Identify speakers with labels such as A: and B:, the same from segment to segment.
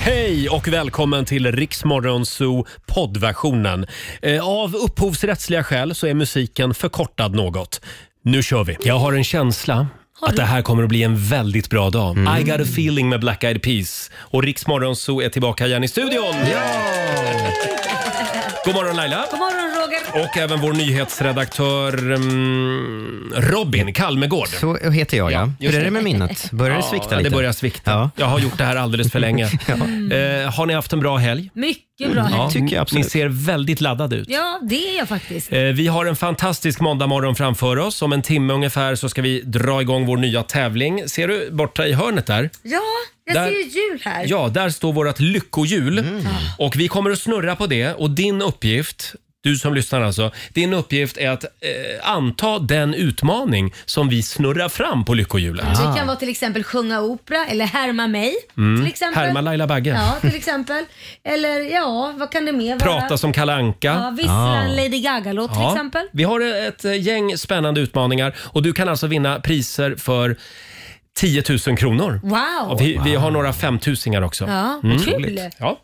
A: Hej och välkommen till Riksmorgon Zoo poddversionen. Eh, Av upphovsrättsliga skäl så är musiken förkortad något. Nu kör vi. Jag har en känsla att det här kommer att bli en väldigt bra dag. I got a feeling med Black Eyed Peas. Och Riksmorgon Zoo är tillbaka igen i studion. God morgon Laila!
B: God morgon Roger.
A: Och även vår nyhetsredaktör mm, Robin Kalmegård.
C: Så heter jag ja.
A: just
C: Hur är
A: det.
C: det med minnet? Börjar det svikta
A: Ja,
C: lite?
A: Det börjar svikta.
C: Ja.
A: Jag har gjort det här alldeles för länge. eh, har ni haft en bra helg?
B: Mycket bra. Ja.
C: tycker jag absolut.
A: Ni ser väldigt laddade ut.
B: ja, det är jag faktiskt.
A: Eh, Vi har en fantastisk måndagmorgon framför oss. Om en timme ungefär så ska vi dra igång vår nya tävling. Ser du borta i hörnet där?
B: Ja, jag
A: Där-
B: ser ju jul här.
A: Ja, där står vårt lyckohjul.
C: Mm.
A: Och vi kommer att snurra på det och din uppgift du som lyssnar alltså. Din uppgift är att eh, anta den utmaning som vi snurrar fram på lyckohjulet.
B: Det kan vara till exempel sjunga opera eller härma mig.
C: Mm.
B: Till exempel.
A: Härma Laila Bagge.
B: Ja, till exempel. Eller ja, vad kan det mer vara?
A: Prata som Kalle Anka.
B: Ja, vissla en Lady Gaga-låt till
A: Ja,
B: exempel.
A: Vi har ett eh, gäng spännande utmaningar och du kan alltså vinna priser för 10 000 kronor.
B: Wow!
A: Och vi, vi har några femtusingar också. Mm.
B: Ja, kul.
A: Ja.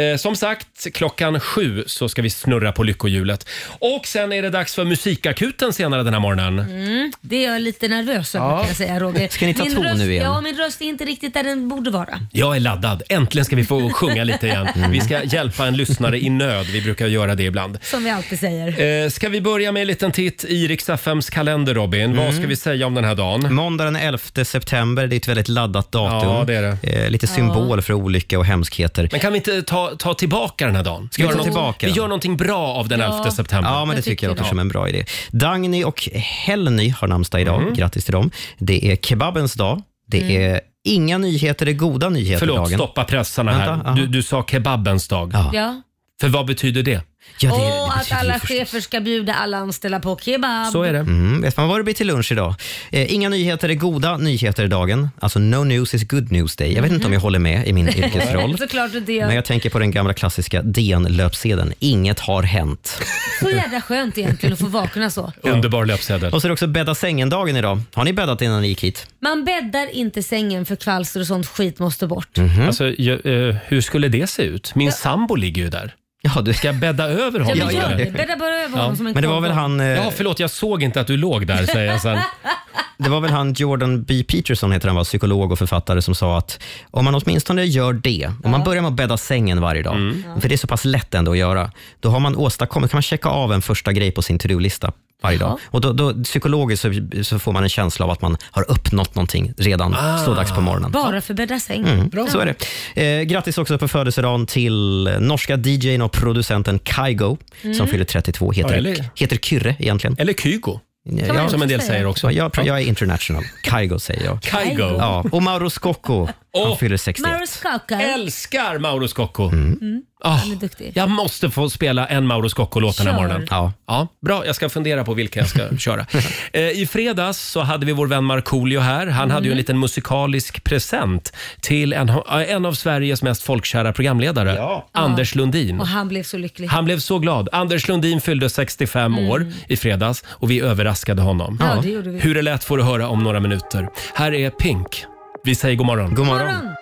A: Eh, som sagt, klockan sju så ska vi snurra på lyckohjulet. Och sen är det dags för musikakuten senare den här morgonen.
B: Mm. Det är jag lite nervös över kan jag säga Roger.
C: Ska ni ta ton
B: röst,
C: nu igen?
B: Ja, min röst är inte riktigt där den borde vara.
A: Jag är laddad. Äntligen ska vi få sjunga lite igen.
B: Mm.
A: Vi ska hjälpa en lyssnare i nöd. Vi brukar göra det ibland.
B: Som vi alltid säger.
A: Eh, ska vi börja med en liten titt i Rix FMs kalender, Robin? Vad ska vi säga om den här dagen?
C: Måndag den 11 september, det är ett väldigt laddat datum.
A: Ja, det är det.
C: Eh, lite symbol för olycka och hemskheter.
A: Men kan vi inte ta, ta tillbaka den här dagen?
C: Ska vi
A: Göra
C: ta
A: något-
C: tillbaka
A: vi
C: den?
A: gör någonting bra av den 11 september.
C: Ja, men det
B: Jag
C: tycker jag
B: tycker
C: låter som en bra idé. Dagny och Helny har namnsdag idag.
A: Mm.
C: Grattis till dem. Det är kebabens dag. Det är inga nyheter, det är goda nyheter
A: Förlåt,
C: dagen.
A: stoppa pressarna
C: Vänta,
A: här.
C: aha.
A: Du, du sa kebabens dag.
C: Ja.
B: Ja.
A: För vad betyder det?
C: Ja, det, det
B: Och att
C: betyder ju
B: alla
C: förstås.
B: chefer ska bjuda alla anställda på kebab.
A: Så är det.
C: Mm, vet man vad det blir till lunch idag? Eh, inga nyheter är goda nyheter i dagen. Alltså no news is good news day. Jag vet inte om jag håller med i min yrkesroll.
B: Såklart inte jag.
C: Men jag tänker på den gamla klassiska DN-löpsedeln. Inget har hänt.
B: Så jävla skönt egentligen att få vakna så.
A: Underbar löpsedel.
C: Och så är det också bädda sängen-dagen idag. Har ni bäddat innan ni gick hit?
B: Man bäddar inte sängen för kvalster och sånt skit måste bort.
C: Mhm.
A: Alltså, jag, eh, hur skulle det se ut? Min sambo ligger ju där.
C: Ja, du.
A: Ska jag bädda över
B: Ja,
A: honom?
B: men
C: Ja,
B: gör
C: ja.
B: det. Bädda bara över honom som en
C: Men det var väl
B: kvarn.
C: han, eh,
A: Ja, förlåt, jag såg inte att du låg där, säger jag sen.
C: det var väl han Jordan B. Peterson, heter han, var psykolog och författare, som sa att om man åtminstone gör det, om man börjar med att bädda sängen varje dag, för det är så pass lätt ändå att göra, då har man åstadkommit, kan man checka av en första grej på sin to-do-lista varje dag. Och då, då, psykologiskt så, så får man en känsla av att man har uppnått någonting redan stådags på morgonen.
B: Bara för bädda säng.
C: Så är det. Eh, grattis också på födelsedagen till norska DJn och producenten Kygo som fyller 32. Heter,
A: Ja, eller-
C: heter Kyrre egentligen.
A: Eller Kygo,
C: Ja,
B: man-
A: som en del
B: säga.
A: säger
C: så
A: också.
C: jag, jag är international. Kygo säger jag.
A: Kygo.
C: Ja, och Mauro Scocco,
A: Åh!
C: han fyller 60.
B: Mauro Scocco, han
A: Älskar Mauro Scocco.
C: Mm.
B: Mm.
A: Ah,
B: är duktig.
A: jag måste få spela en Mauro Scocco-låt den här
B: Kör.
A: morgonen.
C: Ja.
A: Ja, bra. Jag ska fundera på vilka jag ska köra. Eh, I fredags så hade vi vår vän Markoolio här. Han hade
B: Mm.
A: ju en liten musikalisk present till en, eh, en av Sveriges mest folkkära programledare,
C: Ja.
A: Anders Lundin.
B: Och han blev så lycklig.
A: Han blev så glad. Anders Lundin fyllde 65 år i fredags och vi överraskade honom.
B: Mm. Ja, det gjorde vi.
A: Hur det lät får du höra om några minuter. Här är Pink. Vi säger god morgon.
C: God
B: God
C: morgon.
B: morgon.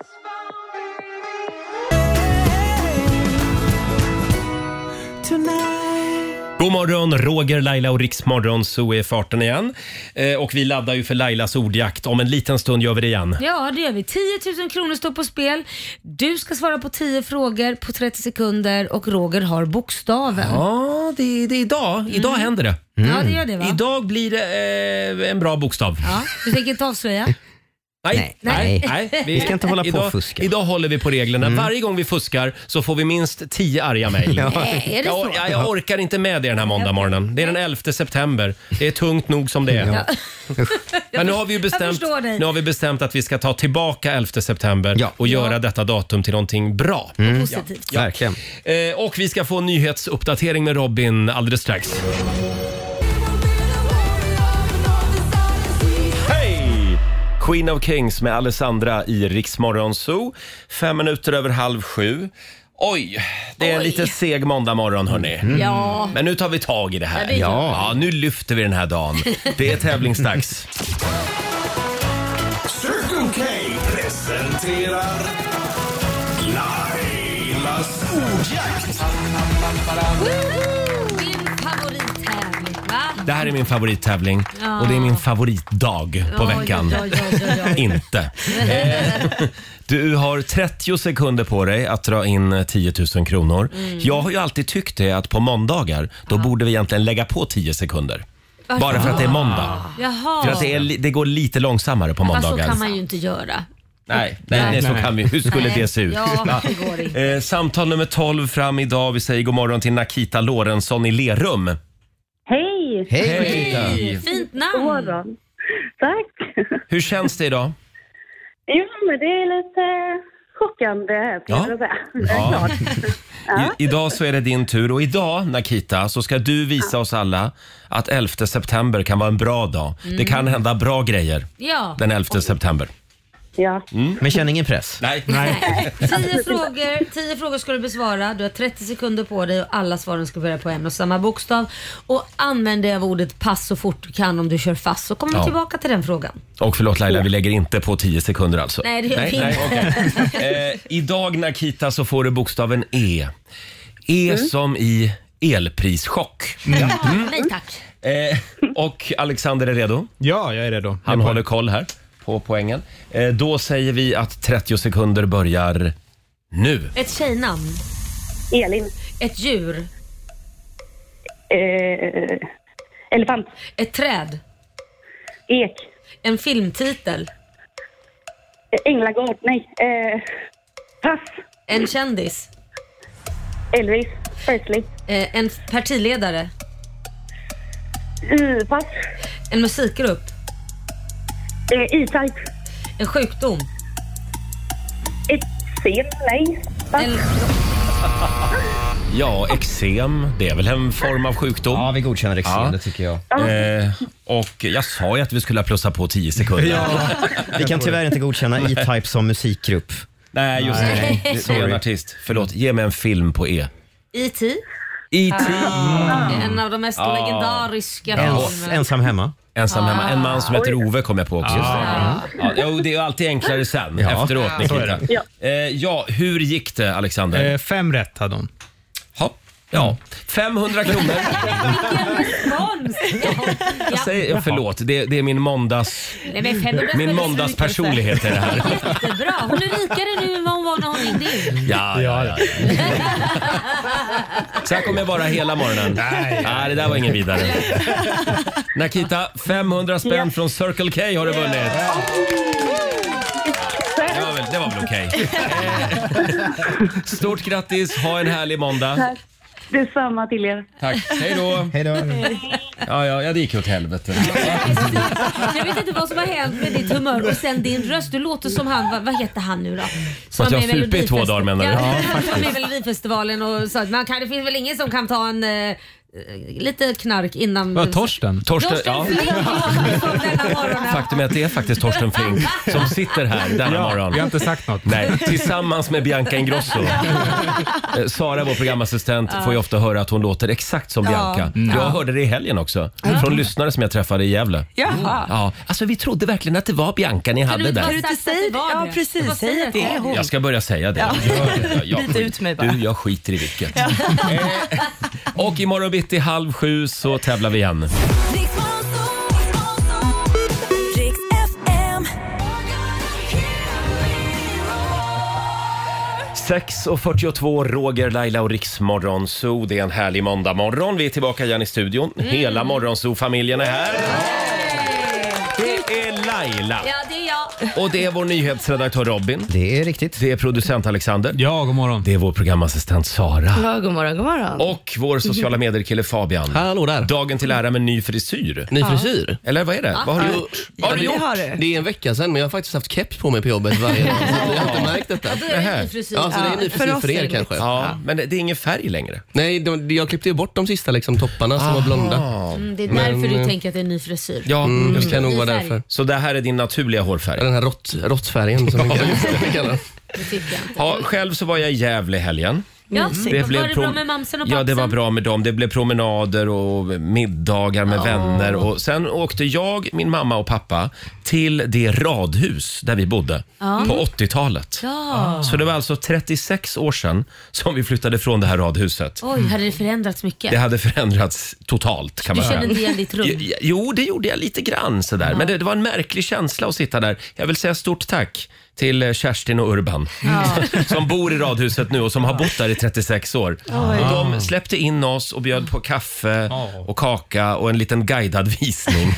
A: God morgon, Roger, Laila och Riksmorgon. Så är farten igen. Eh, och vi laddar ju för Lailas ordjakt. Om en liten stund gör vi det igen.
B: Ja, det gör vi. 10 000 kronor står på spel. Du ska svara på 10 frågor på 30 sekunder och Roger har bokstaven. Ja,
A: Ja, det, det är idag. Idag händer det.
B: det gör det va?
A: Idag blir det eh, en bra bokstav.
B: Ja, du tänker inte avslöja?
A: Nej,
C: Nej.
A: Vi
C: ska inte hålla på och
A: idag,
C: fuska.
A: Idag håller vi på reglerna. Varje gång vi fuskar så får vi minst tio arga mejl.
B: Nej, är det så?
A: Jag, jag, jag orkar inte med det den här måndagmorgonen. Det är den 11 september. Det är tungt nog som det är. Men nu har vi ju
B: Jag
A: bestämt,
B: förstår dig.
A: nu har vi bestämt att vi ska ta tillbaka 11 september
C: Ja.
A: och göra detta datum till någonting bra.
B: Mm. Positivt.
C: Verkligen.
A: Eh, och vi ska få en nyhetsuppdatering med Robin alldeles strax. Hej! Queen of Kings med Alessandra i Riksmorgon Zoo. Fem minuter över halv sju. Oj, det är en
B: Oj. Mm.
A: lite seg måndag morgon hörni.
B: Ja.
A: Men nu tar vi tag i det här.
B: Ja, det gör
A: ja, nu lyfter vi den här dagen. Det är tävlingsdags.
D: Circle K presenterar Live.
B: Woho! Min favorittävling, va?
A: Det här är min favorittävling
B: Ja.
A: och det är min favoritdag på
B: Oj,
A: veckan.
B: oj, oj, oj, oj.
A: Inte. Eh, Du har 30 sekunder på dig att dra in 10 000 kronor.
B: Mm.
A: Jag har ju alltid tyckt det att på måndagar, då borde vi egentligen lägga på 10 sekunder.
B: Varför
A: Bara för att det är
B: då?
A: måndag.
B: Jaha.
A: För att det, är, li- det går lite långsammare på
B: Fast så
A: måndagar.
B: kan man ju inte göra.
A: Nej, nej, nej, så
C: Nej.
A: kan vi. Hur skulle
B: Nej.
A: det se ut?
B: Ja, det går inte.
A: Eh, samtal nummer 12 fram idag. Vi säger god morgon till Nakita Lorentzon i Lerum.
D: Hej!
C: Hej!
A: Hej!
B: Fint
D: God
B: namn.
D: morgon. Tack!
A: Hur känns det idag?
D: Jo, men det är lite chockande, får
A: Ja.
D: jag väl säga.
A: Ja. I, idag så är det din tur och idag Nakita så ska du visa oss alla att 11 september kan vara en bra dag. Det kan hända bra grejer
B: Mm. Ja,
A: den 11 september.
D: Ja.
A: Mm.
C: Men känn ingen press.
A: Nej.
B: tio frågor, tio frågor ska du besvara. Du har 30 sekunder på dig och alla svaren ska börja på en och samma bokstav. Och använd dig av ordet pass så fort du kan om du kör fast så kommer
A: Ja.
B: vi tillbaka till den frågan.
A: Och förlåt Laila, vi lägger inte på 10 sekunder alltså.
B: Nej, det gör vi
A: okej. eh, idag Nakita så får du bokstaven E. E
B: Mm.
A: som i elprischock.
B: Nej tack.
A: Eh, och Alexander är redo.
E: Ja, jag är redo.
A: Han
E: Jag är
A: håller koll här på poängen. Eh, då säger vi att 30 sekunder börjar nu.
B: Ett tjejnamn.
D: Elin.
B: Ett djur.
D: Eh, elefant.
B: Ett träd.
D: Ek.
B: En filmtitel.
D: Eh, Änglagård. Nej. Eh, pass.
B: En kändis.
D: Elvis. Presley.
B: Eh, En partiledare.
D: Uh, pass.
B: En musikgrupp.
D: Eh, E-Type.
B: En sjukdom.
D: Eksem. Nej. Pass.
B: En...
A: Ja, eksem, det är väl en form av sjukdom.
C: Ja, vi godkänner
A: Ja.
C: eksem, det tycker jag.
A: Eh, och jag sa ju att vi skulle plussa på 10 sekunder.
C: Vi kan tyvärr inte godkänna E-Type som musikgrupp.
A: Nej, just det. det. Det är en artist. Förlåt, ge mig en film på E. Ah.
B: E.T.
A: E.T.
B: En av de mest legendariska
C: Ens,
B: filmerna.
C: ensam hemma.
A: Ensam hemma. En man som heter Ove kom jag på också. Ja. jo, det är ju alltid enklare sen, efteråt Nikita.
D: Ja.
A: Eh, ja, hur gick det Alexander?
E: redo. Eh, fem rätt hade hon.
A: Ja. Ja, 500 kronor.
B: Respons!
A: Jag säger, ja, förlåt, det, det är min måndags...
B: Nej, men 500
A: Min
B: för
A: måndagspersonlighet är det här.
B: Jättebra. Hon är rikare nu än vad hon var när hon ringde in.
A: Ja, ja, ja. Så här kommer jag vara hela morgonen. Nej, det där var ingen vidare. Nakita, 500 spänn från Circle K har du vunnit. Det var väl, det var väl okej. Eh, Stort grattis, ha en härlig måndag.
D: Detsamma till er.
A: Tack, hej då.
C: Hej då.
A: Ja, ja, ja, det gick åt helvete.
B: Jag vet inte vad som har hänt med ditt humör och sen din röst. Du låter som han, vad, vad heter han nu då? Som
A: att jag har
B: är i
A: supit i två
B: Melodifest-
A: dagar, menar du?
B: Ja,
A: Ja,
B: han var med i Melodifestivalen och sa att man kan, det finns väl ingen som kan ta en eh, lite knark innan...
E: Vad, Torsten?
A: Torsten,
B: Torsten
A: ja.
B: Flink kom denna morgonen.
A: Faktum är att det är faktiskt Torsten Flink som sitter här denna morgon.
E: Vi har inte sagt något.
A: Nej, tillsammans med Bianca Ingrosso. Eh, Sara, vår programassistent, får ju ofta höra att hon låter exakt som Bianca.
F: Mm.
A: Jag hörde det i helgen också, från lyssnare som jag träffade i Gävle.
F: Jaha.
A: Ja, alltså vi trodde verkligen att det var Bianca ni
B: Kan
A: hade
B: du inte
A: där.
B: bara
F: du inte
B: sagt att
F: säga
B: det var
F: det? Ja,
B: det?
F: precis.
B: Du bara
F: Säg
B: säger
F: att det är hon.
A: Jag ska börja säga det. Jag- jag
F: Byt ut mig bara.
A: Du, jag skiter i vilket. Eh, och imorgon bitti halv sju så tävlar vi igen.
G: Riks-FM.
A: 6.42, Roger, Laila och Riksmorgon Zoo. Det är en härlig måndag morgon. Vi är tillbaka igen i studion. Hela Morgonzoo-familjen är här. Det är Laila
B: Ja, det är jag.
A: och det är vår nyhetsredaktör Robin.
C: Det är riktigt.
A: Det är producent Alexander.
E: Ja, god morgon.
A: Det är vår programassistent Sara.
F: Ja, god morgon, god morgon.
A: Och vår sociala medier-kille Fabian.
H: Hallå där!
A: Dagen till ära med ny frisyr.
H: Ny frisyr?
A: Eller vad är det? Vad har du gjort?
H: Vad har du
F: Ja, det
H: gjort?
F: har du.
H: Det är en vecka sedan men jag har faktiskt haft keps på mig på jobbet varje dag. Så jag har inte märkt detta.
B: Då är det en ny frisyr.
H: Ja, så Alltså, det är en ny
F: Ja,
H: frisyr
F: för oss
H: för
F: är
H: er
F: det
H: kanske.
A: Ja, men det det är ingen färg längre.
H: Nej, de, jag klippte ju bort de sista liksom, topparna som var blonda.
A: Ah.
B: Mm, det är därför du tänker att det är en ny frisyr.
A: Ja,
H: Mm, det
A: just det.
H: kan nog vara
B: Ny färg.
H: därför.
A: Så det här är din naturliga hårfärg?
H: Ja, Den här rått- råttfärgen som vi kallar- vi kallar den.
A: Mm.
B: Det fick jag inte.
A: Ja, själv så var jag i Gävle i helgen.
B: Ja, det blev var det bra
A: prom-
B: med mamsen och
A: Ja, det var
B: pappsen?
A: bra med dem. Det blev promenader och middagar med vänner. Och sen åkte jag, min mamma och pappa till det radhus där vi bodde på 80-talet.
B: Mm. Ja.
A: Så det var alltså 36 år sedan som vi flyttade från det här radhuset.
B: Oj, hade det förändrats mycket?
A: Det hade förändrats totalt kan
B: du
A: man
B: kände
A: säga.
B: inte igen ditt rum?
A: Jo, Jo, det gjorde jag lite grann sådär. Men det, det var en märklig känsla att sitta där. Jag vill säga stort tack till eh, Kerstin och Urban som bor i radhuset nu och som har bott där i 36 år. De släppte in oss och bjöd på kaffe och kaka och en liten guidad visning.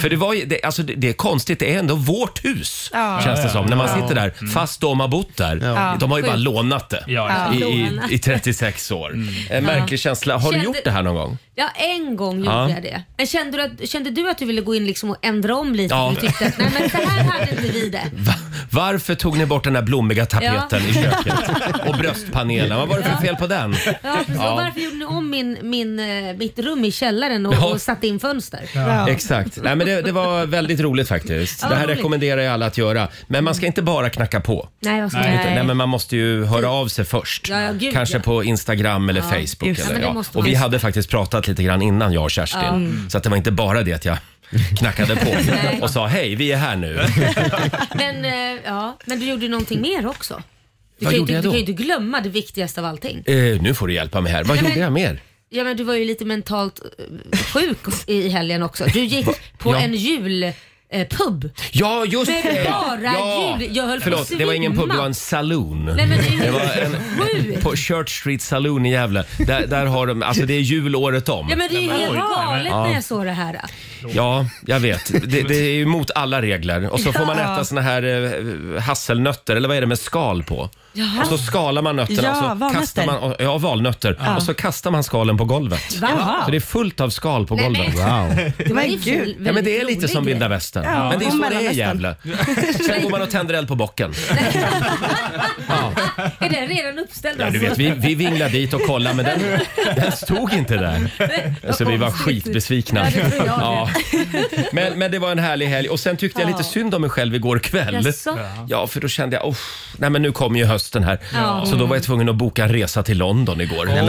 A: För det, var, ju- det, alltså det, det är konstigt, det är ändå vårt hus känns det som. När man sitter där, fast de har bott där. De har ju bara
B: Mm. Sjukt.
A: lånat det
E: Ja,
A: i, i,
B: Lånat. Mm.
A: i 36 år. En märklig känsla. Har du
B: Kände-
A: gjort det här någon gång?
B: Ja, en gång gjorde
A: Ja.
B: jag det. Men kände du, att, kände du att du ville gå in liksom och ändra om lite?
A: Ja.
B: Du tyckte att nej, men så här hade inte vi det.
A: Va? Varför tog ni bort den här blommiga tapeten i köket? Och bröstpanelen, vad var det för fel på den?
B: Ja, precis. Och varför gjorde ni om min, min, eh, mitt rum i källaren och,
A: Ja.
B: och satte in fönster?
A: Exakt. Nej, men det, det var väldigt roligt faktiskt.
B: Ja,
A: det här
B: roligt.
A: rekommenderar jag alla att göra. Men man ska inte bara knacka på.
B: Nej, jag ska
E: Nej.
B: inte.
A: Nej, men man måste ju höra av sig först.
B: Ja, ja, gud,
A: Kanske
B: ja.
A: på Instagram eller Facebook.
F: just
A: Eller,
F: det.
B: Ja, men det
A: ja.
B: måste
A: Och
B: man. Mm.
A: vi hade faktiskt pratat lite grann innan jag och Kerstin. Så att det var inte bara det att jag knackade på
B: Nej.
A: och sa hej, vi är här nu.
B: Men, eh, ja. men du gjorde någonting mer också. Du
A: Vad
B: kan, ju
A: gjorde
B: inte,
A: jag
B: du
A: då?
B: kan ju inte glömma det viktigaste av allting.
A: Eh, nu får du hjälpa mig här. Vad
B: Nej, men-
A: gjorde jag mer?
B: Ja, men du var ju lite mentalt eh, sjuk i helgen också. Du gick på
A: Ja.
B: en julpub.
A: Ja, just
B: Med
A: det!
B: bara
A: ja.
B: ljud. Jag höll på
A: Förlåt,
B: att
A: det var ingen pub,
B: svimma.
A: det var en saloon.
B: Nej, men det är ju
A: det var en,
B: sjukt.
A: på Church Street Saloon i Gävle. Där, där har de, alltså det är jul året om.
B: Ja men det är ju helt
E: oj.
B: galet
A: Ja.
B: när jag såg det här.
A: Ja, jag vet. Det, det är ju emot alla regler. Och så får man äta såna här eh, hasselnötter, eller vad är det med skal på?
B: Jaha.
A: Och så skalar man nötterna
F: Ja,
A: och så
F: valnötter.
A: kastar man, och- ja, valnötter. Och så kastar man skalen på golvet.
B: Va?
A: Så det är fullt av skal på
B: Nej,
A: golvet.
B: men-
A: Wow.
B: Det var ju
F: gud.
B: väl-
A: Ja, men det är
B: väldigt
A: lite
B: rolig
A: som
B: grej.
A: vilda västern.
F: Ja,
A: men det är
F: och
A: så det är i
F: mellanvästern.
A: Gävle. Sen går man och tänder eld på bocken.
B: Är den redan uppställd
A: Ja, du vet, vi, vi vinglade dit och kollade men den, den stod inte där.
B: Vad
A: Så Alltså, vi var
B: konstigt.
A: skitbesvikna.
B: Ja, det tror jag
A: Ja. Men, men det var en härlig helg och sen tyckte jag lite synd om mig själv igår kväll.
B: Jaså?
A: Ja, för då kände jag, oh, nej men nu kommer ju hösten här.
B: Ja.
A: Så då var jag tvungen att boka en resa till London igår. Jag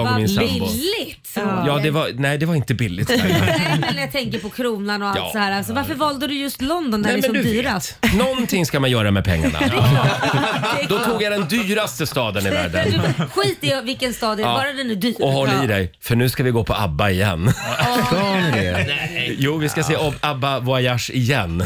A: och
B: Vad
A: min sambo.
B: billigt!
A: Ja, det var, nej det var inte billigt.
B: Nej, men jag tänker på kronan och allt
A: Ja.
B: så här. Alltså, varför valde du just London när
A: Nej,
B: det är
A: men
B: som
A: du
B: dyrast?
A: vet, någonting ska man göra med pengarna. Då tog jag den dyraste staden i världen.
B: Skit i vilken stad det är,
A: Ja.
B: bara den är dyr.
A: Och håll
B: Ja.
A: i dig, för nu ska vi gå på ABBA igen.
C: Ska ni det?
A: Jo, vi ska se Ab- ABBA Voyage igen.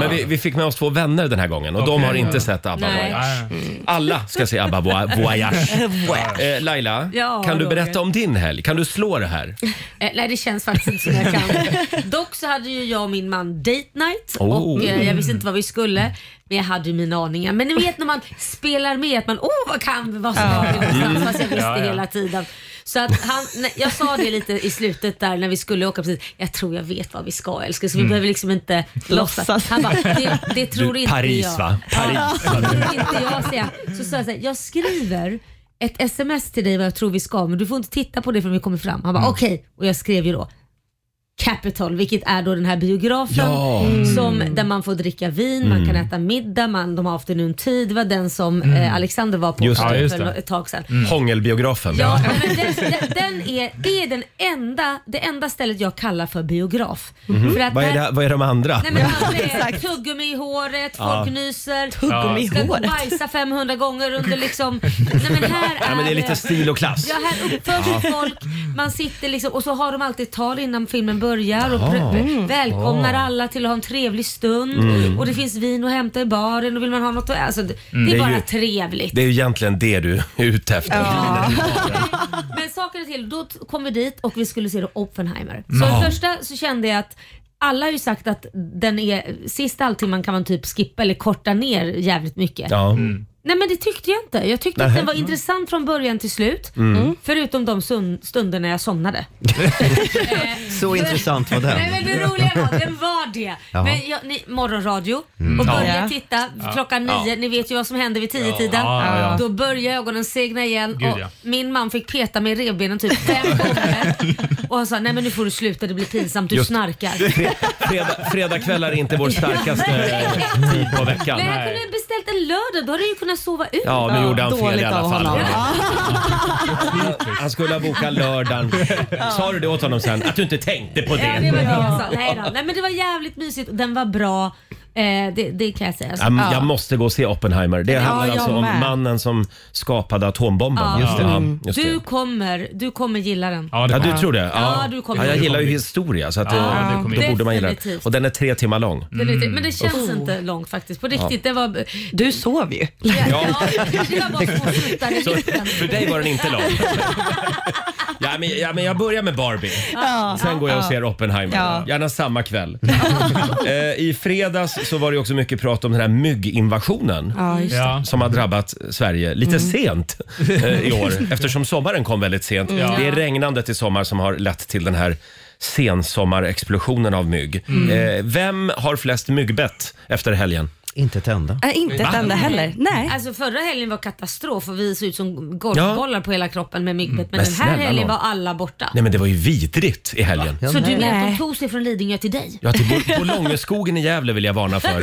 A: Men vi, vi fick med oss två vänner den här gången och de
E: Okej.
A: har inte sett ABBA
B: Nej.
A: Voyage. Alla ska se ABBA Voy- Voyage.
F: Wow.
A: Eh, Laila,
B: Ja,
A: kan du
B: Roger.
A: berätta om din helg? Kan du slå det här?
B: Eh, nej det känns faktiskt inte som jag kan. Dock så hade ju jag och min man date night och
A: Oh.
B: eh, jag visste inte vad vi skulle. Men jag hade ju mina aningar. Men ni vet när man spelar med att man, åh vad kan vi, vad ska vi någonstans? Fast jag visste
E: Ja, ja.
B: hela tiden. Så att han, nej, jag sa det lite i slutet där när vi skulle åka precis, jag tror jag vet vad vi ska älskling så vi behöver liksom inte
F: Låtsas.
B: låtsas. Han bara, det, det tror inte
A: Paris
B: jag.
A: va? Paris.
B: Ja, det vill inte jag säga. Så sa jag så här, jag skriver ett sms till dig vad jag tror vi ska men du får inte titta på det förrän vi kommer fram. Han bara
A: Mm.
B: okej och jag skrev ju då Capital, vilket är då den här biografen
A: Ja. Mm.
B: som, där man får dricka vin, man kan äta middag, man, de har afternoon tea. Det var den som eh, Alexander var på
A: Mm. Just det. Mm.
B: för
E: Ja, just det.
B: ett tag sedan.
A: Hångelbiografen.
B: Ja, men den, den- den är, det är den enda, det enda stället jag kallar för biograf. För att
A: Mm-hmm. Vad, är
B: där-
A: det, vad är de andra?
B: Nej men alla är tuggummi i håret, folk nyser.
F: Tuggummi i
B: Ska
F: håret.
B: bajsa 500 gånger under liksom... Nej men här är,
A: Ja, men det är lite stil och klass.
B: Ja, här uppför sig folk. Man sitter liksom och så har de alltid ett tal innan filmen börjar och pr- välkomnar alla till att ha en trevlig stund. Och det finns vin att hämta i baren och vill man ha något att alltså, det, det är
A: Mm. Det är
B: bara
A: ju-
B: trevligt.
A: Det är ju egentligen det du är ute efter.
B: Men saker och till, då t- kom vi dit och vi skulle se då Oppenheimer. Så det första så kände jag att alla har ju sagt att den är, sista halvtimman kan man typ skippa eller korta ner jävligt mycket.
A: Ja.
B: Nej men det tyckte jag inte. Jag tyckte att den var intressant från början till slut. Mm. Förutom de sun- stunderna jag somnade.
C: Så intressant var den.
B: Nej men det roliga var, den var det. Men jag, ni, morgonradio och börjar
F: Ja.
B: titta klockan nio, ni vet ju vad som händer vid tio tiden
E: Ja, ja.
B: Då börjar ögonen segna igen
E: Gud,
B: och
E: ja.
B: min man fick peta mig i revbenen typ fem gånger. Och han sa, nej men nu får du sluta, det blir pinsamt, du
A: Just-
B: snarkar.
A: Fre- Fredag, fredagkvällar är inte vår starkaste tid på veckan.
B: Men jag kunde ha beställt en lördag, då hade jag ju kunnat att sova ut.
A: Ja, nu gjorde han fel i
F: Dåligt
A: alla
F: av
A: fall.
F: honom.
A: Han skulle ha bokat lördagen. Sa du det åt honom sen? Att du inte tänkte på
B: Ja, det
A: det?
B: var det jag sa. Nej, då. Nej, men det var jävligt mysigt och den var bra. Eh, det, det kan jag säga. Så,
A: Ja, men Jag måste gå och se Oppenheimer. Det handlar
F: jag
A: alltså om
F: med.
A: mannen som skapade atombomben.
B: Ja.
A: Just det. Ja, just
B: du
A: det.
B: kommer, du kommer gilla den.
E: Ja, det
A: Ja,
E: var-
A: du tror det?
B: Ja, du kommer.
A: ja, jag gillar ju historia så att, eh,
E: Ja, det kommer
A: då
E: jag.
A: borde man gilla den.
B: Definitivt.
A: Och den är tre timmar lång.
B: Det är lite, men det känns
A: Oh.
B: inte långt faktiskt. På riktigt. Det var,
F: Du sov ju.
B: ja. det var bara små snuttar i mitten.
A: För dig var den inte lång. Ja men, ja, men jag börjar med Barbie. Sen går jag och ser Oppenheimer.
F: Ja.
A: Gärna samma kväll. eh, I fredags så var det också mycket prat om den här mygginvasionen.
F: Ja, Mm. just
E: Ja.
A: som har drabbat Sverige lite sent eh, i år eftersom sommaren kom väldigt sent. Det är regnandet i sommar som har lett till den här sensommarexplosionen av mygg.
F: Mm.
A: Eh, vem har flest myggbett efter helgen?
C: Inte ett enda.
F: Äh, inte ett enda heller. Nej.
B: Alltså förra helgen var katastrof och vi såg ut som golfbollar på hela kroppen med myggbett. Men,
A: Mm. Men
B: den här
A: snälla
B: helgen
A: nån.
B: var alla borta.
A: Nej men det var ju vidrigt i helgen.
B: Så du menar att de
F: Nej.
B: tog sig från Lidingö till dig?
A: Ja, till Bo- Bolongeskogen i Gävle vill jag varna för.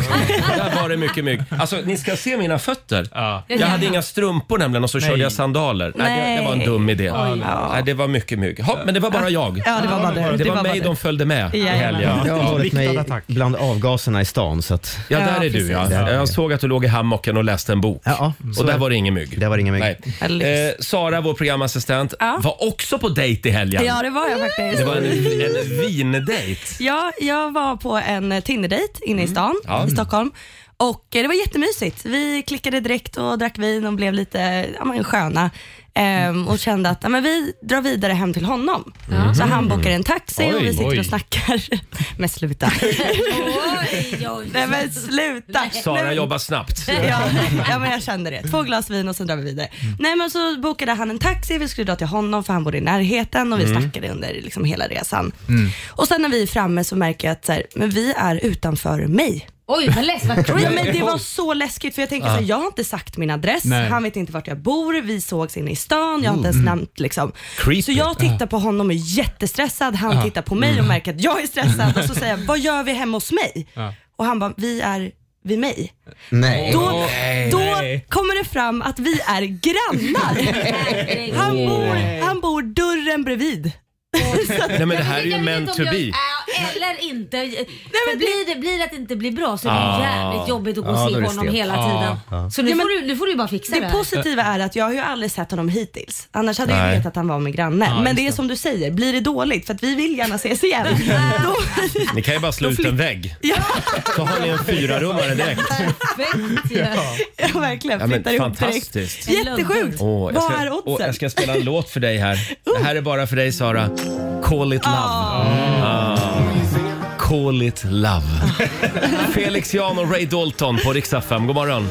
A: Där var det mycket mygg. Alltså, ni ska se mina fötter.
E: Ja.
A: Jag hade inga strumpor nämligen och så körde jag sandaler. Nej, Det, det var en dum idé. Nej, det var mycket mygg. Ja, men det var bara jag.
F: Ja, det var bara du.
A: Det var
F: bara
A: mig
F: du.
A: de följde med i
F: Jajamän.
A: helgen.
C: Jag har varit
E: riktad
C: med
E: attack.
C: bland avgaserna i stan så att
A: Ja, där
B: Ja,
A: är
B: precis.
A: du ja. Jag såg att du låg i hammocken och läste en bok.
C: Ja,
A: och
C: så
A: där
C: är-
A: var det ingen mygg.
C: där var det ingen mygg.
F: Ja, lyx.
A: Eh, Sara, vår programassistent, var också på dejt i helgen.
F: Ja, det var jag faktiskt.
A: Det var en, en vindejt.
F: Ja, jag var på en eh, Tinder-dejt inne i
E: Mm.
F: stan i Stockholm. Och eh, Det var jättemysigt. Vi klickade direkt och drack vin och blev lite ja, men, sköna.
E: Mm.
F: Ehm, och kände att ja, men vi drar vidare hem till honom. Så han bokar en taxi och
E: Oj,
F: vi sitter
E: oj.
F: och snackar. men sluta.
B: Oj, oj,
F: Nej men sluta. Nej,
A: Sara
F: men-
A: jobbar snabbt.
F: Ja, ja men jag kände det. Två glas vin och sen drar vi vidare. Nej men så bokade han en taxi, vi skulle dra till honom för han bodde i närheten och vi snackade under liksom hela resan. Och sen när vi är framme så märker jag att så här, men vi är utanför mig.
B: oj vad läskigt, vad
F: Ja,
B: creepy.
F: men det var så läskigt för jag tänker så här, jag har inte sagt min adress,
E: Nej.
F: han vet inte vart jag bor, vi sågs inne i stan, jag har inte ens nämnt liksom. Så jag tittar på honom och är jättestressad, han tittar på mig och märker att jag är stressad och så säger jag, vad gör vi hemma hos mig?
E: Ja.
F: Och han bara, vi är vid mig.
C: nej.
F: Då, då
E: nej.
F: kommer det fram att vi är grannar.
B: Herregud.
F: Han bor, han bor dörren bredvid.
A: Nej, men det här är
B: Jag
A: ju
B: vet
A: meant
B: inte
A: to
B: om jag-
A: be.
B: Ja, Eller inte. För blir, det, blir det att det inte blir bra så är det
A: Ah.
B: jävligt jobbigt att gå och
C: Ja,
B: se
C: då är det
B: honom
C: stelt.
B: hela
E: Ah.
B: tiden. Så nu,
F: Ja, men-
B: får du, nu får du bara fixa det.
F: Det
B: här.
F: positiva är att jag har ju aldrig sett honom hittills. Annars hade jag
A: Nej.
F: ju vetat att han var med grannen. Men det är som du säger, blir det dåligt för att vi vill gärna ses igen. då,
A: Ni kan ju bara slå ut en vägg.
F: ja,
A: Så har ni en fyrarummare direkt.
B: Perfekt ju.
F: jag verkligen
A: Ja, men
F: flyttar ihop direkt.
A: fantastiskt.
F: Jättesjukt.
A: Åh, jag,
F: Vad
A: ska,
F: är
A: åh,
F: oddsen?
A: jag ska spela en låt för dig här. Det här är bara för dig Sara. Call it love. Ah. Call it love. Felix Jan och Ray Dalton på Rix FM. God morgon.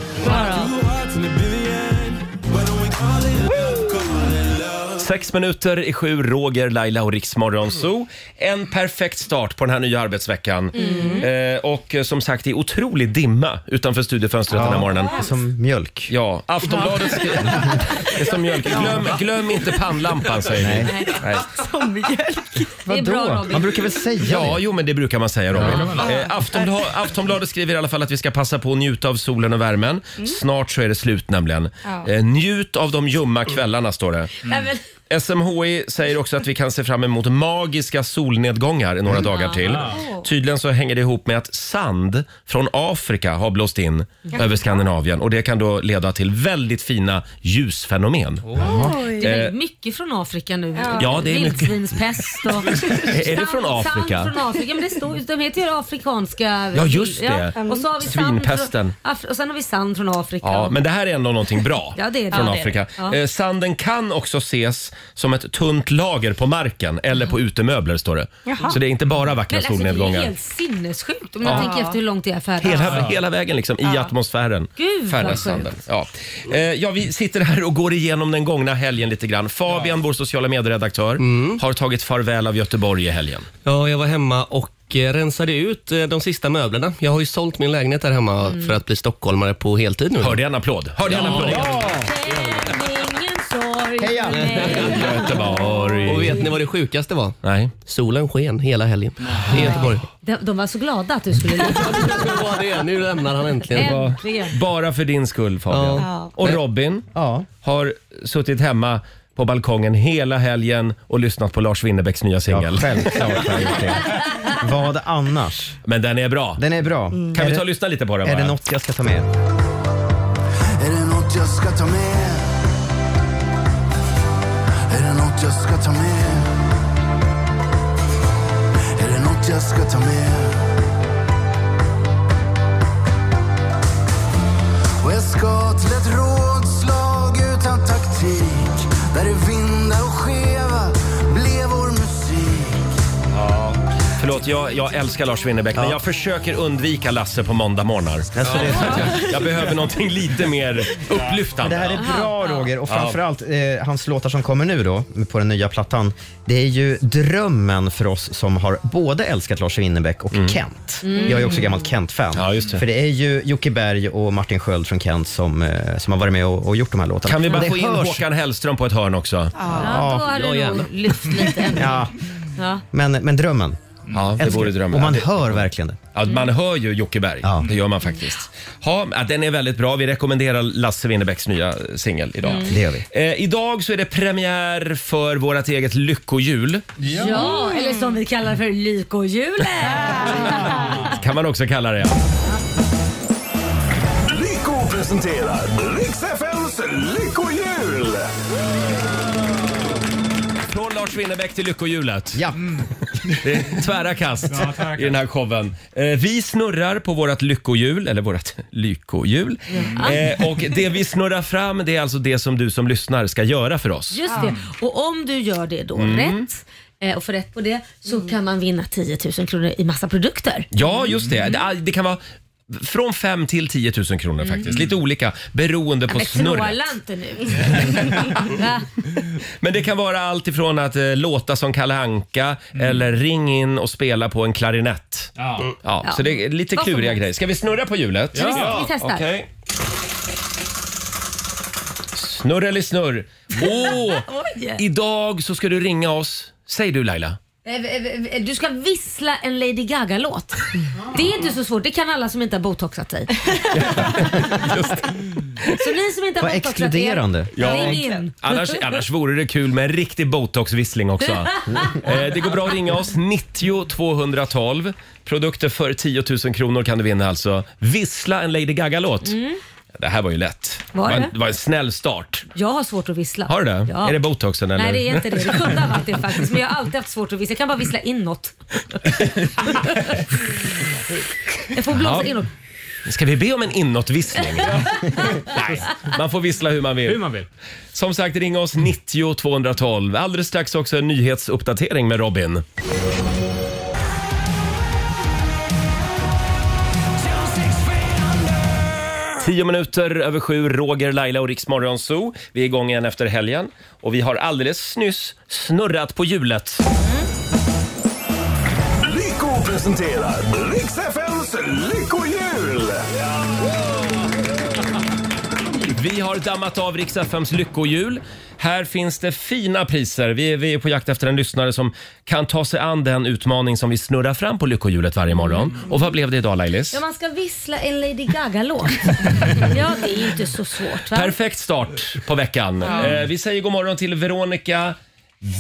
A: Sex minuter i sju, Roger, Laila och Riksmorgon Zoo. En perfekt start på den här nya arbetsveckan.
F: Mm.
A: Eh, och eh, som sagt, det är otrolig dimma utanför studiofönstret den här morgonen.
C: Som mjölk.
A: Ja, Aftonbladet skrev... Det är som mjölk. Glöm, glöm inte pannlampan säger vi.
C: Nej.
A: Nej.
F: Som mjölk.
B: Det är bra
C: Vadå?
B: Robin.
C: Man brukar väl säga
A: Ja,
C: det?
A: jo men det brukar man säga Robin. Eh, Aftonbla- Aftonbladet skriver i alla fall att vi ska passa på att njuta av solen och värmen. Snart så är det slut nämligen. Eh, njut av de ljumma kvällarna står det.
B: Nej, men-
A: SMHI säger också att vi kan se fram emot magiska solnedgångar i några dagar till. Tydligen så hänger det ihop med att sand från Afrika har blåst in över Skandinavien och det kan då leda till väldigt fina ljusfenomen.
B: Det är väldigt mycket från Afrika nu.
A: Eh. Ja, det är mycket.
B: Vildsvinspest och...
A: Är det från
B: Sand-
A: Afrika?
B: Sand från Afrika. Men det står, de heter ju afrikanska...
A: Ja, just det.
B: Och så har vi sand
A: Svinpesten.
B: Från, Af- och sen har vi sand från Afrika.
A: Ja, men det här är ändå någonting bra
B: Ja, det är det.
A: från
B: Ja, det är
A: Afrika.
B: det. Ja.
A: Eh, sanden kan också ses som ett tunt lager på marken eller på utemöbler står det.
F: Jaha.
A: Så det är inte bara vackra
B: Mm. Men alltså, det är ju
A: solnedgångar.
B: helt sinnessjukt om man tänker efter hur långt det är för
A: Hela, hela vägen liksom, i atmosfären.
B: Gud, vad
A: färdas
B: sjukt.
A: sanden. Ja. Eh, ja, vi sitter här och går igenom den gångna helgen lite grann. Fabian, vår sociala medieredaktör, har tagit farväl av Göteborg i helgen.
H: Ja, jag var hemma och eh, rensade ut eh, de sista möblerna. Jag har ju sålt min lägenhet där hemma för Mm. att bli stockholmare på heltid nu.
A: Hörde jag en applåd? Hörde jag en applåd?
B: Ingen sorg.
C: Heja!
A: Göteborg.
H: Och vet ni vad det sjukaste var?
A: Nej.
H: Solen sken hela helgen i Göteborg.
B: De, de var så glada att du skulle lämna.
H: Det var det. Nu lämnar han äntligen.
B: Äntligen.
A: Bara för din skull Fabian.
F: Ja.
A: Och Robin
C: Ja.
A: har suttit hemma på balkongen hela helgen och lyssnat på Lars Winnerbäcks nya singel.
C: Självklart har jag gjort det. Vad annars?
A: Men den är bra.
C: Den är bra.
A: Kan
C: Mm. är
A: vi
C: det-
A: ta och lyssna lite på den
C: Är
A: bara?
C: det något jag ska ta med?
G: Är det något jag ska ta med? Är det något jag ska ta med? Är det något jag ska ta med? Och jag ska till ett rådslag utan taktik Där det vindar och skeva blev vår musik
A: Förlåt, jag, jag älskar Lars Winnerbäck men jag försöker undvika Lasse på måndag morgnar.
C: Alltså, det, är-
A: Jag behöver någonting lite mer
C: det
A: upplyftande.
C: här är bra Roger och framförallt eh, hans låtar som kommer nu då på den nya plattan. Det är ju drömmen för oss som har både älskat Lars Winnerbäck och Kent. Jag är också gammalt Kent-fan.
A: Mm. Ja, just det.
C: För det är ju Jocke Berg och Martin Sköld från Kent som, eh, som har varit med och, och gjort de här låtarna.
A: Kan vi bara
C: Det
A: få in
C: hörs-
A: Håkan Hellström på ett hörn också?
B: Ja, då hade du nog lyft lite.
C: Ja,
B: Ja.
C: men, men drömmen.
A: Ja, det vore drömmen.
C: Och man hör verkligen det.
A: Ja, man hör ju Jocke Berg.
C: Mm. Ja.
A: Det gör man faktiskt. Ha, ja, den är väldigt bra. Vi rekommenderar Lasse Winnerbäcks nya singel idag.
C: Mm. Det gör vi.
A: Eh, idag så är det premiär för vårt eget lyckohjul.
B: ja, eller som vi kallar för lykohjulet.
A: Kan man också kalla det. Ja.
I: Lyko presenterar Riks FMs Lyckohjul!
A: Från Lars Winnerbäck till lyckohjulet.
C: Ja.
A: Det är tvära kast
E: Ja, tvära
A: i den här showen. Eh, vi snurrar på vårt lyckohjul, eller vårt lyckohjul. Eh, och det vi snurrar fram det är alltså det som du som lyssnar ska göra för oss.
B: Just det. Och om du gör det då rätt eh, och får rätt på det så kan man vinna 10 000 kronor i massa produkter.
A: Ja, just det.
B: Mm.
A: Det- Det kan vara från 5 till 10 000 kronor faktiskt. Lite olika beroende på
B: Mm. Men
A: snurret.
B: Tråla inte nu. Va?
A: Men det kan vara allt ifrån att eh, låta som Kalle Anka
B: Mm.
A: eller ring in och spela på en klarinett. Ja,
E: Ja.
A: Så det är lite
B: Vad som
A: kluriga
B: helst.
A: grejer. Ska vi snurra på hjulet?
B: Ja, vi- Ja. vi testar.
A: Okej. Snurr eller snurr. Åh!
B: Oj.
A: idag så ska du ringa oss. Säg du Laila.
B: Eh, eh, eh, Du ska vissla en Lady Gaga-låt. Det är inte så svårt. Det kan alla som inte har botoxat sig. Så ni som inte har
C: Vad
B: botoxat
C: exkluderande.
B: er, ring in.
A: Annars, annars vore det kul med en riktig botoxvissling också. eh, det går bra att ringa oss, 90 212. Produkter för 10 000 kronor kan du vinna alltså. Vissla en Lady Gaga-låt. Det här var ju lätt.
B: Mm. Var
A: det?
B: det?
A: var en, det var en snäll start.
B: Jag har svårt att vissla.
A: Har du det?
B: Ja.
A: Är det botoxen eller?
B: Nej det är inte det. Det kunde ha varit det faktiskt. Men jag har alltid haft svårt att vissla. Jag kan bara vissla inåt. jag får blåsa
A: Ja.
B: inåt.
A: Ska vi be om en inåtvissling? Nej, man får vissla hur man
E: Hur
A: vill.
E: man vill.
A: Som sagt, ring oss 90 212. Alldeles strax också en nyhetsuppdatering med Robin. Tio minuter över sju, Roger, Laila och Riksmorgon Zoo. Vi är igång igen efter helgen och vi har alldeles nyss snurrat på hjulet.
I: Lyko presenterar Riks FMs Lyckohjul!
A: Vi har dammat av Rix FMs lyckohjul. Här finns det fina priser. Vi är, vi är på jakt efter en lyssnare som kan ta sig an den utmaning som vi snurrar fram på lyckohjulet varje morgon. Och vad blev det idag Lailis?
B: Ja, man ska vissla en Lady Gaga-låt. ja, det är ju inte så svårt. Va?
A: Perfekt start på veckan. Eh, vi säger god morgon till Veronica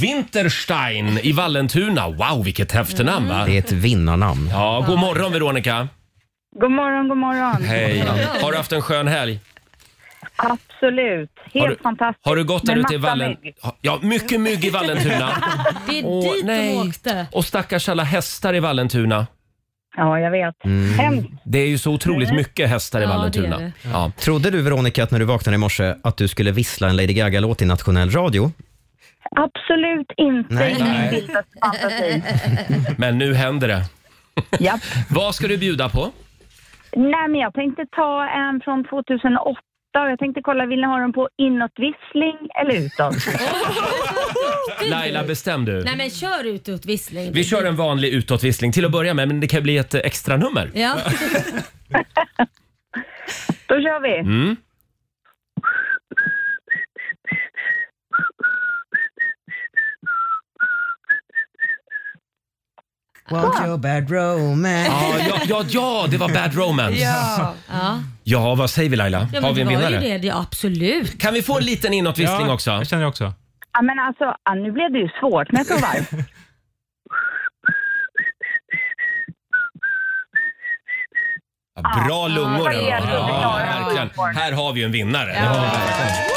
A: Winterstein i Vallentuna. Wow, vilket häftenamn va?
C: Det är ett vinnarnamn.
A: Ja, god morgon Veronica.
D: God morgon, god morgon.
A: Hej. Har du haft en skön helg?
D: Absolut. Helt
A: Har du-
D: fantastiskt.
A: Har du gått där
D: Med
A: ute i
D: massa
A: Vallen...
D: mygg.
A: Ja, mycket mygg i Vallentuna.
B: Det är
A: Åh,
B: dit
A: nej.
B: de åkte.
A: Och stackars alla hästar i Vallentuna.
D: Ja, jag vet.
A: Mm.
D: Hemskt.
A: Det är ju så otroligt mycket hästar i
B: Ja,
A: Vallentuna.
B: det är det.
A: Ja.
C: Trodde du Veronica att när du vaknade i morse att du skulle vissla en Lady Gaga-låt i nationell radio?
D: Absolut inte
C: Nej.
D: i min vildaste fantasi.
A: Men nu händer det.
D: Japp.
A: Vad ska du bjuda på?
D: Nej, men jag tänkte ta en från 2008. Jag tänkte kolla, vill ni ha den på inåtvissling eller utåt?
A: Laila, bestäm du.
B: Nej men kör ut ut vissling.
A: Vi kör en vanlig utåtvissling till att börja med, men det kan bli ett eh, extra nummer.
B: Ja.
D: Då kör vi.
A: Mm.
C: Want your bad romance.
A: Ja, ja, ja, ja det var Bad Romance.
F: Ja.
B: Ja.
A: Ja, vad säger vi Laila?
B: Ja,
A: Har vi
B: men det
A: en
B: var ju
A: vinnare?
B: det. Ja, absolut.
A: Kan vi få en liten inåtvissling
E: Ja,
A: också?
E: Jag känner också.
D: Ja, men alltså, ah, nu blev det ju svårt, men jag provar.
B: Ah,
A: Ja, Bra lungor.
D: det var helt
A: Ja,
D: underbara
A: verkligen.
D: lungor.
A: Här har vi ju en vinnare.
B: Fantastiskt.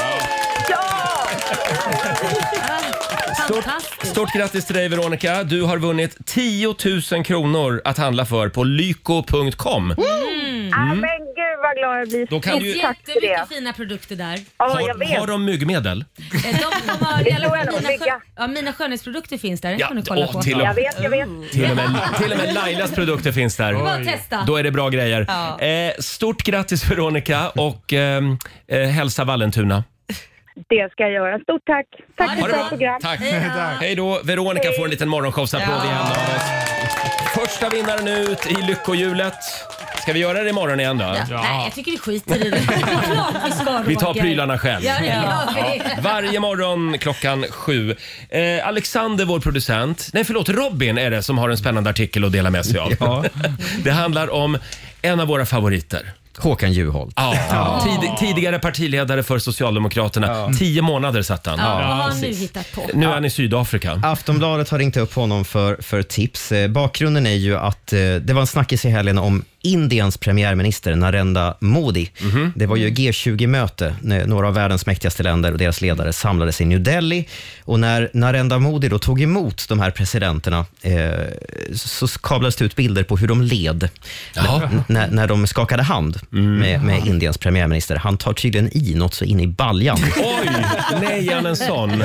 A: Stort grattis till dig Veronica. Du har vunnit 10 000 kronor att handla för på lyko.com.
B: Mm.
D: Ah, men gud vad glad jag blir.
A: Då kan
B: Det
A: du
B: är
A: ju...
D: Tack för
B: jättemycket fina produkter där.
D: Ja, jag
A: Har,
D: vet.
A: har de myggmedel?
B: Eh, De, de har, i alla
D: tror
B: fall
D: jag nog,
B: mina, skön,
D: Vigga.
B: ja, mina skönhetsprodukter finns där. Den
A: Ja,
B: kan du kolla
A: åh,
B: på.
A: till och-
D: Jag vet, jag vet.
A: Till och, med, till och med Lailas produkter finns där.
B: Bara testa.
A: Då är det bra grejer.
F: Ja.
A: Eh, stort grattis Veronica och ehm, eh, hälsa Vallentuna.
D: Det ska jag göra. Stort tack. Tack för
B: Ha
D: ett
B: det
D: bra
B: bra.
D: program.
A: Tack.
B: Hej då. Tack.
A: Hej då. Veronica får en liten morgonshowsapplåd igen av oss. Första vinnaren ut i lyckohjulet. Ska vi göra det imorgon igen då?
B: Ja. Nej, jag tycker vi skiter i det. Det är klart vi ska
A: Vi tar
B: Roger.
A: prylarna själv.
B: Ja, det gör vi.
A: Varje morgon klockan sju. Eh, Alexander, vår producent. Nej, förlåt. Robin är det som har en spännande artikel att dela med sig av. Det handlar om en av våra favoriter.
C: Håkan Juholt.
A: Ja. Tid, tidigare partiledare för Socialdemokraterna. Tio månader satt han.
B: Ja, vad har han nu hittat på?
A: Nu är han i Sydafrika.
C: Aftonbladet har ringt upp honom för, för tips. Eh, Bakgrunden är ju att eh, det var en snackis i helgen om Indiens premiärminister Narendra Modi. Det var ju G20-möte när några av världens mäktigaste länder och deras ledare samlades i New Delhi. Och när Narendra Modi då tog emot de här presidenterna eh, så så kablades det ut bilder på hur de led N- när, när de skakade hand med, med Indiens premiärminister. Han tar tydligen i något så in i baljan.
A: Oj! Nej, han en sån.
B: Det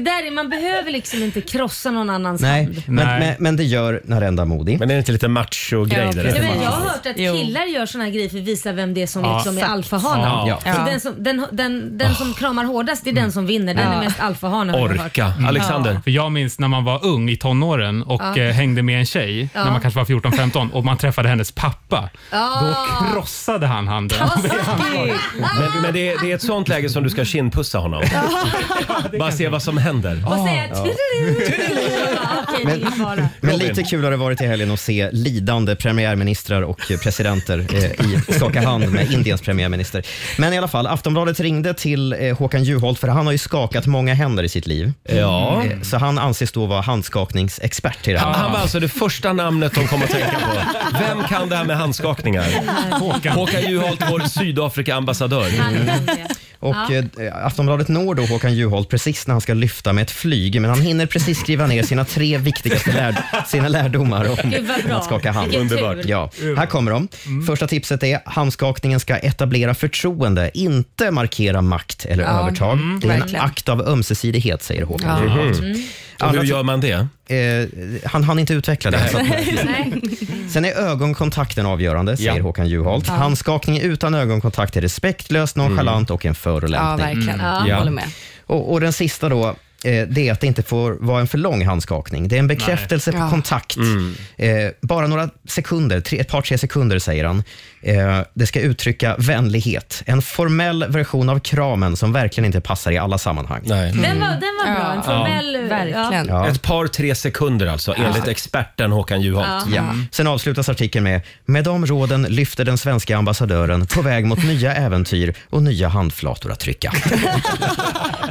B: där är, man behöver liksom inte krossa någon annans
C: Nej,
B: hand.
C: men, Men, men det gör Narendra Modi.
A: Men är det inte lite macho-grej
F: Ja,
A: det
F: precis.
A: där?
B: Nej, men jag har hört att
F: Jo.
B: killar gör såna här grejer för att visa vem det är som
E: Ja,
B: liksom är
F: exakt.
B: alfahanen.
A: Ja.
B: Så
F: Ja.
B: Den, som, den, den, den som kramar hårdast det är den som vinner. Den är mest alfahanen. har jag hört.
A: Orka. Alexander.
E: För jag minns när man var ung i tonåren och eh, hängde med en tjej, när man kanske var 14-15, och man träffade hennes pappa. Då krossade han handen.
A: Men, men det, är, det är ett sånt läge som du ska kindpussa honom. Bara se vad som händer.
B: Och säga "Tudelu". Ja, Okej, det är bara.
C: Men
A: Robin.
C: lite kul har det varit i helgen att se lidande premiärministrar och eh, presidenter eh, i skaka hand med Indiens premiärminister. Men i alla fall, Aftonbladet ringde till eh, Håkan Juholt för han har ju skakat många händer i sitt liv.
A: Ja.
C: Eh, Så han anses då vara handskakningsexpert i det
A: Han,
C: här.
A: han var alltså det första namnet de kom att tänka på. Vem kan det här med handskakningar? Håkan. Håkan Juholt, vår Sydafrika-ambassadör.
B: Han kan det.
C: Och eh, Aftonbladet når då Håkan Juholt precis när han ska lyfta med ett flyg, men han hinner precis skriva ner sina tre viktigaste lärd- sina lärdomar om,
B: Gud, vad
C: om
B: bra.
C: att skaka hand.
B: Vilken Underbart. tur.
C: Ja, här kommer de.
A: Mm.
C: Första tipset är handskakningen ska etablera förtroende, inte markera makt eller övertag.
A: Mm,
C: det är en
F: verkligen.
C: akt av ömsidighet, säger Håkan Juholt.
A: Och hur
C: Andra
A: gör man det?
C: ti- eh, han hann inte utveckla det. så att-
B: Nej.
C: Sen är ögonkontakten avgörande, säger
A: Ja.
C: Håkan Juholt. Handskakning utan ögonkontakt är respektlöst,
A: Mm.
C: nonchalant och en
F: Ja,
C: förolämpning.
F: verkligen.
A: Ja.
F: Jag håller med.
C: Och, och den sista då, eh, det är att det inte får vara en för lång handskakning. Det är en bekräftelse på
F: Ja.
C: kontakt. Eh, bara några sekunder, tre, ett par tre sekunder säger han. Eh, det ska uttrycka vänlighet. En formell version av kramen som verkligen inte passar i alla sammanhang.
A: Nej.
B: Den, var, den var bra. En formell... Ja.
F: Verkligen.
C: Ja.
A: Ett par, tre sekunder alltså, enligt experten Håkan Juholt.
C: Ja. Sen avslutas artikeln med “Med de råden lyfter den svenska ambassadören på väg mot nya äventyr och nya handflator att trycka”.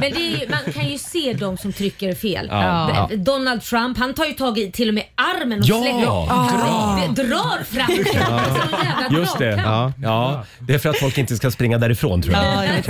B: Men det är, ju- man kan ju se de som trycker fel.
C: Ja.
B: B- Donald Trump han tar ju tag i till och med armen och
A: Ja,
B: slänger
A: drar.
B: Det drar fram knappen som en jävla
A: Just det.
B: dragkamp.
A: Ja. ja. Det är för att folk inte ska springa därifrån tror jag. Eh,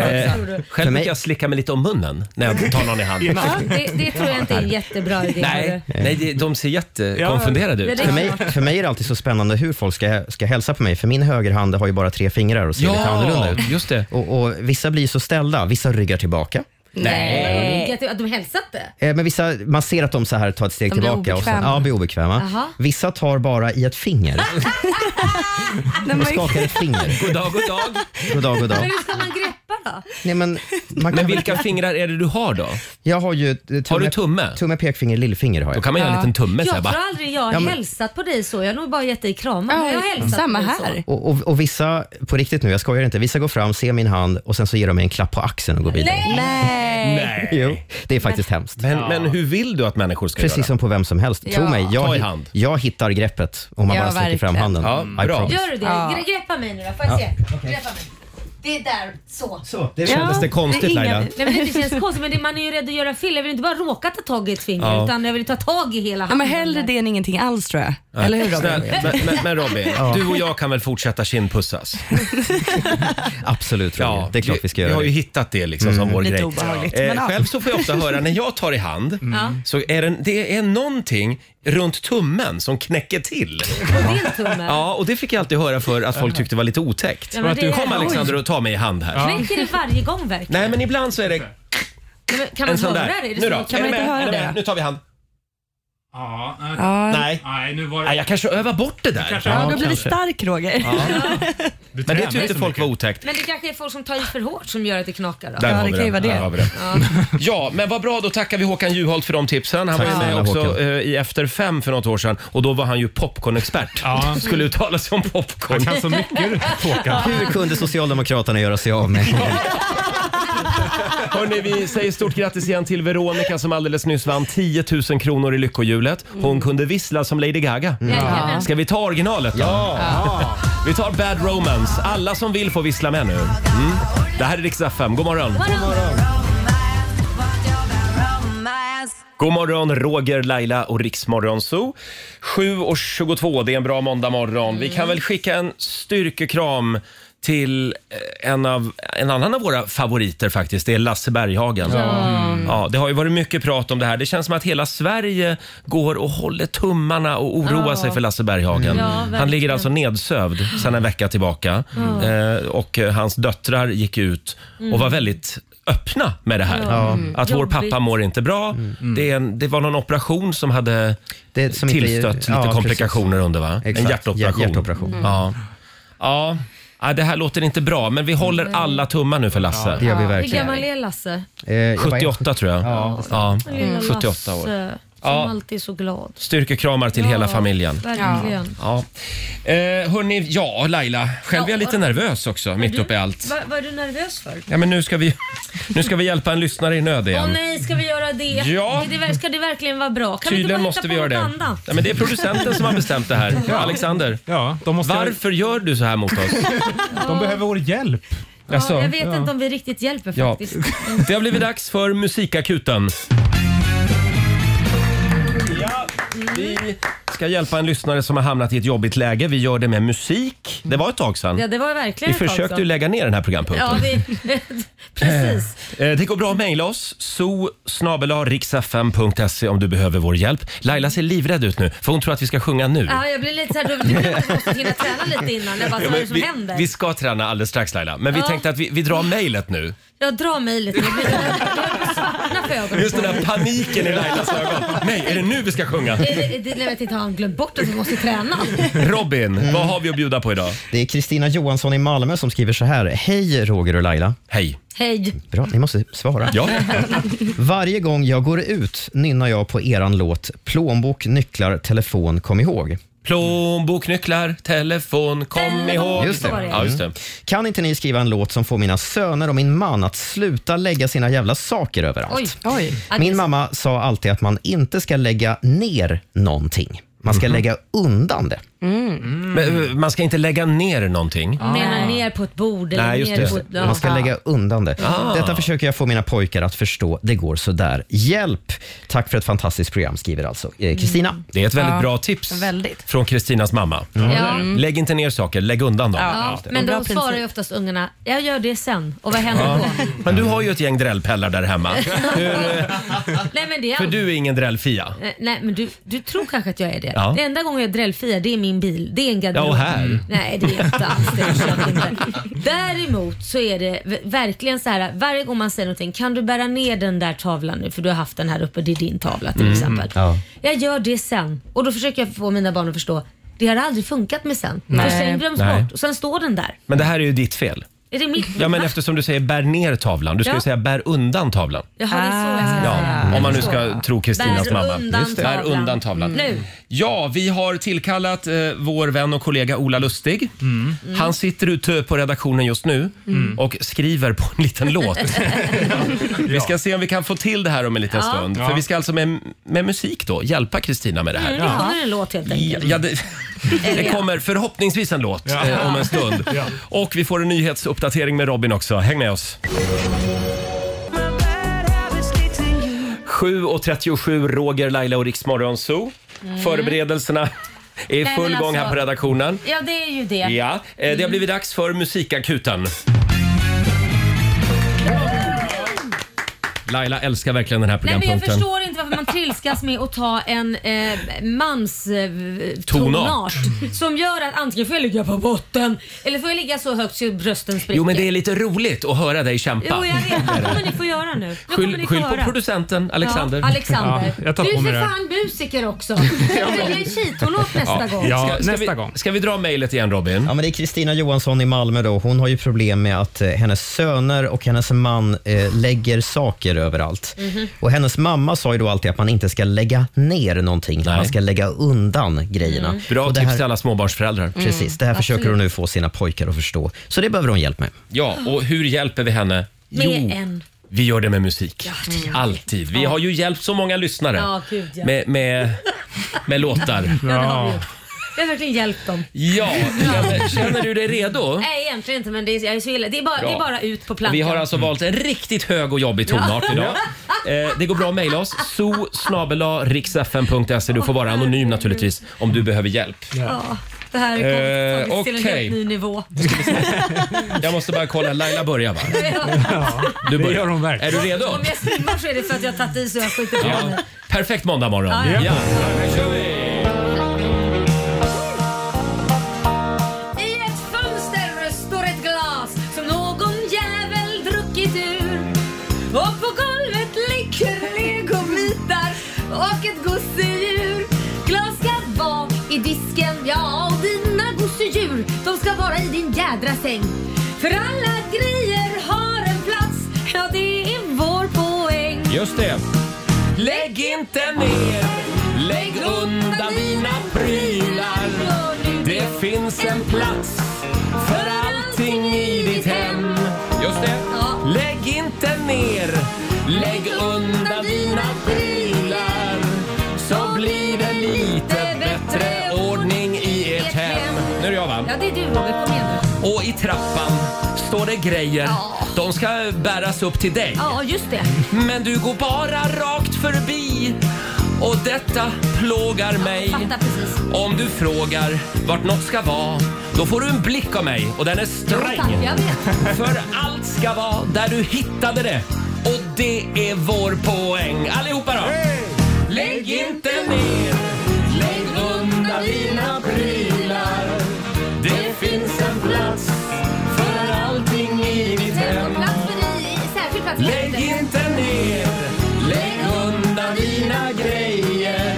A: själv brukar jag slicka mig lite om munnen när jag tar någon i handen.
B: Ja, det, det tror jag inte är en jättebra idé. hörru.
A: Nej, nej, det- de ser jättekonfunderade
B: Ja,
A: ut.
B: det-
C: För mig, för mig är det alltid så spännande hur folk ska, ska hälsa på mig, för min högerhand har ju bara tre fingrar och ser lite annorlunda ut.
A: just det.
C: Och, och Vissa blir så ställda, vissa ryggar tillbaka.
B: Nej. Att de- Att Eh, de hälsat det?
C: Eh, Men vissa, man ser att de så här tar ett steg
F: De blir
C: tillbaka. Och sen,
F: obekväma.
C: ja, blir obekväma.
B: Jaha.
C: Vissa tar bara i ett finger.
F: Nej,
C: De
F: men-
C: skakar ett finger.
A: God dag, god dag.
C: God dag, god dag.
B: Men hur ska man greppa då?
C: Nej, men man
A: Men
C: kan
A: vilka
C: väl,
A: fingrar är det du har då?
C: jag har ju eh, tumme,
A: Har du tumme?
C: tumme, pekfinger, lillfinger. Har
A: Då
C: jag.
A: kan man göra en liten tumme så här,
B: Jag
A: bara.
B: tror aldrig jag har
C: Ja, men-
B: hälsat på dig så. Jag har nog bara gett dig kramar.
F: Ja,
B: men jag har hälsat
F: samma
B: på dig
F: här.
C: Och, och, och vissa, på riktigt nu, jag skojar inte, vissa går fram, ser min hand och sen så ger de mig en klapp på axeln och går vidare.
B: Så. Nej.
F: Nej.
C: Jo, det är faktiskt hemskt.
A: Men, men hur vill du att människor ska
C: Precis
A: göra?
C: som på vem som helst. Tro
F: Ja.
C: mig,
A: Ta i
C: jag,
A: hand.
C: jag hittar greppet om man
F: Ja,
C: bara sträcker fram
F: verkligen.
C: handen.
A: Ja,
C: I
A: bra.
C: promise.
B: Gör du det? Gre- Greppa mig nu då, får jag se? Greppa mig. Det är där, så.
A: Så, det kändes det konstigt
F: inga-
A: Laila.
B: Nej, men det känns konstigt men det, man är ju rädd att göra fel. Jag vill inte bara råka ta tag i ett finger
A: Ja.
B: utan jag vill ta tag i hela
F: Ja,
B: handen.
F: men hellre det än ingenting alls tror jag. Eller hur
A: Snäll,
F: Robin?
A: men, men, men Robin, du och jag kan väl fortsätta kindpussas?
C: Absolut, Roger. det är klart vi ska
A: Vi
C: göra
A: har ju
C: det.
A: hittat det liksom som vår
F: Lite
A: grej.
F: obehagligt, men
A: Eh,
F: ja.
A: själv så får jag ofta höra när jag tar i hand så är det, det är någonting runt tummen som knäcker till.
B: På din tumme.
A: Ja, och det fick jag alltid höra för att folk tyckte var lite otäckt.
B: Ja, men det är-
A: Kom Alexander och ta mig i hand här.
B: Knäcker det varje gång verkligen?
A: Nej, men ibland så är det
B: Nej, men Kan man
A: en sån
B: höra
A: där.
B: det? Är
A: Nu
B: det så-
A: då,
B: Kan
A: är
B: man
A: ni
B: inte
A: med?
B: höra
A: Är ni
B: det?
A: med? Nu tar vi hand.
E: Ja, nej.
F: Ja.
A: Nej.
E: nej, nu var det...
A: Nej, jag kanske övar bort det där.
E: Kanske-
F: Ja,
E: Ja,
F: du har blivit
E: kanske.
F: stark Roger.
E: Du
A: Men det
E: tränar
A: tyckte
E: så
A: folk var
E: mycket.
A: otäckt.
B: Men det kanske är folk som tar i för hårt som gör att det knakar då?
A: Där
F: Ja,
A: har
F: det
A: vi
F: kan ju
A: den.
F: vara det.
A: Där har vi den. Ja, men vad bra. Då tackar vi Håkan Juholt för de tipsen. Han var
C: Tack
A: ju med
C: snälla,
A: också eh,
C: Håkan.
A: i Efter fem för något år sedan och då var han ju popcornexpert.
E: Ja.
A: Skulle uttala sig om popcorn.
E: Han kan så mycket Håkan.
C: Hur kunde Socialdemokraterna göra sig av med
A: Hörrni, vi säger stort grattis igen till Veronica som alldeles nyss vann 10 000 kronor i Lyckohjulet. Hon kunde vissla som Lady Gaga.
B: Jajamän.
A: Ska vi ta originalet då? Ja. Vi tar Bad Romance. Alla som vill får vissla med nu. Mm. Det här är riksdag 5. God morgon! God morgon, Roger, Laila och Riksmorgon Zoo. 7.22, det är en bra måndagmorgon. Vi kan väl skicka en styrkekram till eh, en, av, en annan av våra favoriter faktiskt. Det är Lasse Berghagen. Ja, det har ju varit mycket prat om det här. Det känns som att hela Sverige går och håller tummarna och oroar
B: Ja.
A: sig för Lasse Berghagen.
B: Ja, verkligen.
A: Han ligger alltså nedsövd sedan en vecka tillbaka. Eh, och eh, hans döttrar gick ut och var väldigt öppna med det här. Att vår
B: Jobbigt.
A: pappa mår inte bra. Det, är en, det var någon operation som hade
C: Mm, det? som inte-
A: tillstött lite
C: Ja, precis.
A: komplikationer under va? En
C: Exakt.
A: hjärtoperation.
C: Hjär- hjärtoperation. Mm.
A: Ja. Ja. ja, det här låter inte bra men vi håller alla tummar nu för
C: Det
A: Lasse.
C: gör vi
B: Hur
C: verkligen.
B: gammal är Lasse?
C: Eh, jag bara-
A: 78 tror jag. Ja,
B: Lilla
A: 78 Mm, år.
B: Lasse, som
A: Ja.
B: alltid är så glad.
A: Styrkekramar till hela familjen.
B: Verkligen.
A: Ja. Eh, hörni, ja Laila, själv är jag lite nervös också mitt uppe i allt.
B: Vad vad är du nervös för?
A: Ja, men nu, ska vi, nu ska vi hjälpa en lyssnare i nöd
B: Åh
A: igen.
B: nej, ska vi göra det?
A: Ja.
B: Är det ver- Ska det verkligen vara bra? Kan
A: Tydligen
B: vi
A: måste
B: inte
A: vi
B: bara hitta
A: göra
B: på
A: det.
B: något annat?
A: Nej, men det är producenten som har bestämt det här. Alexander,
E: Ja, de, måste
A: varför gör du så här mot oss?
E: de behöver vår hjälp.
A: Alltså,
B: Ja, jag vet inte om vi riktigt hjälper
A: Ja.
B: faktiskt.
A: Det har blivit dags för Musikakuten. Ja, vi ska hjälpa en lyssnare som har hamnat i ett jobbigt läge. Vi gör det med musik. Det var ett tag sedan.
B: Ja, det var verkligen
A: Vi
B: ett tag
A: försökte ju
B: sedan.
A: lägga ner den här programpunkten.
B: Ja, vi, precis.
A: Eh, Det går bra att mejla oss. so om du behöver vår hjälp. Laila ser livrädd ut nu, för hon tror att vi ska sjunga nu.
B: Ja, jag blir lite såhär, du måste hinna träna lite innan. Jag bara,
A: Ja,
B: vad är
A: men
B: det som
A: vi,
B: händer?
A: vi ska träna alldeles strax Laila, men vi
B: Ja.
A: tänkte att vi, vi drar mejlet nu.
B: Jag drar mig lite. Jag blir svartna för ögonen.
A: Just den där paniken i Lailas ögon. Nej, är det nu vi ska sjunga?
B: Är det- är det- Nej, jag vet inte, har han glömt bort att vi måste träna?
A: Robin, vad har vi att bjuda på idag?
C: Det är Kristina Johansson i Malmö som skriver så här. Hej Roger och Laila.
A: Hej.
B: Hej!
C: Bra, ni måste svara.
A: Ja.
C: Varje gång jag går ut nynnar jag på eran låt Plånbok, nycklar, telefon, kom ihåg.
A: Plånbok, nycklar, telefon, kom ihåg.
C: Just det. Mm.
A: Ja, just det.
C: Kan inte ni skriva en låt som får mina söner och min man att sluta lägga sina jävla saker överallt?
B: Oj.
F: Oj.
C: Min mamma sa alltid att man inte ska lägga ner någonting. Man
A: Mhm.
C: ska lägga undan det.
A: Men, eh, man ska inte lägga ner någonting.
B: Menar ner på ett bord eller
A: Nej, just
B: ner
A: det.
B: på ett... Ja.
C: Man ska lägga undan det.
A: Ah.
C: Detta försöker jag få mina pojkar att förstå. Det går sådär. Hjälp! Tack för ett fantastiskt program, skriver alltså eh,
A: Mm.
C: Kristina.
A: Det är ett väldigt bra tips
F: väldigt.
A: från Kristinas mamma. Mm.
B: Ja.
A: Lägg inte ner saker, lägg undan dem.
B: Mm. Ja, men
F: Bra
B: då
F: princip.
B: svarar ju oftast ungarna, jag gör det sen. Och vad händer då?
A: Men du har ju ett gäng drällpellar där hemma.
B: Nej men det är
A: För du är ingen drällfia.
B: Eh, Nej men du, du tror kanske att jag är det.
A: Ja.
B: Det enda gången jag drällfiar det är min bil. Det är en garderob.
A: Ja, och här.
B: Nej det är inte alls det. Försök inte. Däremot så är det v- verkligen så här varje gång man säger någonting. Kan du bära ner den där tavlan nu för du har haft den här uppe. Det är din tavla
A: Mm,
B: till exempel.
C: Ja.
B: Jag gör det sen och då försöker jag få mina barn att förstå. Det har aldrig funkat med sen. För sen glöms
A: Nej.
B: bort och sen står den där.
A: Men det här är ju ditt fel.
B: Är det mitt?
A: Ja, men eftersom du säger bär ner tavlan. Du ska ju
B: Ja.
A: säga bär undan tavlan.
B: Jaha, det är så jag ska
A: Ja,
B: säga.
A: om man nu ska tro Kristinas
B: Bär
A: mamma.
B: undan
A: Just det. Bär
B: tavlan.
A: undan tavlan.
B: Nu.
A: Ja, vi har tillkallat eh, vår vän och kollega Ola Lustig. Han sitter ute på redaktionen just nu och skriver på en liten låt. Vi ska se om vi kan få till det här om en liten
B: Ja.
A: stund. För
E: Ja.
A: vi ska alltså med, med musik då hjälpa Kristina med det här.
B: Mm, det kommer en låt helt
A: Ja,
B: enkelt.
A: ja, det, det
B: ja.
A: kommer förhoppningsvis en låt
E: Ja.
A: eh, om en stund.
E: Ja.
A: Och vi får en nyhetsuppdatering med Robin också. Häng med oss. 7.37, Roger, Laila och Riksmorgon Zoo. Förberedelserna är i
B: Mm. men
A: full gång här
B: alltså-
A: på redaktionen.
B: Ja, Mm. det är ju det.
A: Ja, eh, det har blivit dags för Musikakuten. Laila älskar verkligen den här
B: Nej, men jag
A: programpunkten.
B: förstår inte varför man trilskas med att ta en eh, mans eh, v-
A: Tonart.
B: tonart som gör att antingen får jag ligga på botten eller får jag ligga så högt så brösten spricker.
A: Jo, men det är lite roligt att höra dig kämpa.
B: Jo, jag vet. Vad kommer ni få göra nu? Vad kommer ni
A: Skyll,
B: få
A: skyll på
B: höra?
A: producenten Alexander.
B: Ja, Alexander.
E: Ja, jag tar
B: du är
E: på mig
B: för
E: det.
B: fan musiker också. Du väljer en tjejtonåt nästa gång.
E: Ja,
A: Ska
E: nästa
A: vi,
E: gång.
A: Ska vi dra mejlet igen Robin?
C: Ja, men det är Kristina Johansson i Malmö. Då. Hon har ju problem med att eh, hennes söner och hennes man eh, lägger saker överallt.
A: Mhm.
C: Och Hennes mamma sa ju då alltid att man inte ska lägga ner någonting.
A: Nej. Mm.
C: Man ska lägga undan grejerna.
A: Bra
C: Och det
A: tips
C: här- Mm,
A: till alla småbarnsföräldrar.
C: Precis, det här försöker hon nu få sina pojkar att förstå. Så det behöver hon hjälp med.
A: Ja, och hur hjälper vi henne?
B: Med en.
A: vi gör det med musik. Alltid. Vi har ju hjälpt så många lyssnare
B: Ja, gud, ja.
A: Med, med, med låtar.
B: Ja, det har
E: Ja.
B: vi gjort. Vi har verkligen hjälpt dem.
A: Ja, känner, känner du dig redo?
B: Nej, egentligen inte, men det är, jag är så illa. Det är bara,
A: Bra.
B: det är bara ut på plankan.
A: Vi har alltså valt en riktigt hög och jobbig tonart idag. Eh, det går bra att mejla oss. so riksfm.se. Du får vara anonym naturligtvis om du behöver hjälp.
B: Det här
A: Eh,
B: har kommit till en
A: okej.
B: helt ny nivå.
A: Jag måste bara kolla. Laila börjar va? Du
E: Det
A: börjar.
E: gör hon
A: Är
E: verkligen.
A: du redo?
B: Om jag svimmar så är det för att jag har tagit i så jag skiter på
A: Ja.
B: mig.
A: Perfekt måndag morgon.
B: Ja, ja.
A: Ja. Då kör vi.
B: I ett fönster står ett glas som någon jävel druckit ur. Och på golvet ligger legobitar och ett gosedjur. Glas ska vara i disken, ja och dina gosedjur de ska vara i din jädra säng. För alla grejer har en plats, ja det är vår poäng.
A: Just det. Lägg inte ner, lägg undan dina prylar. Det finns en plats för allting i ditt hem. Just det.
B: Ja.
A: Lägg inte ner, lägg undan dina prylar. Så blir det lite bättre ordning i ert hem. Nu är det jag va?
B: Ja, det är du Roger, kom igen nu.
A: Och i trappan står det grejer.
B: Ja.
A: De ska bäras upp till dig.
B: Ja, just det.
A: Men du går bara rakt förbi och detta plågar mig.
B: Fattar precis.
A: Om du frågar vart något ska vara, då får du en blick av mig och den är
B: Tack,
A: sträng.
B: jag vet.
A: För allt ska vara där du hittade det och det är vår poäng. Allihopa då! Lägg inte ner, lägg undan dina prylar. Det finns en plats för allting i ditt hem.
B: Plats för dig, särskild plats.
A: Lägg inte ner, lägg undan dina grejer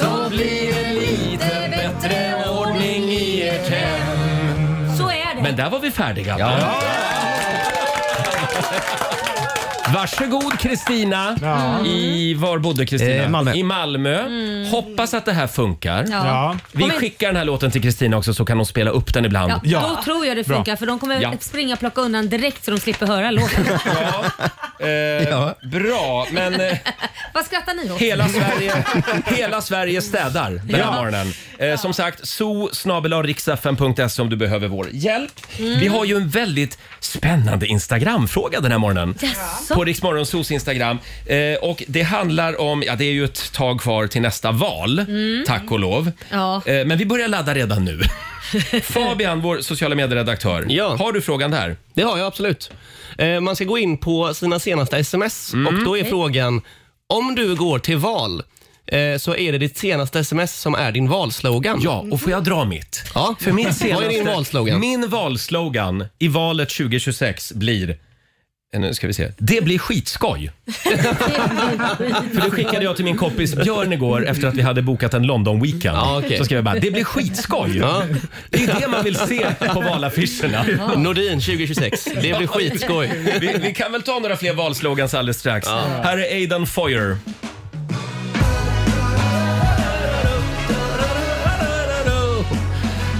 A: så blir det lite bättre ordning i ert hem.
B: Så är det.
A: Men där var vi färdiga. Varsågod Kristina.
E: Ja.
A: I, var bodde Kristina?
C: Eh, Malmö.
A: I Malmö. Hoppas att det här funkar.
E: Ja.
A: Vi
B: Kom in.
A: skickar den här låten till Kristina också så kan hon spela upp den ibland.
B: Ja,
E: Ja.
B: Då tror jag det funkar
E: Bra.
B: för de kommer
A: Ja.
B: springa och plocka undan direkt så de slipper höra låten.
A: Eh, Bra, men eh,
B: Vad skrattar ni åt?
A: Hela Sverige, hela Sverige städar den här
E: Ja.
A: morgonen. Eh, som sagt, so riksfm.se om du behöver vår hjälp. Vi har ju en väldigt spännande Instagram-fråga den här morgonen.
B: Jaså?
A: På Riksmorgonsos Instagram. Eh, och det handlar om, ja det är ju ett tag kvar till nästa val, tack och lov.
B: Ja.
A: Eh, men vi börjar ladda redan nu. Fabian, vår sociala medieredaktör.
H: Ja.
A: Har du frågan där?
H: Det har jag absolut. Eh, man ska gå in på sina senaste sms
A: Mm.
H: och då är frågan, om du går till val eh, så är det ditt senaste sms som är din valslogan.
A: Ja, och får jag dra mitt?
H: Ja.
A: För min senaste,
H: Vad är din valslogan?
A: Min valslogan i valet 2026 blir Eh, Nu ska vi se. Det blir skitskoj! För det skickade jag till min kompis Björn igår efter att vi hade bokat en London-weekend.
H: Ja, okej.
A: Så skrev jag bara, det blir skitskoj!
H: Ja.
A: Det är det man vill se på valaffischerna.
H: Nordin 2026. Det blir skitskoj.
A: Vi, vi kan väl ta några fler valslogans alldeles strax. Här är Aidan Foyer.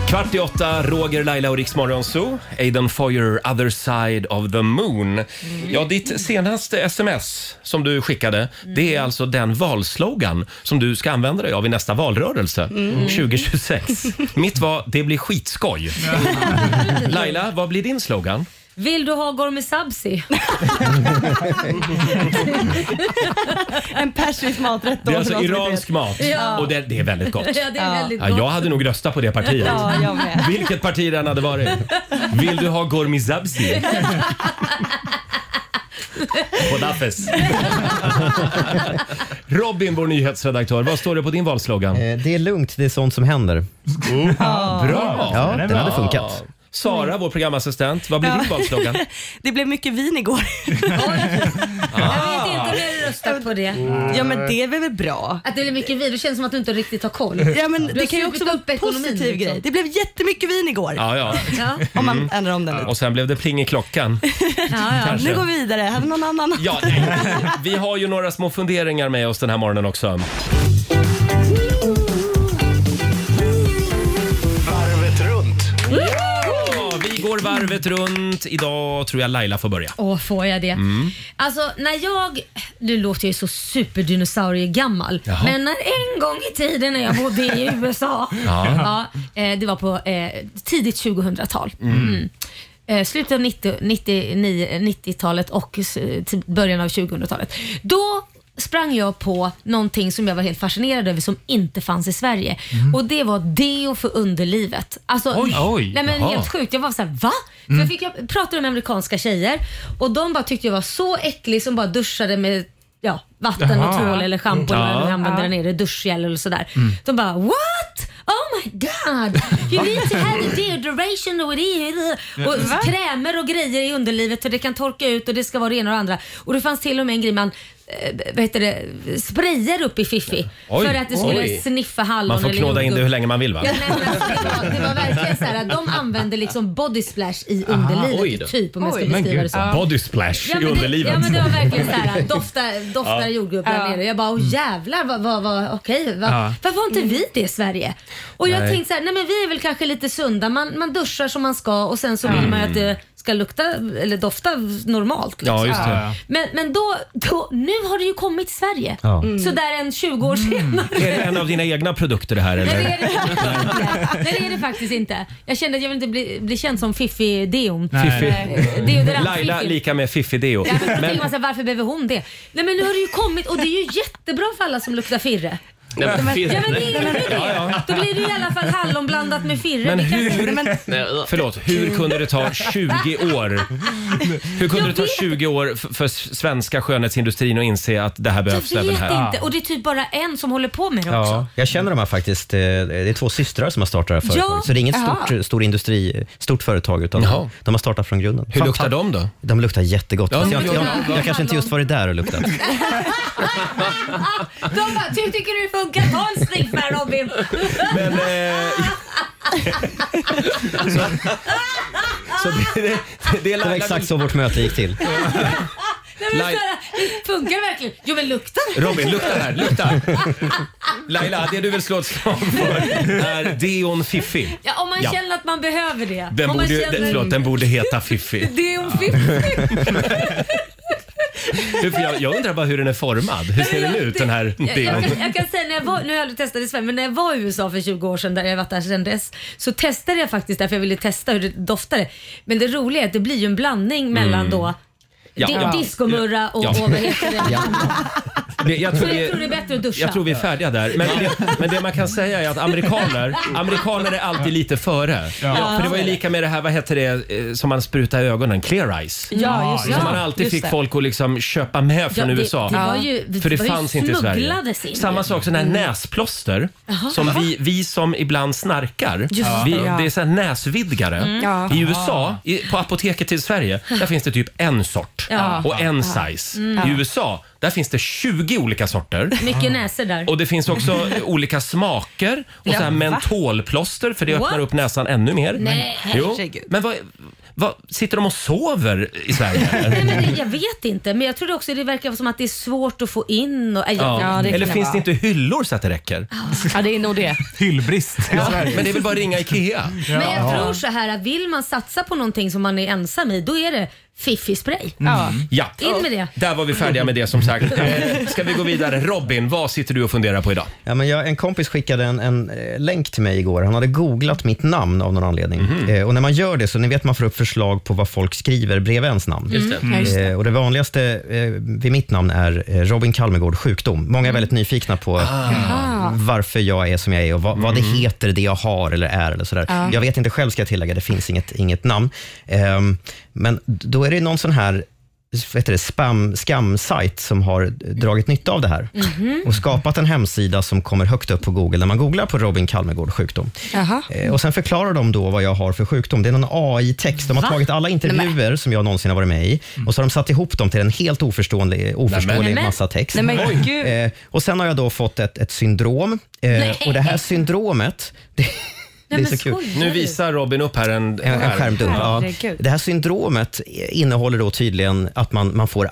A: Kvart i åtta, Roger, Laila och Riksmorgon Zoo. Aidan Foyer, other side of the moon. Ja, ditt senaste sms som du skickade, det är alltså den valslogan som du ska använda dig av i nästa valrörelse 2026. Mitt var, det blir skitskoj. Laila, vad blir din slogan?
B: Vill du ha Gormi Sabzi?
F: En persisk maträtt då.
A: Det är alltså
F: för de som inte
A: iransk
F: vet.
A: mat
B: Ja.
A: och det, det är väldigt gott.
B: Ja, det är väldigt
A: Ja,
B: gott.
A: jag hade nog röstat på det partiet.
F: Ja, jag med.
A: Vilket parti den hade varit. Vill du ha Gormizabzi? Godafes. Robin, vår nyhetsredaktör, vad står det på din valslogan?
C: Eh, Det är lugnt, det är sånt som händer.
A: Bra!
C: Ja, den hade funkat.
A: Sara, vår programassistent, vad blir din valslogan?
F: Det blev mycket vin igår.
B: Jag vet inte om jag röstar på det.
F: Ja men det är väl bra?
B: Att det blir mycket vin. Det känns som att du inte riktigt har koll.
F: Ja, men det
B: har
F: kan ju också
B: supit
F: vara
B: upp
F: en
B: ekonomin,
F: positiv
B: liksom.
F: grej. Det blev jättemycket vin igår.
A: Ja, ja.
B: Ja.
F: Om man ändrar om den lite.
A: Och sen blev det pling i klockan.
B: Ja, ja.
A: Kanske.
F: Nu går vi vidare. Hade någon annan?
A: Ja, nej. Vi har ju några små funderingar med oss den här morgonen också.
I: Varvet runt.
A: Ja, vi går varvet runt. Idag tror jag Laila får börja.
B: Åh, får jag det? Alltså när jag, nu låter jag ju så superdinosaurie-gammal,
A: Jaha.
B: men när en gång i tiden när jag bodde i USA, ja. eh, det var på eh, tidigt 2000-tal. Mm. Eh, slutet av 90, 99 90-talet och s- till början av 2000-talet. Då sprang jag på någonting som jag var helt fascinerad över som inte fanns i Sverige. Och Det var deo för underlivet. Alltså,
E: Oj. Oj.
B: nej, men
A: Jaha.
B: helt sjukt. Jag var så här, va? För
A: Mm.
B: jag, fick, jag pratade med amerikanska tjejer och de bara tyckte jag var så äcklig som bara duschade med ja, vatten och
E: Jaha.
B: tvål eller schampo eller vad
A: Ja. Mm.
B: jag använde där nere, duschgel eller sådär. De bara what? Oh my god! You need to have a deodoration och, det- och krämer och grejer i underlivet för det kan torka ut och det ska vara det ena och det andra. Och det fanns till och med en grej man eh, vad heter det, sprayar upp i fiffi
A: Oj,
B: för att det skulle
A: oj.
B: sniffa hallon
A: Man får
B: eller
A: knåda in det
B: jordgubb.
A: hur länge man vill va?
B: Ja, nej, men alltså, det, var, det var verkligen så här att de använde liksom body splash i underlivet
H: oj då.
B: typ om jag ska
F: Oj.
A: Men
B: beskriva det
A: gud,
B: så.
A: body splash i
B: men det,
A: underlivet.
B: ja men det var verkligen så här doftar, doftar jordgubb där
F: Ja.
B: nere. Jag bara, åh
A: Mm.
B: jävlar vad, vad, vad okej. Vad,
E: Ja.
B: Varför har inte vi det i Sverige? Och jag
A: Nej.
B: tänkte så här, nej men vi är väl kanske lite sunda. Man, man duschar som man ska och sen så vill man ju att det ska lukta eller dofta normalt. Liksom.
A: Mm. Ja, just det.
E: Ja.
B: Men, men då, då, nu har det ju kommit till Sverige.
C: Ja.
B: Så där en 20 år
A: Mm.
B: senare.
A: Är det en av dina egna produkter det här
B: Nej det,
A: eller?
B: är det faktiskt inte. Nej, det är det faktiskt inte. Jag kände att jag vill inte bli, bli känd som fiffig deon.
E: Nej.
B: Eh, Deodorant,
A: Laila
B: fiffig.
A: lika med Fiffi Deo.
B: Ja,
A: Men
B: men, men, man så här, alltså, varför behöver hon det? Nej men nu har det ju kommit och det är ju jättebra för alla som luktar firre.
H: Nej, men,
B: Ja men
H: fin-
B: det är ju det. Då blir det ju i alla fall hallon blandat med firre.
A: Men
B: Det kan-
A: hur-
F: Men,
H: nej, ja.
A: Förlåt,
B: Mm.
A: hur kunde det ta 20 år? Hur kunde det ta 20 år f- för s- svenska skönhetsindustrin att inse att det här behövs
B: Jag
A: även
B: vet
A: här?
B: inte och det är typ bara en som håller på med det också.
C: Ja, jag känner de här faktiskt. eh, Det är två systrar som har startat det här företaget. Så det är inget stort, stor industri, stort företag, utan
A: Jaha.
C: de har startat från grunden.
A: Hur luktar de då?
C: De luktar jättegott. Fast jag,
A: men-
C: jag, jag, jag kanske inte just varit där och luktat.
B: De bara, hur tycker du det funkar? Ta en sniff här Robin.
A: Men, eh, så, så det, det, det är
C: Det var
A: Laila
C: exakt så vårt möte gick till.
B: Nej, men,
A: Laj-
B: så här, funkar det verkligen? Jo men luktar det?
A: Robin, lukta här, lukta! Laila, det du vill slå ett slag för är Deon Fiffi.
B: Ja, om man
A: Ja.
B: känner att man behöver det.
A: Den
B: om man
A: borde, ju- den, förlåt, den borde heta Fiffi.
B: Det är hon fiffig.
A: Du, för jag, jag undrar bara hur den är formad. Hur ser den ut den här
B: Jag, jag,
A: Deon?
B: kan, jag kan säga, när jag var, nu har jag aldrig testat i Sverige, men när jag var i USA för 20 år sedan, där jag varit där sedan dess, så testade jag faktiskt där för jag ville testa hur det doftade. Men det roliga är att det blir ju en blandning mellan då
A: Mm. Ja,
B: di-
A: ja.
B: diskomurra och,
A: Ja.
B: och vad heter det?
A: Det, jag,
B: Så
A: tror
B: jag
A: vi,
B: tror det är bättre att duscha.
A: jag tror vi är färdiga där. Men det, men det man kan säga är att amerikaner, amerikaner är alltid lite före.
E: Ja.
A: För det var ju lika med det här, vad hette det, eh, som man sprutar i ögonen? Clear eyes.
B: Ja, just
E: Som
B: det.
A: Som man alltid
B: Just
A: fick
B: det.
A: folk att liksom köpa med från
B: Ja, det-
A: USA.
B: det var ju- det
A: för det
B: var ju
A: fanns inte i Sverige.
B: smugglades in. Mm.
A: Samma sak som den här näsplåster. Som vi, vi som ibland snarkar.
F: Just
A: Vi,
F: det, ja.
A: Det är så här näsvidgare.
B: Mm.
F: Ja.
A: I USA, i, på apoteket i Sverige, där finns det typ en sort
B: Ja. Mm.
A: och en size. I USA, där finns det 20 olika sorter.
B: Mycket näsor där.
A: Och det finns också olika smaker och så här
F: Ja, va?
A: mentolplåster för det
B: What?
A: öppnar upp näsan ännu mer.
B: Nej,
A: jo.
F: herregud.
A: Men vad, vad, sitter de och sover i Sverige? eller?
B: Nej, men det, jag vet inte, men jag tror också det verkar som att det är svårt att få in. Och, äh, jag-
A: Ja.
F: det kan
A: Eller
F: det
A: finns
F: vara.
A: det inte hyllor så att det räcker?
F: Ja, det är nog det.
E: Hyllbrist i Sverige.
A: Men det är väl bara att ringa IKEA?
B: Men jag tror så här att vill man satsa på någonting som man är ensam i, då är det fiffi-spray.
F: Ja.
A: Ja.
B: In med det.
A: Där var vi färdiga med det som sagt. Eh, Ska vi gå vidare? Robin, vad sitter du och funderar på idag?
C: Ja, men jag, en kompis skickade en, en eh, länk till mig igår. Han hade googlat mitt namn av någon anledning.
A: Mhm.
C: Eh, och när man gör det så ni vet man får upp förslag på vad folk skriver bredvid ens namn.
A: Just det.
F: Ja, just det.
C: Eh, och det vanligaste eh, vid mitt namn är eh, Robin Kalmegård sjukdom.
F: Mm.
C: Många är väldigt nyfikna
F: Ah.
C: på varför jag är som jag är och vad, vad
F: Mm.
C: det heter, det jag har eller är. Eller sådär. Jag vet inte själv, ska jag tillägga. Det finns inget, inget namn. Ehm, men då är det någon sån här vad heter det, spam, skam-sajt som har dragit nytta av det här
F: Mhm.
C: och skapat en hemsida som kommer högt upp på Google när man googlar på Robin Kalmegård sjukdom.
F: Jaha.
C: Eh, Och Sen förklarar de då vad jag har för sjukdom. Det är någon AI-text. De har
B: Va?
C: tagit alla intervjuer som jag någonsin har varit med i och så har de satt ihop dem till en helt oförståelig, oförståelig
B: Nämen.
C: massa text.
F: Mm. Nej men gud.
C: Eh, och Sen har jag då fått ett, ett syndrom. Eh, och Det här syndromet... Det,
B: Nej,
C: det är
B: men
C: så kul.
B: skojar
A: Nu
B: du?
A: visar Robin upp här en,
C: En, en skärmdump. Ja.
F: Herregud.
C: Det här syndromet innehåller då tydligen att man, man får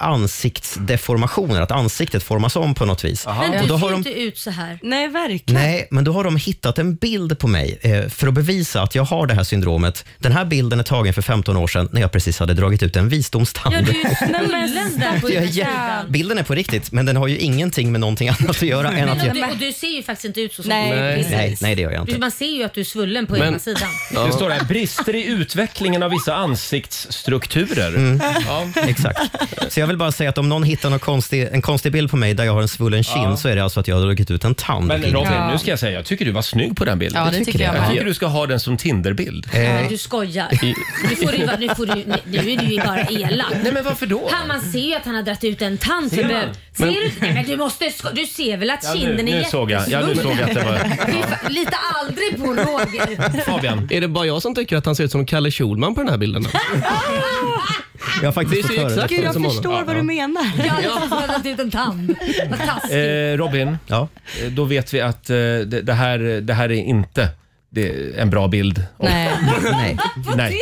C: ansiktsdeformationer, att ansiktet formas om på något vis.
B: Men
C: Och
B: du
C: då har
B: ser
C: de-
B: inte ut så här.
F: Nej verkligen.
C: Nej, men då har de hittat en bild på mig eh, för att bevisa att jag har det här syndromet. Den här bilden är tagen för 15 år sedan när jag precis hade dragit ut en visdomstand.
B: Ja, du är ju
F: Nej, men
B: svullen där på
C: Jag är
B: insidan.
C: jä- bilden är på riktigt, men den har ju ingenting med någonting annat att göra än att
B: Men, och,
C: jag...
B: du, och du ser ju faktiskt inte ut så. som
F: Nej,
B: du är.
H: Nej.
C: Nej, nej, det gör jag
B: Du,
C: inte.
B: man ser ju att du är svullen på
H: Men-
B: ena sidan.
A: Det står här, brister i utvecklingen av vissa ansiktsstrukturer. Ja.
C: Exakt. Så jag vill bara säga att om någon hittar någon konstig, en konstig bild på mig där jag har en svullen kind så är det alltså att jag har dragit ut en tand.
A: Men Robin,
F: Ja.
A: nu ska jag säga, jag tycker du var snygg på den bilden.
F: Ja det tycker jag
A: Jag tycker
F: med.
A: du ska ha den som Tinderbild.
C: Eh,
B: Ja, du skojar. Nu, får du, ju vara- nu, får du, nu- nu är du ju bara elak.
A: Nej men varför då?
B: Han, man ser ju att han har dragit ut en tand. Ser,
A: Ser
B: ser
A: man?
B: du? inte? Nej, men du, måste, sko- du ser väl att
A: Ja, nu-
B: kinden är
A: nu såg jag. Ja, nu
B: jättesvullen?
A: såg jag att det var-
B: Du är fa- Lita aldrig på Roger.
A: Fabian,
H: Är det bara jag som tycker att han ser ut som Kalle Schulman på den här bilden?
C: Jag har faktiskt
H: Det ser
C: fått höra
H: exakt-
C: det.
F: Gud jag
H: Som honom.
F: förstår vad du menar.
B: Jag har ju dragit ut en tand. Vad taskigt.
A: eh, Robin,
C: Ja.
A: eh, då vet vi att eh, det, det, här, det här är inte det är en bra bild. Och,
F: Nej.
C: Nej.
A: nej.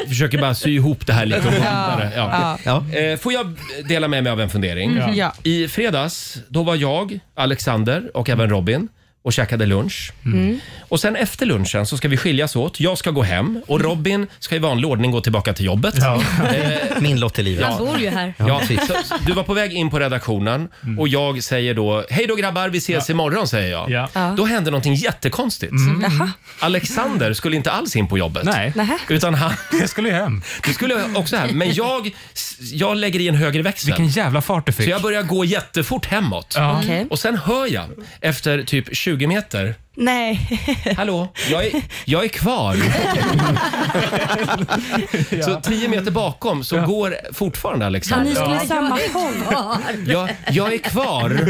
A: Jag försöker bara sy ihop det här lite och gå vidare. Ja.
C: Ja.
A: Eh, Får jag dela med mig av en fundering?
F: Ja.
A: I fredags då var jag, Alexander och även Robin och käkade lunch. Och sen efter lunchen så ska vi skiljas åt. Jag ska gå hem och Robin ska i vanlig ordning gå tillbaka till jobbet.
C: Min lott i livet.
B: Han bor ju här.
A: Ja, så, så du var på väg in på redaktionen och jag säger då Hej då grabbar, vi ses imorgon säger jag.
E: Ja.
A: Då hände någonting jättekonstigt. Alexander skulle inte alls in på jobbet.
E: Mm. Nej.
F: Mm. Nähä.
A: Utan han,
E: Jag skulle ju hem.
A: du skulle också hem. Men jag, jag lägger i en högre växel.
E: Vilken jävla fart du fick.
A: Så jag börjar gå jättefort hemåt.
E: Ja.
F: Okej.
A: Och sen hör jag efter typ 20 meter.
F: Nej.
A: Hallå, jag är, jag är kvar. Så 10 meter bakom så går fortfarande
F: Ja,
A: Alexander.
F: ni skulle i samma
B: Ja,
F: håll.
A: Jag, jag är kvar.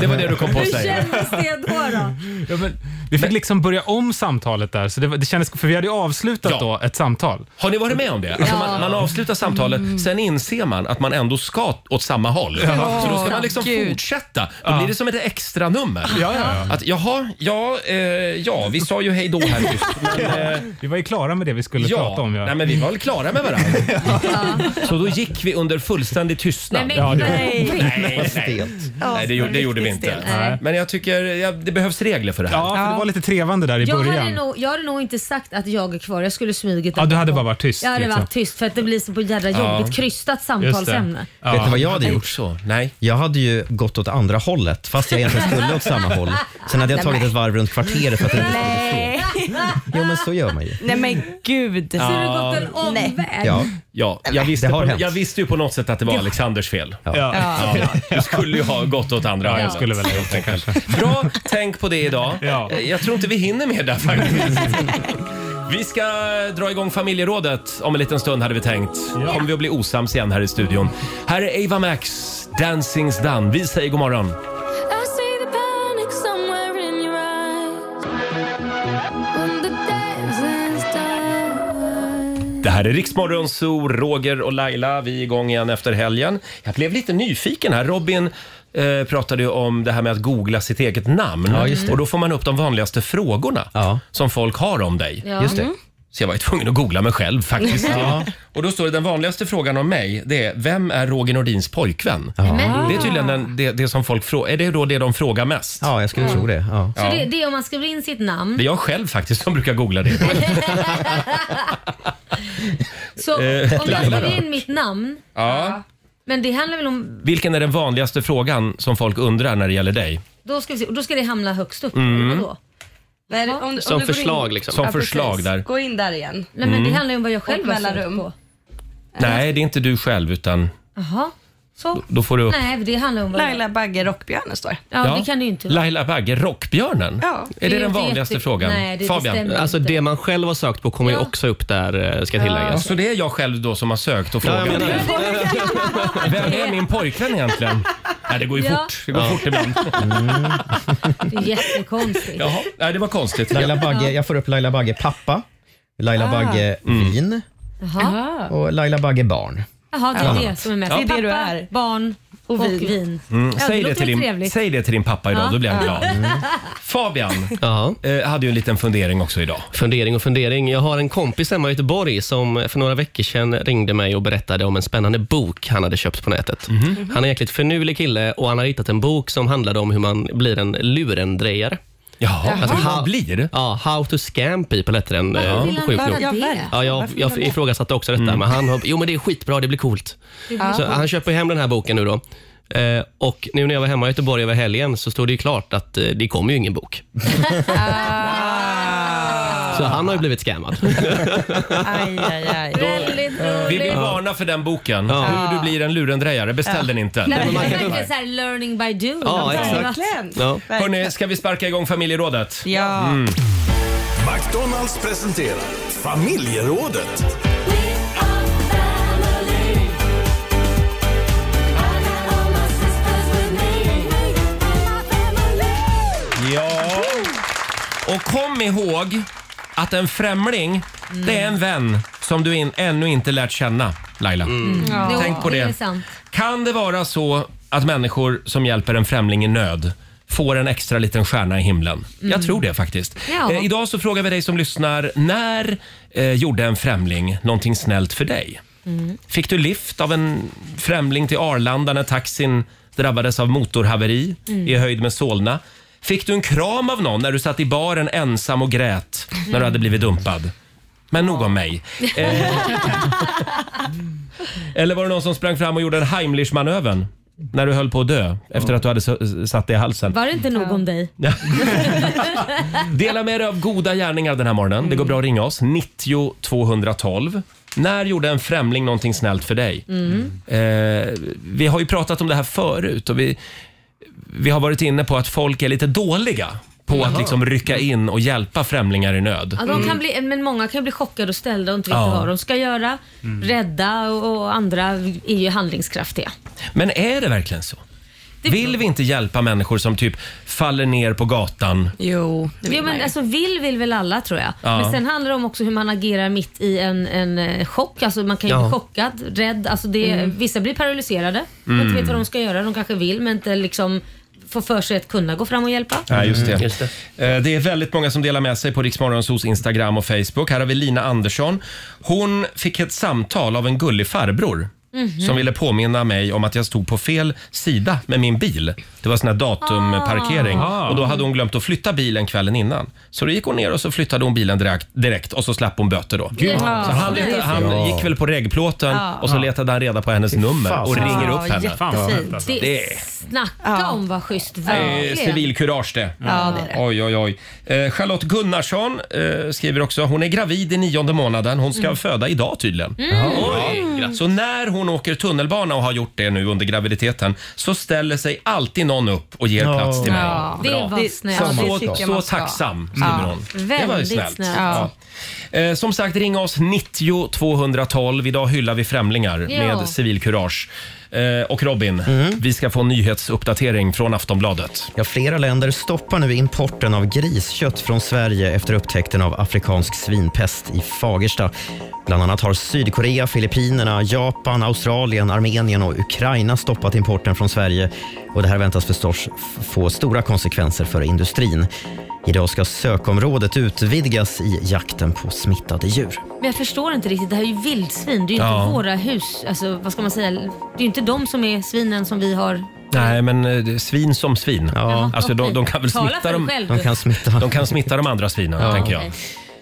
A: Det var det du kom på att
B: Hur
A: säga.
B: kändes det då? då?
E: Ja, men, vi fick liksom börja om samtalet där, så det, var- det kändes, för vi hade ju avslutat
A: Ja.
E: då ett samtal.
A: Har ni varit med om det? Alltså man, man avslutar samtalet, sen inser man att man ändå ska åt samma håll. Så då ska man liksom
F: Gud.
A: fortsätta. Då blir det som ett extra nummer.
E: Ja, ja, ja.
A: Att jaha, ja, eh, ja, vi sa ju hej då här nyss. Men, eh,
E: Vi var ju klara med det vi skulle prata om. Ja.
A: Nej, men vi var väl klara med varandra. Så då gick vi under fullständig tystnad.
B: Nej, men,
E: Ja, det-
B: nej.
A: nej, nej.
C: Stelt.
A: nej det, gjorde, det gjorde vi inte.
B: Nej.
A: Men jag tycker ja, det behövs regler för det här.
E: Ja, för det var lite trevande där i
B: Jag hade,
E: början.
B: nog, jag hade nog inte sagt att jag är kvar. Jag skulle smugit
E: Ja,
B: att
E: du
B: jag
E: hade
B: var.
E: bara varit tyst,
B: Jag hade
E: liksom.
B: varit tyst för att det blir så på jädra
E: Ja.
B: jobbigt krystat samtalsämne.
C: Vet ni vad jag hade gjort?
A: Så, nej.
C: Jag hade ju gått åt andra hållet, fast jag egentligen skulle åt samma håll. Sen hade jag tagit ett varv runt kvarteret för att det inte skulle bli fel.
F: Nej.
C: Jo, men så gör man ju.
F: Nej men gud.
B: Så har det gått en omväg.
C: Ja.
A: Ja, jag visste,
C: det har
A: på,
C: hänt.
A: jag visste ju på något sätt att det var Alexanders fel. Ja. Du skulle ju ha gått åt andra hållet.
E: jag skulle väl ha gjort det
A: Tänk själv. Bra tänk på det idag.
E: Ja.
A: Eh, Jag tror inte vi hinner med där faktiskt. Vi ska dra igång familjerådet om en liten stund hade vi tänkt. kommer vi att bli osams igen här i studion. Här är Ava Max, Dancing's Done. Vi säger god morgon. Det här är Riksmorgon Zoo, Roger och Laila. Vi är igång igen efter helgen. Jag blev lite nyfiken här. Robin eh, pratade ju om det här med att googla sitt eget namn.
C: Ja, just det.
A: Och då får man upp de vanligaste frågorna
C: Ja.
A: som folk har om dig.
B: Ja. Mm.
C: Just det.
A: Så jag var ju tvungen att googla mig själv faktiskt. Och då står det den vanligaste frågan om mig, det är vem är Roger Nordins pojkvän?
B: Men-
A: Det är tydligen den, det, det som folk frågar, är det då det de frågar mest?
C: Ja, jag skulle tro det. Ja.
B: Så det, det är om man skriver in sitt namn.
A: Det är jag själv faktiskt som brukar googla det.
B: Så om jag skriver in mitt namn.
A: Ja.
B: Men det handlar väl om...
A: Vilken är den vanligaste frågan som folk undrar när det gäller dig?
B: Då ska, vi se, och då ska det hamna högst upp. Vadå?
F: Men om, om
H: Som
F: du går
H: förslag
F: in,
H: liksom.
A: Som
F: Ja, precis.
A: förslag där.
F: Gå in där igen.
B: Nej, men det handlar ju om vad jag själv
F: Och
B: har
F: mellanrum.
B: svårt på.
A: Nej, det är inte du själv utan
B: Jaha. Så.
A: då får du upp...
B: Nej, det handlar om vad jag...
F: Laila Bagge Rockbjörnen står det.
B: Ja,
A: Ja.
B: det kan det ju inte vara.
A: Laila Bagge, Rockbjörnen?
F: Ja.
A: är det,
B: är
A: den
B: inte
A: vanligaste
B: jätte-
A: frågan?
B: Nej, det- det
A: Fabian?
B: stämmer.
H: Alltså det man själv har sökt på kommer ju
B: Ja.
H: också upp där, eh, ska tilläggas.
A: Så Alltså, det är jag själv då som har sökt och frågat? Vem är min pojkvän egentligen? Nej, det går ju
B: Ja.
A: fort. Det går fort ibland.
B: Det är jättekonstigt.
A: Jaha, nej, det var konstigt. mm,
C: Laila Bagge, jag får upp Laila Bagge pappa, Laila Bagge
H: Mm.
C: vin
B: Jaha.
C: och Laila Bagge barn.
B: Jaha, det är det som är mest.
F: Det är det du
B: Pappa,
F: är.
B: barn och vin.
A: Mm,
B: Ja,
A: säg, det
B: det låter
A: till
B: väl
A: din,
B: trevligt.
A: säg det till din pappa idag, då blir han glad. Fabian
H: Mm. Ja.
A: eh, hade ju en liten fundering också idag.
H: Fundering och fundering. Jag har en kompis hemma i Göteborg som för några veckor sedan ringde mig och berättade om en spännande bok han hade köpt på nätet.
I: Mhm.
H: Han är en jäkligt finurlig kille och han har hittat en bok som handlade om hur man blir en lurendrejare.
A: Jaha,
H: Alltså,
A: hur man
H: ha-
A: blir?
H: Ja, How to scam people hette den.
B: Varför
H: eh,
B: vill han
H: sjukt
B: göra
H: nog.
B: det?
H: Ja, jag,
F: Varför
H: jag
F: vill de
H: ifrågasatte också detta, men han har, jo men det är skitbra, det blir coolt. Så han köper hem den här boken nu då. Eh, och nu när jag var hemma i Göteborg över helgen så stod det ju klart att eh, det kommer ju ingen bok.
F: Ah.
H: så han har ju blivit scammad.
F: Aj, aj, aj.
B: Väldigt roligt.
A: Vi vill varna för den boken. Hur du blir en lurendrejare. Beställ den inte.
B: Nej, det är verkligen så här learning by doing.
H: Ja,
B: Alltså,
H: exakt.
B: vad-
F: Verkligen.
H: Ja.
A: Hörni, ska vi sparka igång familjerådet?
F: Ja.
I: McDonalds presenterar Familjerådet.
A: Ja. Och kom ihåg att en främling, det är en vän som du in, ännu inte lärt känna, Laila.
B: Jo,
A: Tänk på
B: Mm. Det är
A: det.
B: sant.
A: Kan det vara så att människor som hjälper en främling i nöd får en extra liten stjärna i himlen? Jag tror det faktiskt.
B: Ja.
A: Eh, idag så frågar vi dig som lyssnar, när eh, gjorde en främling någonting snällt för dig? Fick du lift av en främling till Arlanda när taxin drabbades av motorhaveri i höjd med Solna? Fick du en kram av någon när du satt i baren ensam och grät när du hade blivit dumpad? Men nog om mig. Eh, eller var det någon som sprang fram och gjorde en Heimlich-manövern? När du höll på att dö efter att du hade s- satt det i halsen.
B: Var det inte nog om dig?
A: Dela med dig av goda gärningar den här morgonen. Det går bra att ringa oss. 90 212. När gjorde en främling någonting snällt för dig? Eh, vi har ju pratat om det här förut och vi, vi har varit inne på att folk är lite dåliga på att liksom rycka in och hjälpa främlingar i nöd.
B: Ja, de kan bli, men många kan bli chockade och ställda och inte
A: Mm. Ja.
B: veta
A: Mm.
B: vad de ska göra. Rädda och, och andra är ju handlingskraftiga.
A: Men är det verkligen så?
B: Det-
A: Vill vi inte hjälpa människor som typ faller ner på gatan?
F: Jo, det
B: Jo, men alltså, vill vill väl alla tror jag.
A: Ja.
B: Men sen handlar det om också hur man agerar mitt i en, en eh, chock. Alltså, man kan ju
H: Ja.
B: bli chockad, rädd. Alltså, det,
A: Mm.
B: Vissa blir paralyserade. De inte vet vad de ska göra. De kanske vill men inte liksom får för sig att kunna gå fram och hjälpa.
A: Ja, just det.
H: Just
A: Eh, det är väldigt många som delar med sig på Riksmorgonsos Instagram och Facebook. Här har vi Lina Andersson. Hon fick ett samtal av en gullig farbror som ville påminna mig om att jag stod på fel sida med min bil. Det var sån här datumparkering
E: Ah.
A: och då hade hon glömt att flytta bilen kvällen innan. Så då gick hon ner och så flyttade hon bilen direkt, direkt och så slapp hon böter då.
B: Ja.
A: Så han,
B: det är
A: letade, han
B: fint.
A: gick väl på reggplåten
F: Ja.
A: och så letade han reda på hennes nummer och ringer upp henne.
F: Fan, vad fint.
E: alltså.
B: Det,
A: Det är-
B: Snacka
F: Ja.
B: om vad schysst.
A: Det är
B: Verkligen.
A: Eh, civilkurage det.
F: Ja, det är det.
A: Oj, oj, oj. Eh, Charlotte Gunnarsson eh, skriver också, hon är gravid i nionde månaden. Hon ska
F: Mm.
A: föda idag tydligen. Ja. Så när hon åker tunnelbana och har gjort det nu under graviditeten så ställer sig alltid någon upp och ger plats till mig.
F: Ja.
B: Det
A: Bra.
B: var snällt.
F: Ja, det
A: Så,
F: tycker jag
A: så
F: man ska.
A: tacksam skriver hon. Det var ju
B: Väldigt
A: snällt.
B: snällt.
A: Ja. Eh, Som sagt, ring oss 90 212. Idag hyllar vi främlingar
B: Ja.
A: med civilkurage. Eh, Och Robin, vi ska få en nyhetsuppdatering från Aftonbladet.
C: Ja, flera länder stoppar nu importen av griskött från Sverige efter upptäckten av afrikansk svinpest i Fagersta. Bland annat har Sydkorea, Filippinerna, Japan, Australien, Armenien och Ukraina stoppat importen från Sverige. Och det här väntas förstås f- få stora konsekvenser för industrin. Idag ska sökområdet utvidgas i jakten på smittade djur.
B: Men jag förstår inte riktigt. Det här är ju vildsvin. Det är ju
A: Ja.
B: inte våra hus. Alltså, vad ska man säga? Det är ju inte de som är svinen som vi har.
A: Nej, men eh, det- svin som svin.
C: Ja.
A: Alltså, de, de kan väl
B: Tala
A: smitta
B: för dig
A: de,
B: själv.
C: De kan smitta.
A: de kan smitta de andra svinen, tänker jag.
B: Okej.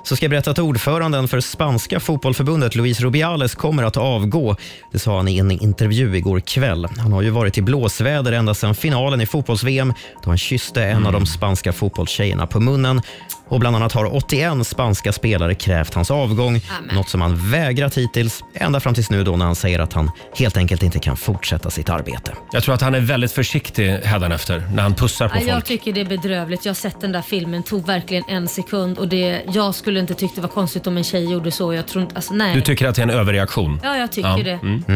C: så ska jag berätta att ordföranden för spanska fotbollförbundet Luis Rubiales kommer att avgå. Det sa han i en intervju igår kväll. Han har ju varit i blåsväder ända sedan finalen i fotbolls-VM då han kysste en av de spanska fotbollstjejerna på munnen. Och bland annat har 81 spanska spelare krävt hans avgång,
B: Amen.
C: något som han vägrat hittills, ända fram tills nu då när han säger att han helt enkelt inte kan fortsätta sitt arbete.
A: Jag tror att han är väldigt försiktig hädanefter när han pussar på
B: Ja, jag
A: folk.
B: tycker det är bedrövligt. Jag har sett den där filmen, tog verkligen en sekund och det, jag skulle inte tyckt det var konstigt om en tjej gjorde så. Jag tror inte, alltså nej.
A: Du tycker att det är en överreaktion?
B: ja, jag tycker
A: Ja, mm.
B: det.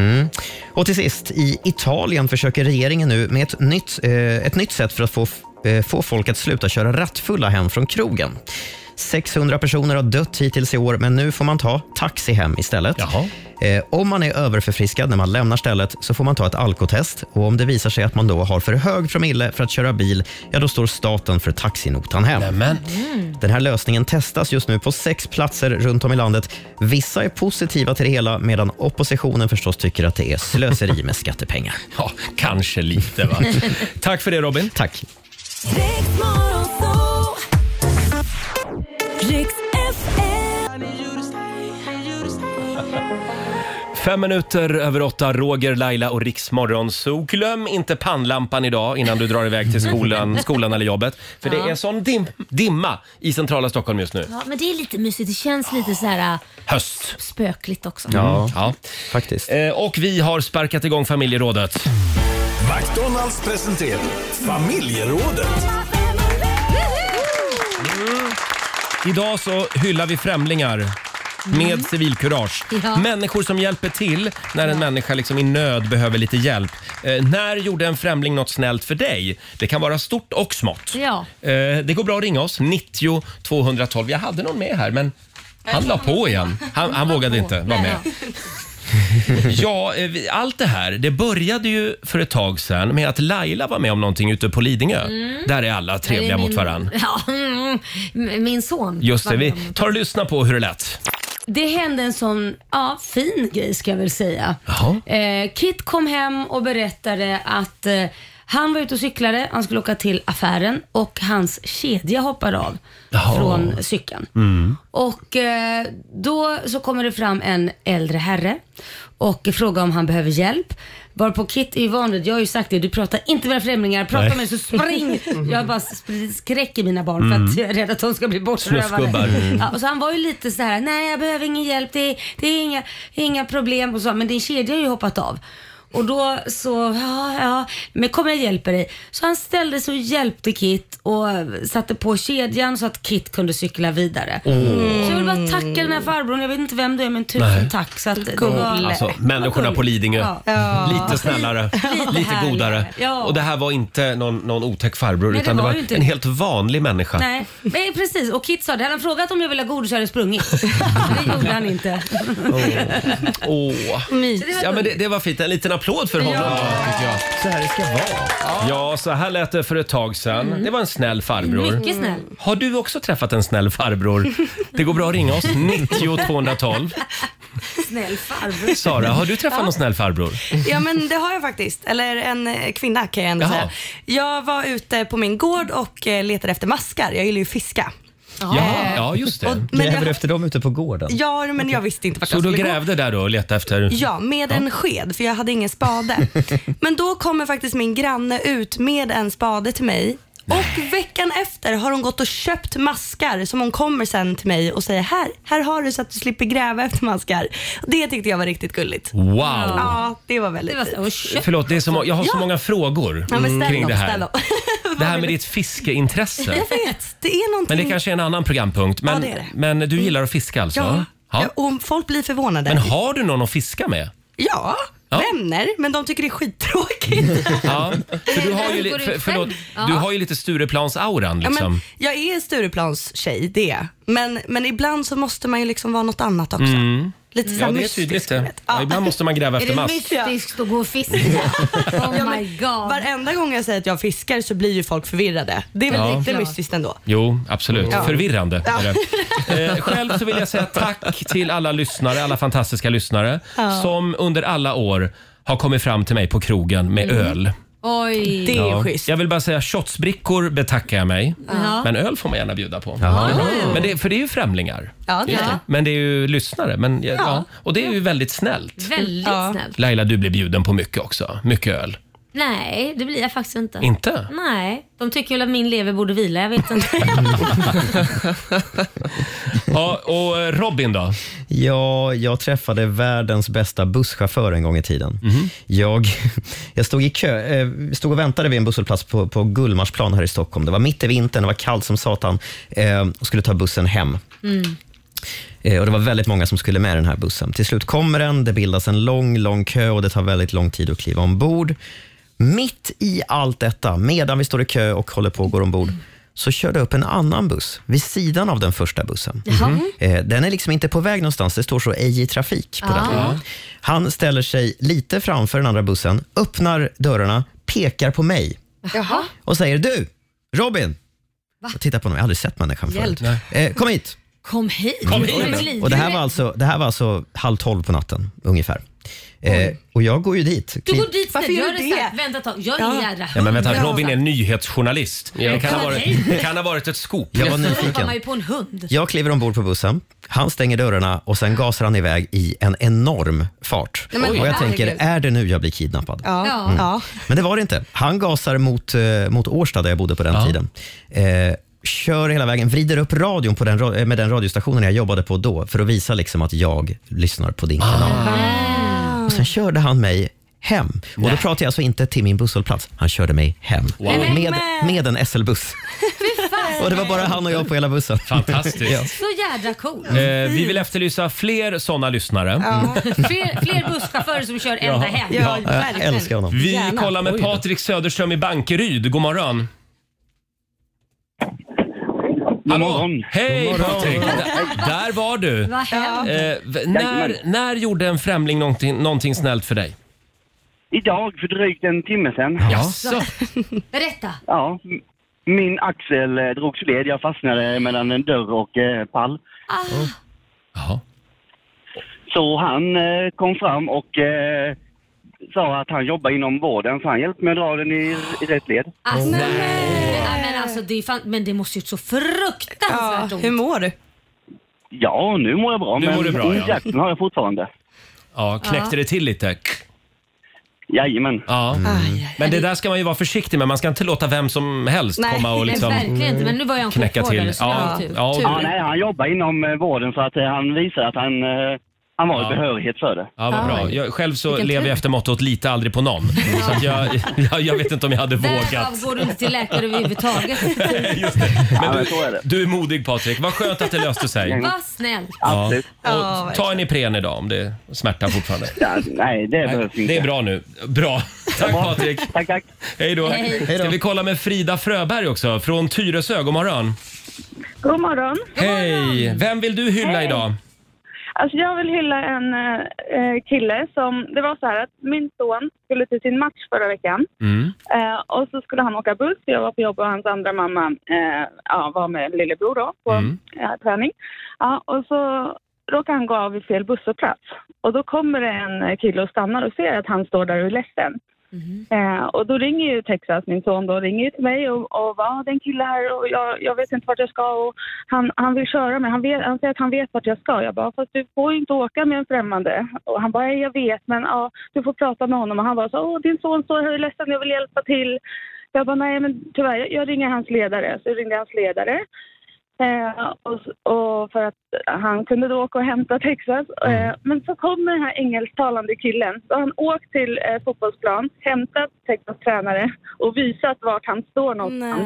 C: Och till sist, i Italien försöker regeringen nu med ett nytt, eh, ett nytt sätt för att få, eh, få folk att sluta köra rattfulla hem från krogen. 600 personer har dött hittills i år, men nu får man ta taxi hem istället.
A: Jaha.
C: Eh, om man är överförfriskad när man lämnar stället så får man ta ett alkotest och om det visar sig att man då har för hög promille för att köra bil, ja då står staten för taxinotan hem.
A: Men
C: Den här lösningen testas just nu på sex platser runt om i landet. Vissa är positiva till det hela medan oppositionen förstås tycker att det är slöseri med skattepengar.
A: ja, kanske lite va. Tack för det Robin.
C: Tack.
A: Fem minuter över åtta, Roger, Laila och Riksmorgon. Så glöm inte pannlampan idag innan du drar iväg till skolan, skolan eller jobbet. För det är sån dim, dimma i centrala Stockholm just nu.
B: Ja, men det är lite mysigt. Det känns lite så här äh,
A: Höst.
B: spökligt också.
A: Ja.
C: faktiskt.
A: Eh, Och vi har sparkat igång familjerådet.
I: McDonalds presenterar familjerådet.
A: Idag så hyllar vi främlingar med civilkurage.
B: Ja.
A: Människor som hjälper till när en människa liksom i nöd behöver lite hjälp. Eh, när gjorde en främling något snällt för dig? Det kan vara stort och smått.
B: Ja.
A: Eh, det går bra att ringa oss, 90 212. Jag hade någon med här, men han la på igen. Han, han vågade inte vara med. Ja, eh, vi- allt det här det började ju för ett tag sedan med att Laila var med om någonting ute på Lidingö. Där är alla
B: Det Mm. är
A: trevliga mot
B: min-
A: varann.
B: Ja, mm, min son.
A: Just det,
B: var
A: vi
B: med om-
A: tar och lyssnar på hur det lät.
B: Det hände en sån ja, fin grej ska jag väl säga.
A: Jaha.
B: Eh, Kit kom hem och berättade att eh, han var ute och cyklade, han skulle åka till affären och hans kedja hoppade av
A: Jaha. Mm.
B: från cykeln. Och eh, då så kommer det fram en äldre herre och frågar om han behöver hjälp. Varpå Kit är ju van vid, jag har ju sagt det, du pratar inte med främlingar, prata med mig så spring. Jag bara sp- skräcker mina barn för
A: Mm.
B: att jag är rädd att de ska bli bortrövade.
A: Snuskgubbar. Mm.
B: Ja, och så han var ju lite så här: nej jag behöver ingen hjälp, det är, det är inga, inga problem och så, men din kedja har ju hoppat av. Och då så, ja, ja, men kom jag hjälper dig. Så han ställde sig och hjälpte Kit och satte på kedjan så att Kit kunde cykla vidare. Så jag vill bara tacka den här farbrorn, jag vet inte vem du är men tusen
A: Nej.
B: tack. Så att det var,
A: Alltså, människorna på Lidingö.
B: Ja.
A: Lite snällare, lite,
B: härligare.
A: godare.
B: Ja.
A: Och det här var inte någon, någon otäck farbror,
B: Nej, det
A: utan det
B: var
A: var,
B: ju inte
A: en
B: det.
A: helt vanlig människa.
B: Nej, men precis. Och Kit sa det, hade han frågat om jag ville ha godis så hade jag sprungit. det gjorde han inte.
A: Åh.
B: Så det var
A: Ja, men det, det var fint. En liten applåd för honom. tycker jag.
C: Så här det ska vara.
A: Ja, så här lät det för ett tag sedan.
F: Mm.
A: Det var en snäll farbror.
B: Mycket snäll.
A: Har du också träffat en snäll farbror? Det går bra att ringa oss, 90 212.
B: snäll farbror.
A: Sara, har du träffat någon snäll farbror?
F: Ja men det har jag faktiskt. Eller en eh, kvinna kan jag ändå
A: Jaha.
F: säga. Jag var ute på min gård och eh, letade efter maskar. Jag gillar ju att fiska.
A: Ja, ja just
F: Och,
A: det.
F: men
C: Gräver du
F: jag,
C: efter dem ute på gården?
F: ja, men jag visste inte vart
A: Så
F: jag
A: du
F: skulle gå.
A: grävde där då och letade efter...
F: Ja, med en sked för jag hade ingen spade. Men då kommer faktiskt min granne ut med en spade till mig och veckan efter har hon gått och köpt maskar som hon kommer sen till mig och säger här, här har du så att du slipper gräva efter maskar. Det tyckte jag var riktigt gulligt.
A: Wow!
F: Ja, det var väldigt
B: Det var
F: fint.
B: så, och kött.
A: Förlåt, det är så må- jag har så
F: Ja.
A: många frågor
F: Ja, men ställ
A: Mm, kring
F: upp,
A: det
F: ställ
A: här.
F: upp.
A: Det här med ditt fiskeintresse.
F: Jag vet, det är någonting.
A: Men det kanske är en annan programpunkt. Men,
F: Ja, det är det.
A: men du gillar att fiska alltså?
F: Ja.
A: Ja.
F: Ja. Och folk blir förvånade.
A: Men har du någon att fiska med?
F: Ja,
A: Ja. Liksom.
F: vänner, men de tycker det är skittråkigt.
A: Ja. För du, har ju,
B: Men
A: li-
B: går du
A: för,
B: ut
A: förlåt,
B: själv? Ja.
A: du har ju lite Stureplans-auran
F: Ja,
A: liksom.
F: men, jag är Stureplans tjej, det är jag. men, men ibland så måste man ju liksom vara något annat också. Lite så
A: Mm. Ja,
F: här
A: det är
F: mystisk,
A: tydligt
F: jag
A: det.
F: vet.
A: Ja,
F: Ja.
A: ibland måste man gräva
B: Är
A: efter
B: det
A: mask.
B: mystiskt att gå och fiska? Oh my god.
F: Varenda gång jag säger att jag fiskar så blir ju folk förvirrade. Det är väl
A: Ja.
F: lite
B: Ja.
F: mystiskt ändå.
A: Jo, absolut.
F: Ja.
A: Förvirrande är det. Eh, själv så vill jag säga tack till alla lyssnare, alla fantastiska lyssnare som under alla år har kommit fram till mig på krogen med öl.
B: Oj.
F: Det är
A: Ja.
F: schysst.
A: Jag vill bara säga shotsbrickor betackar jag mig.
B: Ja.
A: Men öl får man gärna bjuda på.
C: Ja.
A: Men det, för det är ju främlingar.
F: Ja, det är
B: Ja.
F: det.
A: Men det är ju lyssnare. Men, ja. Ja. Och det är ju väldigt snällt.
B: Väldigt
F: Ja.
B: snällt.
A: Laila, du blir bjuden på mycket också. Mycket öl.
B: Nej, det blir jag faktiskt inte.
A: Inte?
B: Nej, de tycker väl att min lever borde vila. Jag vet inte.
A: Ja, och eh, Robin då?
C: Ja, jag träffade världens bästa busschaufför en gång i tiden. Jag, jag stod i kö, eh, stod och väntade vid en busshållplats på, på Gullmarsplan här i Stockholm. Det var mitt i vintern, det var kallt som satan eh, och skulle ta bussen hem. Eh, Och Det var väldigt många som skulle med den här bussen. Till slut kommer den, det bildas en lång, lång kö och det tar väldigt lång tid att kliva ombord. Mitt i allt detta, medan vi står i kö och håller på att gå ombord, så kör det upp en annan buss vid sidan av den första bussen. Eh, Den är liksom inte på väg någonstans, det står så ej i trafik på den. Han ställer sig lite framför den andra bussen, öppnar dörrarna, pekar på mig
B: Jaha.
C: och säger du, Robin. Jag tittar på honom, jag har aldrig sett människan förut. Eh, kom hit.
B: Kom hit.
A: Kom
B: Du är
A: hit.
B: livrädd.
C: Och det här var alltså, det här var alltså halv tolv på natten ungefär. Eh, och jag går ju dit.
B: Du
C: Kliv-
B: går dit
F: Varför
B: snällt.
F: gör
B: Gör
F: du
B: det
F: det?
B: snällt. Vänta ett tag. Jag är
F: Ja.
B: en jädra
A: Ja, men vänta,
B: hund.
A: Robin är nyhetsjournalist. Det kan ha
B: Kom
A: varit,
B: hit.
A: det kan ha varit ett scoop.
C: Jag var
B: Så ropar
C: nyfiken.
B: man ju på en hund.
C: Jag kliver ombord på bussen, han stänger dörrarna och sen gasar han iväg i en enorm fart.
F: Nej, men
C: och jag tänker,
F: herregud.
C: är det nu jag blir kidnappad?
F: Ja.
B: Ja.
F: Ja. Ja.
C: Men det var det inte. Han gasar mot, eh, mot Årsta där jag bodde på den tiden. Eh, kör hela vägen, vrider upp radion på den, ra- eh, med den radiostationen jag jobbade på då för att visa liksom att jag lyssnar på din kanal. Och sen körde han mig hem. Och då pratade jag alltså inte till min busshållplats. Han körde mig hem. Med, med en SL-buss. och det var bara han och jag på hela bussen.
A: Fantastiskt.
C: Ja.
B: Så jädra cool.
A: Eh, vi vill efterlysa fler såna lyssnare.
B: Fler, fler busschaufförer som kör ända hem.
C: Jag
F: verkligen.
C: älskar honom.
A: Vi
F: Gärna.
A: kollar med Patrik Söderström i Bankeryd. God morgon. God
J: morgon.
A: Hej Patrik! Där, där var du.
B: Vad händer?
A: Eh, v- när, när gjorde en främling någonting, någonting snällt för dig?
J: Idag, för drygt en timme sedan.
A: Jaså?
B: Berätta.
J: Ja. m- Min axel eh, drogs led. Jag fastnade mellan en dörr och eh, pall.
A: Jaha.
J: Så han eh, kom fram och eh, sa att han jobbar inom vården, så han hjälpte mig att dra den i, i rätt led.
B: Alltså, nej, men, alltså, det är fan, men det måste gjort så fruktansvärt ont.
F: Hur mår du?
J: Ja, nu mår jag bra,
A: Nu
J: men
A: mår du bra, ja.
J: injekten har jag fortfarande.
A: Ja, knäckte det till lite?
J: Jajamän.
A: Ja.
F: Aj, aj.
A: Mm. Men det där ska man ju vara försiktig med. Man ska inte låta vem som helst
F: Nej,
A: komma och
B: Men
A: liksom
B: verkligen inte. Men nu var jag en
A: knäcka till.
B: sjukvårdare så jag
A: Ja,
B: har typ. tur.
A: ja,
J: Ja,
A: ja,
J: nej, han jobbar inom eh, vården så att eh, han visar att han, eh, han var
A: Ja.
J: i behörighet för det.
A: ja, vad bra. Jag, själv så
F: Vilken
A: lever
F: tur.
A: jag efter mottot lite aldrig på någon. Så att jag, jag, jag vet inte om jag hade vågat.
B: Därav går du inte till läkare överhuvudtaget.
A: Just det. Men
J: Ja, men
A: du,
J: så är det.
A: du är modig Patrik. Vad skönt att det löste sig.
B: Vad snällt.
A: Ja.
F: Ja,
A: Och ta en Ipren idag om det smärtar fortfarande.
J: Ja, nej, det behövs inte.
A: Det är bra nu. Bra. Tack Patrik.
J: Tack, tack.
A: Hej då.
B: Hej.
A: Ska vi kolla med Frida Fröberg också från Tyresö. God morgon.
D: God morgon.
A: Hej. Vem vill du hylla idag?
D: Alltså jag vill hylla en eh, kille som... Det var så här att min son skulle till sin match förra veckan.
A: Mm.
D: Eh, och så skulle han åka buss, jag var på jobb och hans andra mamma eh, ja, var med lillebror då på
A: Mm.
D: eh, träning. Ja, och så
K: råkar han gå av i fel busshållplats. Och då kommer det en eh, kille och stannar och ser att han står där och är ledsen. Eh, och då ringer ju Texas, min son, då ringer ju till mig och, och va, det är en kille här och jag, jag vet inte vart jag ska och han, han vill köra mig. Han, vet, han säger att han vet vart jag ska. Jag bara, fast du får ju inte åka med en främmande. Och han bara, "Nej, jag vet men ja, du får prata med honom. Och han bara, så, Åh, din son står här och är ledsen, jag vill hjälpa till. Jag bara, nej men tyvärr, jag, jag ringer hans ledare. Så jag ringde hans ledare. Eh, och, s- och för att han kunde då åka och hämta Texas. Eh,
A: Mm.
K: men så kommer den här engelsktalande killen. Så har han åkt till eh, fotbollsplan, hämtat Texas tränare och visat vart han står någonstans.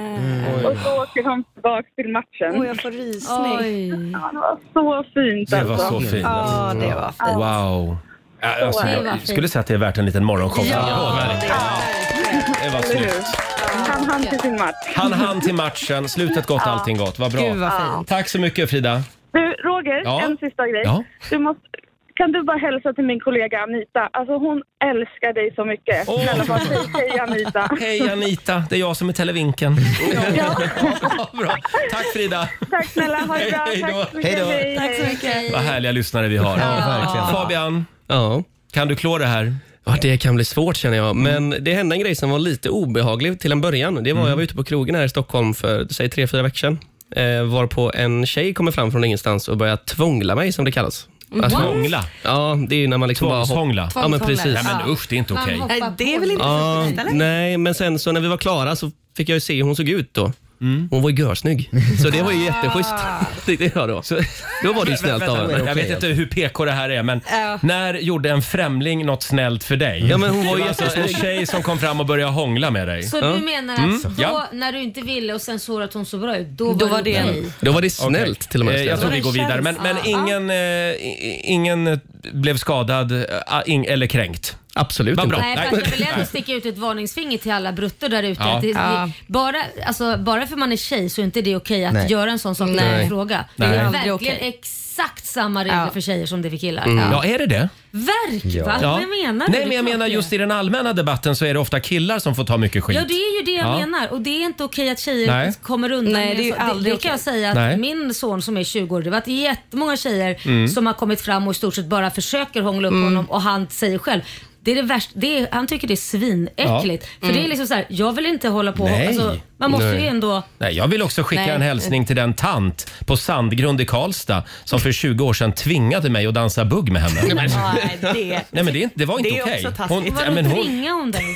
K: Och så åker han tillbaka till matchen.
F: Åh, jag får rysning.
K: Ja, det var så fint
A: Det var
K: alltså.
A: så fint.
F: Ja, det var fint.
A: Wow. Ja, Alltså,
K: Det var
A: jag
K: fint.
A: skulle säga att det är värt en liten morgonshow. Det var
K: Eller hur?
A: snyggt.
K: Han hann till sin match.
A: Han hann till matchen. Slutet gott,
K: Ja.
A: allting gott. Vad bra.
K: Gud, vad fint.
A: Tack så mycket Frida.
K: Du, Roger,
A: Ja.
K: en sista grej.
A: Ja.
K: Du måste, kan du bara hälsa till min kollega Anita? Alltså hon älskar dig så mycket.
A: Åh.
K: Snälla bara säg hej Anita.
A: Hej Anita, det är jag som är televinken.
K: Ja.
A: Bra. Tack Frida.
K: Tack snälla, ha det bra.
A: Hej
K: Tack
A: då.
K: så mycket.
A: Hej då.
K: Hej,
F: Tack så
K: hej.
F: mycket.
A: Vad härliga lyssnare vi har.
H: Ja, verkligen.
A: Fabian,
H: Ja.
A: Kan du klå det här?
H: Ja,
A: Mm.
H: det kan bli svårt känner jag. Men det hände en grej som var lite obehaglig till en början.
A: Mm.
H: Det var jag var ute på krogen här i Stockholm för säg tre, fyra veckor sedan. Eh, varpå en tjej kommer fram från ingenstans och börjar tvångla mig som det kallas.
A: Mm. Tvångla?
H: Ja, det är ju när man liksom bara... hopp-
A: Tvångshångla?
H: Ja, men precis.
A: Nej, men usch, det är inte okej.
F: Nej, det är väl inte
H: Ja,
F: så fint, eller?
H: nej, men sen så när vi var klara så fick jag ju se hur hon såg ut då.
A: Mm.
H: Hon var ju görsnygg. Så det var ju jätteschysst. Tyckte jag då. då var det ju snällt av henne.
A: Jag vet inte hur PK det här är, men
F: Ja.
A: när gjorde en främling något snällt för dig?
H: Ja, men hon var
A: Det
H: ju
A: alltså en
H: jättesnygg.
A: tjej som kom fram och började hångla med dig.
B: Så
A: Ja.
B: du menar att
A: Mm,
B: då,
A: ja.
B: när du inte ville och sen såg att hon såg bra ut, då,
F: Då
B: var
F: var
B: det
F: det en-
B: okej?
H: Då var det snällt till och med.
A: Eh, Jag
H: snällt.
A: tror vi går vidare. Men, men ingen, eh, i- ingen eh, blev skadad eh, ing- eller kränkt?
H: Absolut
A: Vad bra.
B: Nej,
A: Nej.
B: fast jag vill ändå sticka ut ett varningsfinger till alla bruttor där ute.
A: Ja.
B: Att det,
A: Ja.
B: bara, alltså, bara för man är tjej så är inte det okej att
A: Nej.
B: göra en sån sak när det är
A: Nej.
B: en fråga.
A: Nej.
B: Det
A: Det är
B: är
A: aldrig
B: verkligen
A: okej.
B: exakt samma regler
A: Ja.
B: för tjejer som det är för killar.
A: Mm. Ja, är det det?
B: Verk, va? Vad menar du? Det
A: Nej,
B: är
A: men jag
B: klart
A: menar
B: det är.
A: just i den allmänna debatten så är det ofta killar som får ta mycket skit.
B: Ja det är ju det jag
A: Ja.
B: menar och det är inte okej att tjejer
A: Nej.
B: kommer undan
F: Nej,
B: med
F: det är ju
B: så- det,
F: aldrig
B: det kan jag
F: okej.
B: säga att
A: Nej.
B: min son som är 20 år, det har varit jättemånga tjejer
A: Mm.
B: som har kommit fram och i stort sett bara försöker hångla upp
F: Mm.
B: honom och han säger själv det är det värsta, det är, han tycker det är svinäckligt.
A: Ja.
B: För
A: Mm.
B: det är liksom så här, jag vill inte hålla på
A: Nej.
B: alltså, Man måste
A: Nej.
B: ju ändå...
A: Nej, jag vill också skicka
B: Nej.
A: en hälsning till den tant på Sandgrund i Karlstad som för 20 år sedan tvingade mig att dansa bugg med henne. Nej, men,
B: Nej, det,
A: Nej, men det, är inte- det var inte
B: det är
A: okej.
B: också
A: Hon-
B: taskigt.
A: ja, men
B: Vadå
A: hon-
B: tvingar hon dig?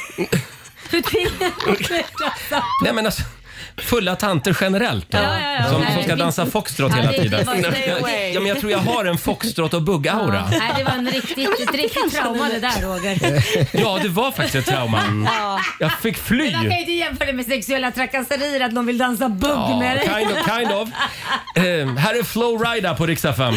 B: Hur tvingar hon dig?
A: Nej, men alltså, fulla tanter generellt då,
B: Ja, ja, ja.
A: som,
B: Nej,
A: som ska
B: det-
A: dansa foxtrot
B: Ja,
A: hela
B: det- det
A: tiden.
B: var- stay away.
A: ja, men jag tror jag har en foxtrot och bugg-aura.
B: Nej, det var en riktigt, ett riktigt trauma det där Roger.
A: Ja, det var faktiskt ett trauma.
B: Ja.
A: Jag fick fly.
B: Man kan ju inte jämföra det med sexuella trakasserier att någon vill dansa bugg
A: Ja,
B: med dig.
A: kind of. Kind of. Eh, här är Flowrida på riksdag 5.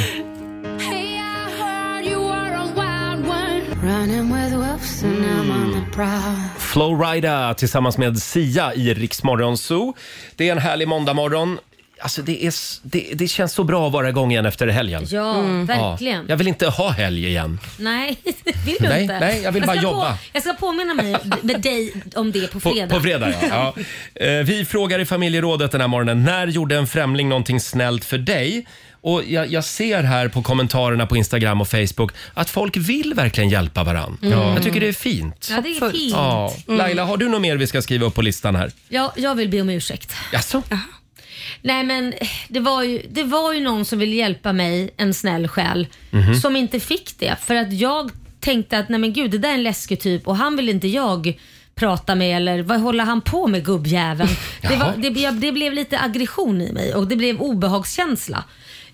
A: Flowrida tillsammans med Sia i Riksmorgon Zoo. Det är en härlig måndagmorgon. Alltså det, är, s- det, det känns så bra att vara igång igen efter helgen.
B: Ja, Mm. verkligen.
A: Jag vill inte ha helg igen.
B: Nej, det vill du
A: Nej,
B: inte.
A: nej, jag vill bara
B: ska
A: jobba.
B: På, jag ska påminna mig med dig om det på
A: På
B: fredag.
A: på fredag ja. ja. Eh, Vi frågar i familjerådet den här morgonen, när gjorde en främling någonting snällt för dig? Och jag, jag ser här på kommentarerna på Instagram och Facebook att folk vill verkligen hjälpa varann.
B: Mm. Ja.
A: Jag tycker det är fint.
B: Ja, det är fint.
A: Ja.
B: Mm.
A: Laila, har du något mer vi ska skriva upp på listan här?
B: Ja, jag vill be om ursäkt.
A: Jaså?
B: Nej men det var, ju, det var ju någon som ville hjälpa mig, en snäll själ,
L: Mhm.
B: som inte fick det. För att jag tänkte att nej men gud det där är en läskig typ och han vill inte jag prata med eller vad håller han på med gubbjäveln? det, var, det, blev- det blev lite aggression i mig och det blev obehagskänsla.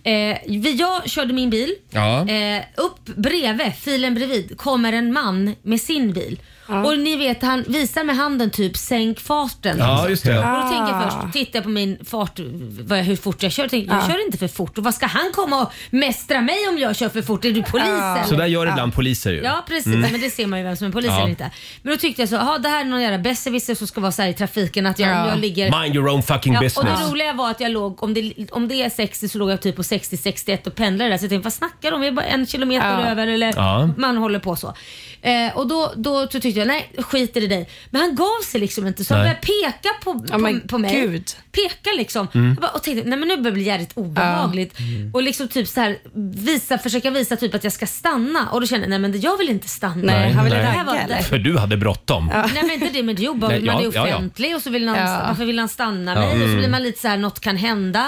B: Eh, vi- jag körde min bil,
L: Ja.
B: eh, upp bredvid, filen bredvid, kommer en man med sin bil. Och ni vet han visar med handen typ sänk farten.
L: Ja, just det.
B: Och då tänker jag
L: Ah.
B: först, tittar jag på min fart, vad jag, hur fort jag kör. Tänker, jag
A: Ah.
L: Ja.
B: kör inte för fort och vad ska han komma och mästra mig om jag kör för fort? Är du polis eller?
A: Ah. Så där gör ibland poliser ju.
B: Ja precis,
A: Mm.
B: men det ser man ju vem som är polis
A: Ja.
B: eller inte. Men då tyckte jag så, ja det här är någon jävla besserwisser som ska vara så här i trafiken att jag, jag ligger...
A: Mind your own fucking
B: Och
A: business.
B: det roliga var att jag låg, om det, om det är 60 så låg jag typ på 60-61 och pendlade där. Så jag tänkte, vad snackar de om? Jag är bara en kilometer
L: Ja.
B: över eller
L: Ja.
B: man håller på så. Eh, och då, då, så tyckte tyckte jag, nej skiter i dig. Men han gav sig liksom inte så han
A: Nej.
B: började peka på, på,
F: Ja, men
B: på mig.
F: gud.
B: Peka liksom.
A: Mm.
B: Jag bara, och tänkte, nej men nu börjar det bli jävligt obehagligt. Och liksom typ så här, visa, försöka visa typ att jag ska stanna. Och då kände jag, nej men det- jag vill inte stanna. Det här var-
A: För du hade bråttom.
B: Nej men inte det, men det är obehagligt.
A: Nej,
B: man är
A: ja, ja, ja.
B: offentlig och så vill han,
A: Ja.
B: varför vill han stanna
A: Ja.
B: mig? Och så
A: Mm.
B: blir man lite så här, något kan hända.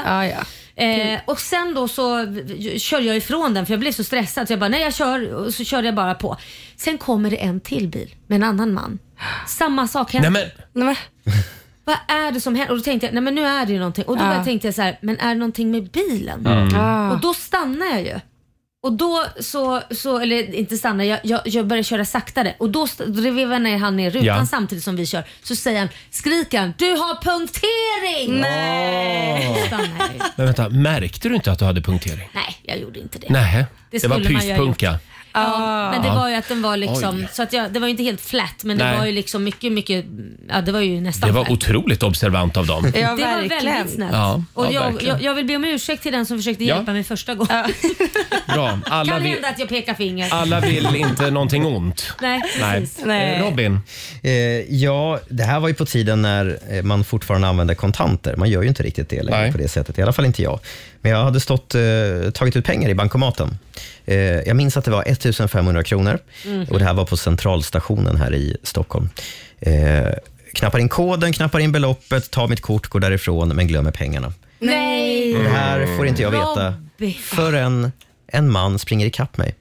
B: Eh, och sen då så v- kör jag ifrån den för jag blev så stressad så jag bara, nej jag kör och så körde jag bara på. Sen kommer det en till bil med en annan man. Samma sak händer.
A: Nej,
B: Nej, men. Vad är det som händer? Och då tänkte jag, nej men nu är det ju någonting. Och då
F: Ja.
B: började- tänkte jag så här, men är det någonting med bilen?
F: Mm. Ah.
B: Och då stannar jag ju. Och då så, så eller inte stanna, jag, jag, jag börjar köra saktare och då st- då vevar jag ner han ner i rutan
A: Ja.
B: samtidigt som vi kör. Så säger han, skriker han, du har punktering! Nej!
A: Åh.
B: Stannar jag ju.
A: Men vänta, märkte du inte att du hade punktering?
B: Nej, jag gjorde inte det.
A: Nej, det, var
B: skulle man ju ha gjort.
A: pyspunka.
B: Ja, men det
A: Ah.
B: var ju att den var liksom,
A: Oj.
B: så att jag, det var ju inte helt flat men
A: Nej.
B: det var ju liksom mycket, mycket, ja det var ju nästan
A: Det var
B: flat.
A: otroligt observant av dem.
B: det var väldigt snällt.
A: Ja,
B: och
A: ja,
B: jag,
A: verkligen.
B: jag, jag vill be om ursäkt till den som försökte
A: Ja.
B: hjälpa mig första gången.
A: Bra. Alla
B: kan
A: vill,
B: hända att jag pekar finger.
A: alla vill inte någonting ont.
B: Nej, precis.
A: Eh, Robin?
C: Eh, ja, det här var ju på tiden när eh, man fortfarande använde kontanter. Man gör ju inte riktigt det längre på det sättet, i alla fall inte jag. Men jag hade stått, eh, tagit ut pengar i bankomaten. Eh, jag minns att det var 1500 kronor
G: Mhm.
C: och det här var på Centralstationen här i Stockholm. Eh, knappar in koden, knappar in beloppet, tar mitt kort, går därifrån men glömmer pengarna.
B: Nej!
C: Det här får inte jag veta
B: Robin.
C: förrän en man springer ikapp mig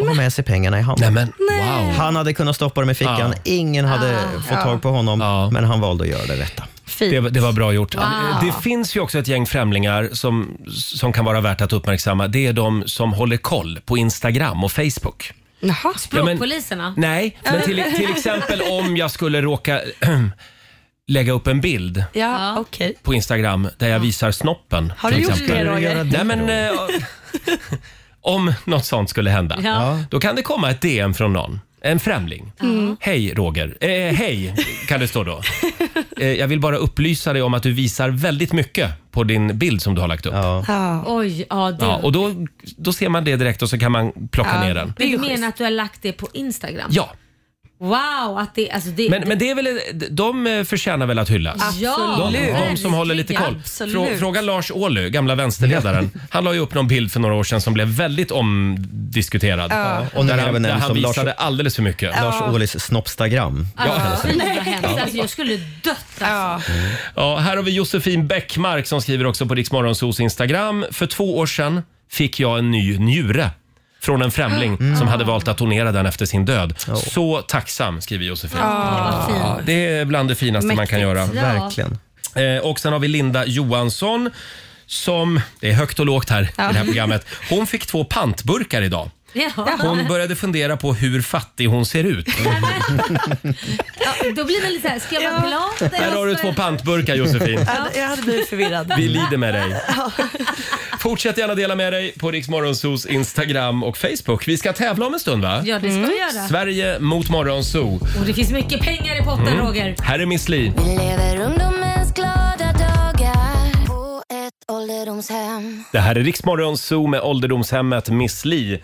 C: och har med sig pengarna i handen. Han hade kunnat stoppa dem i fickan. Ingen hade fått
A: Ah. Ja.
C: tag på honom, men han valde att göra det rätta.
A: Det, var- det var bra gjort.
C: Wow.
A: Det finns ju också ett gäng främlingar som, som kan vara värt att uppmärksamma. Det är de som håller koll på Instagram och Facebook.
F: Jaha.
B: Språkpoliserna?
A: Nej, men till, till exempel om jag skulle råka lägga upp en bild
F: Ja, okej.
A: på Instagram där jag visar snoppen.
F: Har du
A: till
F: gjort
A: exempel.
F: det, Roger?
A: Nej, men, eh, om något sånt skulle hända,
F: Ja.
A: då kan det komma ett DM från någon. En främling.
F: Mm.
A: Hej Roger. Eh, hej, kan det stå då. Eh, jag vill bara upplysa dig om att du visar väldigt mycket på din bild som du har lagt upp. Ja.
B: Oj, ja det.
A: och då, då ser man det direkt och så kan man plocka ner den.
B: Men Du menar att du har lagt det på Instagram?
A: Ja,
B: Wow, att det, alltså det,
A: men, men det är väl, de eh, förtjänar väl att hyllas?
B: Ja,
A: de, de som håller lite koll.
B: Absolut.
A: Frå, fråga Lars Ohly, gamla vänsterledaren. Han la ju upp någon bild för några år sedan som blev väldigt omdiskuterad.
C: Ja. Och
A: där
C: nu är det
A: han,
C: även
A: där
C: en
A: han
C: som Lars-
A: visade alldeles för mycket.
C: Lars Ohlys snoppstagram.
B: Alltså, fy vad hemskt. Alltså, jag skulle dött alltså.
A: Ja, här har vi Josefin Bäckmark som skriver också på Riksmorgonsos Instagram. För två år sedan fick jag en ny njure från en främling
B: Mm.
A: som
B: Ah.
A: hade valt att donera den efter sin död. Så tacksam, skriver Josefin.
B: Ah, vad
A: Ja,
B: fint.
A: det är bland det finaste man kan göra.
B: Mäktigt. Ja. Verkligen.
A: Eh, och sen har vi Linda Johansson som, det är högt och lågt här i det här programmet. Hon fick två pantburkar idag.
B: Ja.
A: Hon började fundera på hur fattig hon ser ut.
B: ja, då blir det lite såhär, ska jag vara glad?
A: Här har du två pantburkar Josefin.
F: Jag hade blivit förvirrad.
A: Vi lider med dig. Fortsätt gärna dela med dig på Riksmorgonsos Instagram och Facebook. Vi ska tävla om en stund va?
B: Ja, det ska
A: Mm.
B: vi göra.
A: Sverige mot Morgonzoo.
B: Och det finns mycket pengar i potten
A: Mm.
B: Roger.
A: Här är Miss Li.
L: Lever ungdomens glada dagar på ett ålderdomshem.
A: Det här är Riksmorgonzoo med ålderdomshemmet Miss Li.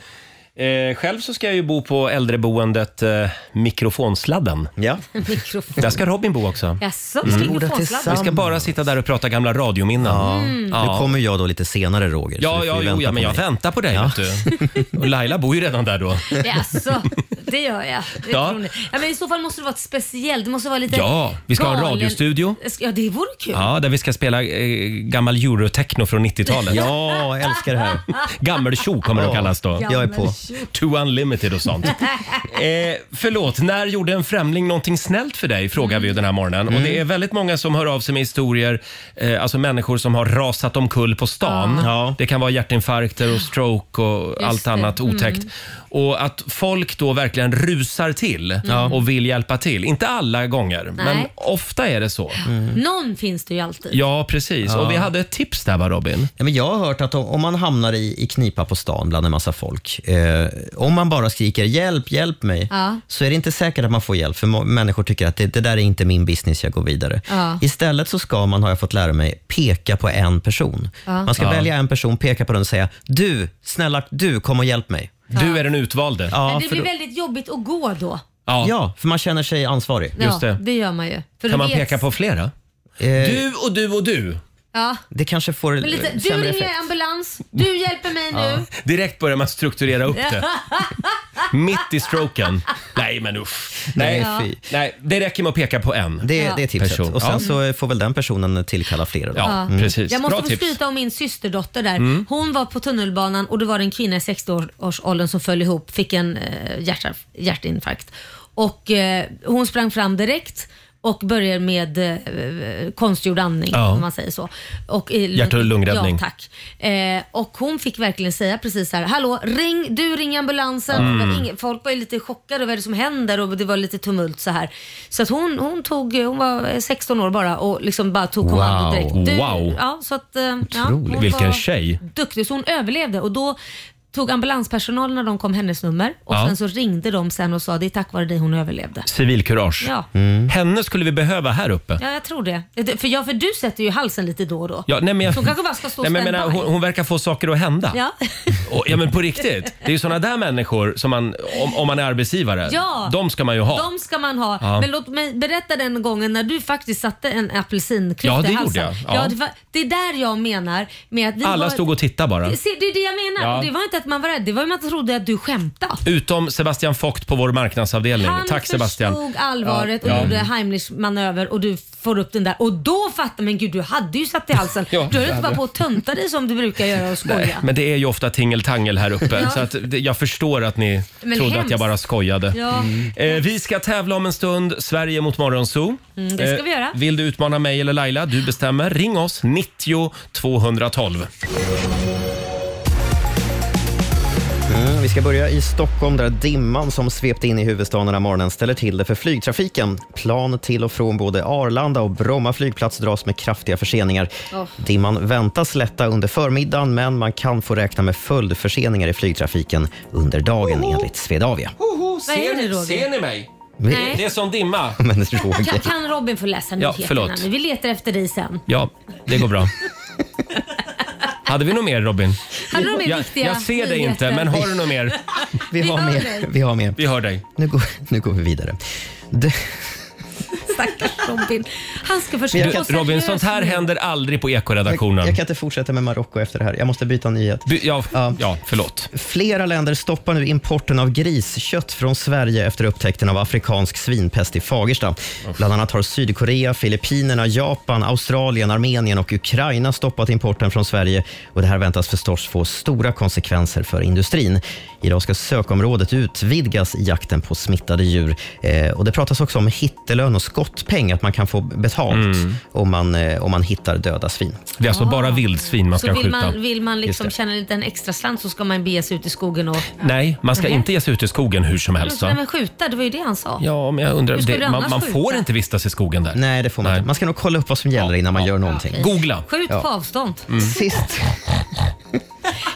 A: Eh, själv så ska jag ju bo på äldreboendet eh, Mikrofonsladden. Ja.
B: Mikrofon.
A: Där ska Robin bo också.
B: Jaså, vi ska
A: Mm.
B: in i
A: Vi
B: tillsammans.
A: ska bara sitta där och prata gamla radiominnen. Ja.
B: Mm.
C: Nu kommer jag då lite senare, Roger. så du
A: Ja,
C: får ju
A: ja, jo,
C: vänta
A: ja,
C: på
A: men jag
C: mig.
A: väntar på dig. Vet du. Och Laila bor ju redan där då.
B: Jaså, alltså, det gör jag. Det
A: Ja.
B: ja. Ja, men I så fall måste det vara ett speciellt. Det måste vara lite
A: Ja, vi ska ha en
B: galen-
A: radiostudio.
B: Ja, det vore kul.
A: Ja, där vi ska spela eh, gammal eurotechno från 90-talet.
B: Ja,
A: jag älskar det här. Gammeltjo kommer det att
C: Ja,
A: kallas då.
C: jag är på.
A: Too unlimited och sånt. Eh, förlåt, när gjorde en främling någonting snällt för dig? Frågar vi ju den här morgonen. Och det är väldigt många som hör av sig med historier, eh, alltså människor som har rasat omkull på stan. Det kan vara hjärtinfarkter och stroke och allt
E: det.
A: annat otäckt.
E: Mm.
A: Och att folk då verkligen rusar till
B: Mm.
A: och vill hjälpa till. Inte alla gånger, men
B: Nej.
A: ofta är det så.
B: Någon finns det ju alltid.
A: Ja, precis.
C: Ja.
A: Och vi hade ett tips där va, Robin?
C: Ja, men jag har hört att om, om man hamnar i, i knipa på stan bland en massa folk, eh, om man bara skriker “hjälp, hjälp mig”
B: Ja.
C: så är det inte säkert att man får hjälp, för må- människor tycker att det, det där är inte min business, jag går vidare.
G: Ja.
C: Istället så ska man, har jag fått lära mig, peka på en person.
G: Ja.
C: Man ska
G: Ja.
C: välja en person, peka på den och säga “du, snälla du, kom och hjälp mig”.
A: Du är den utvalde.
C: Ja,
B: men
C: för
B: det
C: då,
B: blir väldigt jobbigt att gå då.
A: Ja.
C: för man känner sig ansvarig.
B: Ja, det. gör man ju. För du vet-
C: på flera?
A: Du och du och du.
B: Ja.
C: Eh, Det kanske får
B: Men lite, du ringer ambulans, du hjälper mig nu.
A: Direkt börjar man strukturera upp det. Mitt i stroken. Nej men usch. Nej,
B: Nej, fy.
A: Nej, det räcker med att peka på en.
C: Det,
B: Ja.
C: det är tipset.
A: Person.
C: Och sen
A: Ja.
C: så får väl den personen tillkalla flera. Då.
B: Ja.
C: Mm.
B: Jag måste få skryta om min systerdotter där.
C: Mm.
B: Hon var på tunnelbanan och det var en kvinna i 60-årsåldern som föll ihop, fick en eh, hjärta, hjärtinfarkt. Och eh, hon sprang fram direkt och började med eh, konstgjord andning
A: Ja.
B: om man säger så. Och i,
A: Hjärt- och lungräddning.
B: Ja, tack. Eh, och hon fick verkligen säga precis så här, hallå ring, du ring ambulansen.
A: Mm.
B: Det var ingen- Folk var ju lite chockade, vad är det som händer? Och det var lite tumult så här. Så att hon, hon tog, hon var 16 år bara och liksom bara tog kommandot
A: Wow.
B: direkt.
A: Wow.
B: Ja, så att, eh, ja,
A: Otroligt.
B: hon
A: Vilken
B: var
A: tjej.
B: Duktig, så hon överlevde och då tog ambulanspersonal när de kom hennes nummer och
A: Ja.
B: sen så ringde de sen och sa det är tack vare dig hon överlevde.
A: Civilkurage.
B: Ja.
A: Henne skulle vi behöva här uppe.
B: Ja, jag tror det. Eh, det. För, ja, för du sätter ju halsen lite då och då.
A: Ja, nej, men jag,
B: Så hon kanske bara ska stå
A: nej, men jag
B: standby.
A: menar, hon, hon verkar få saker att hända.
B: Ja.
A: Och, ja men på riktigt. Det är ju sådana där människor som man, om, om man är arbetsgivare,
B: Ja,
A: de ska man ju ha.
B: De ska man ha.
A: Ja.
B: Men låt mig berätta den gången när du faktiskt satte en apelsinklyfta
A: Ja, det
B: i
A: gjorde
B: halsen.
A: jag. Ja.
B: Ja. det, var, det är där jag menar med att vi
A: Alla
B: var,
A: stod och tittade bara.
B: Det, se, det är det jag menar.
A: Ja.
B: Och det var inte att man var rädd, det var ju att man trodde att du skämtade.
A: Utom Sebastian Focht på vår marknadsavdelning.
B: Han
A: Tack Sebastian.
B: förstod allvaret
A: Ja,
B: och
A: ja. Mm.
B: gjorde Heimlichs manöver och du får upp den där och då fattar man gud du hade ju satt i halsen.
A: Ja,
B: du höll
A: det
B: inte bara
A: hade.
B: på och tönta dig som du brukar göra och skoja.
A: Nej, men det är ju ofta tingeltangel här uppe
B: Ja.
A: så att det, jag förstår att ni
B: Men
A: trodde att
B: hemskt.
A: jag bara skojade.
B: Ja. Mm.
A: Eh, vi ska tävla om en stund. Sverige mot Morgonzoo. Eh,
B: Mm, det ska vi göra.
A: Vill du utmana mig eller Laila? Du bestämmer. Ring oss 90 212.
C: Mm, vi ska börja i Stockholm där dimman som svepte in i huvudstaden den här morgonen ställer till det för flygtrafiken. Plan till och från både Arlanda och Bromma flygplats dras med kraftiga förseningar.
G: Åh.
B: Oh.
C: Dimman väntas lätta under förmiddagen men man kan få räkna med följdförseningar i flygtrafiken under dagen enligt Swedavia.
B: är det, Roger?
A: ser ni mig?
B: Nej.
A: Det är som dimma.
C: Men
B: Kan,
C: Roger.
B: kan Robin få läsa
A: Ja,
B: nyheterna
A: förlåt.
B: nu? Vi letar efter dig sen.
A: Ja, det går bra. Hade vi något mer Robin?
B: Hade du några mer
A: jag,
B: viktiga
A: jag ser dig
B: nyheter?
A: inte, men har du något mer?
C: Vi har
B: hör
C: mer.
B: dig.
C: Vi har mer.
A: Vi hör dig.
C: Nu går, nu går vi vidare. Det-
B: Stackars Robin. Han ska
C: Men
B: försöka
C: jag kan-
B: vara
A: Robin,
B: seriös
A: sånt här
B: nu.
A: händer aldrig på ekoredaktionen.
C: Jag kan inte fortsätta med Marocko efter det här. Jag måste byta nyhet.
A: ja, ja, förlåt.
C: Flera länder stoppar nu importen av griskött från Sverige efter upptäckten av afrikansk svinpest i Fagersta. Bland annat har Sydkorea, Filippinerna, Japan, Australien, Armenien och Ukraina stoppat importen från Sverige. Och det här väntas förstås få stora konsekvenser för industrin. Idag ska sökområdet utvidgas i jakten på smittade djur. Eh, och det pratas också om hittelön och skottpeng, att man kan få betalt om, man, eh, om man hittar döda svin.
A: Det är alltså bara vildsvin man ska
B: så vill
A: skjuta.
B: man, vill man
A: Just
B: liksom
A: det. Alltså.
B: tjäna en liten extra slant så ska man bege sig ut i skogen och...
A: Nej, man ska
B: Nej.
A: inte ge sig ut i skogen hur som helst.
B: Nej,
A: Va?
B: men skjuta, det var ju det han sa.
A: Ja, men jag undrar.
B: Hur skulle
A: Det,
B: du
A: man,
B: annars
A: man
B: skjuta?
A: får inte vistas i skogen där.
C: Nej, det får man inte. Man ska nog kolla upp vad som gäller innan man gör någonting.
A: Googla.
B: Skjut på avstånd.
C: Sist.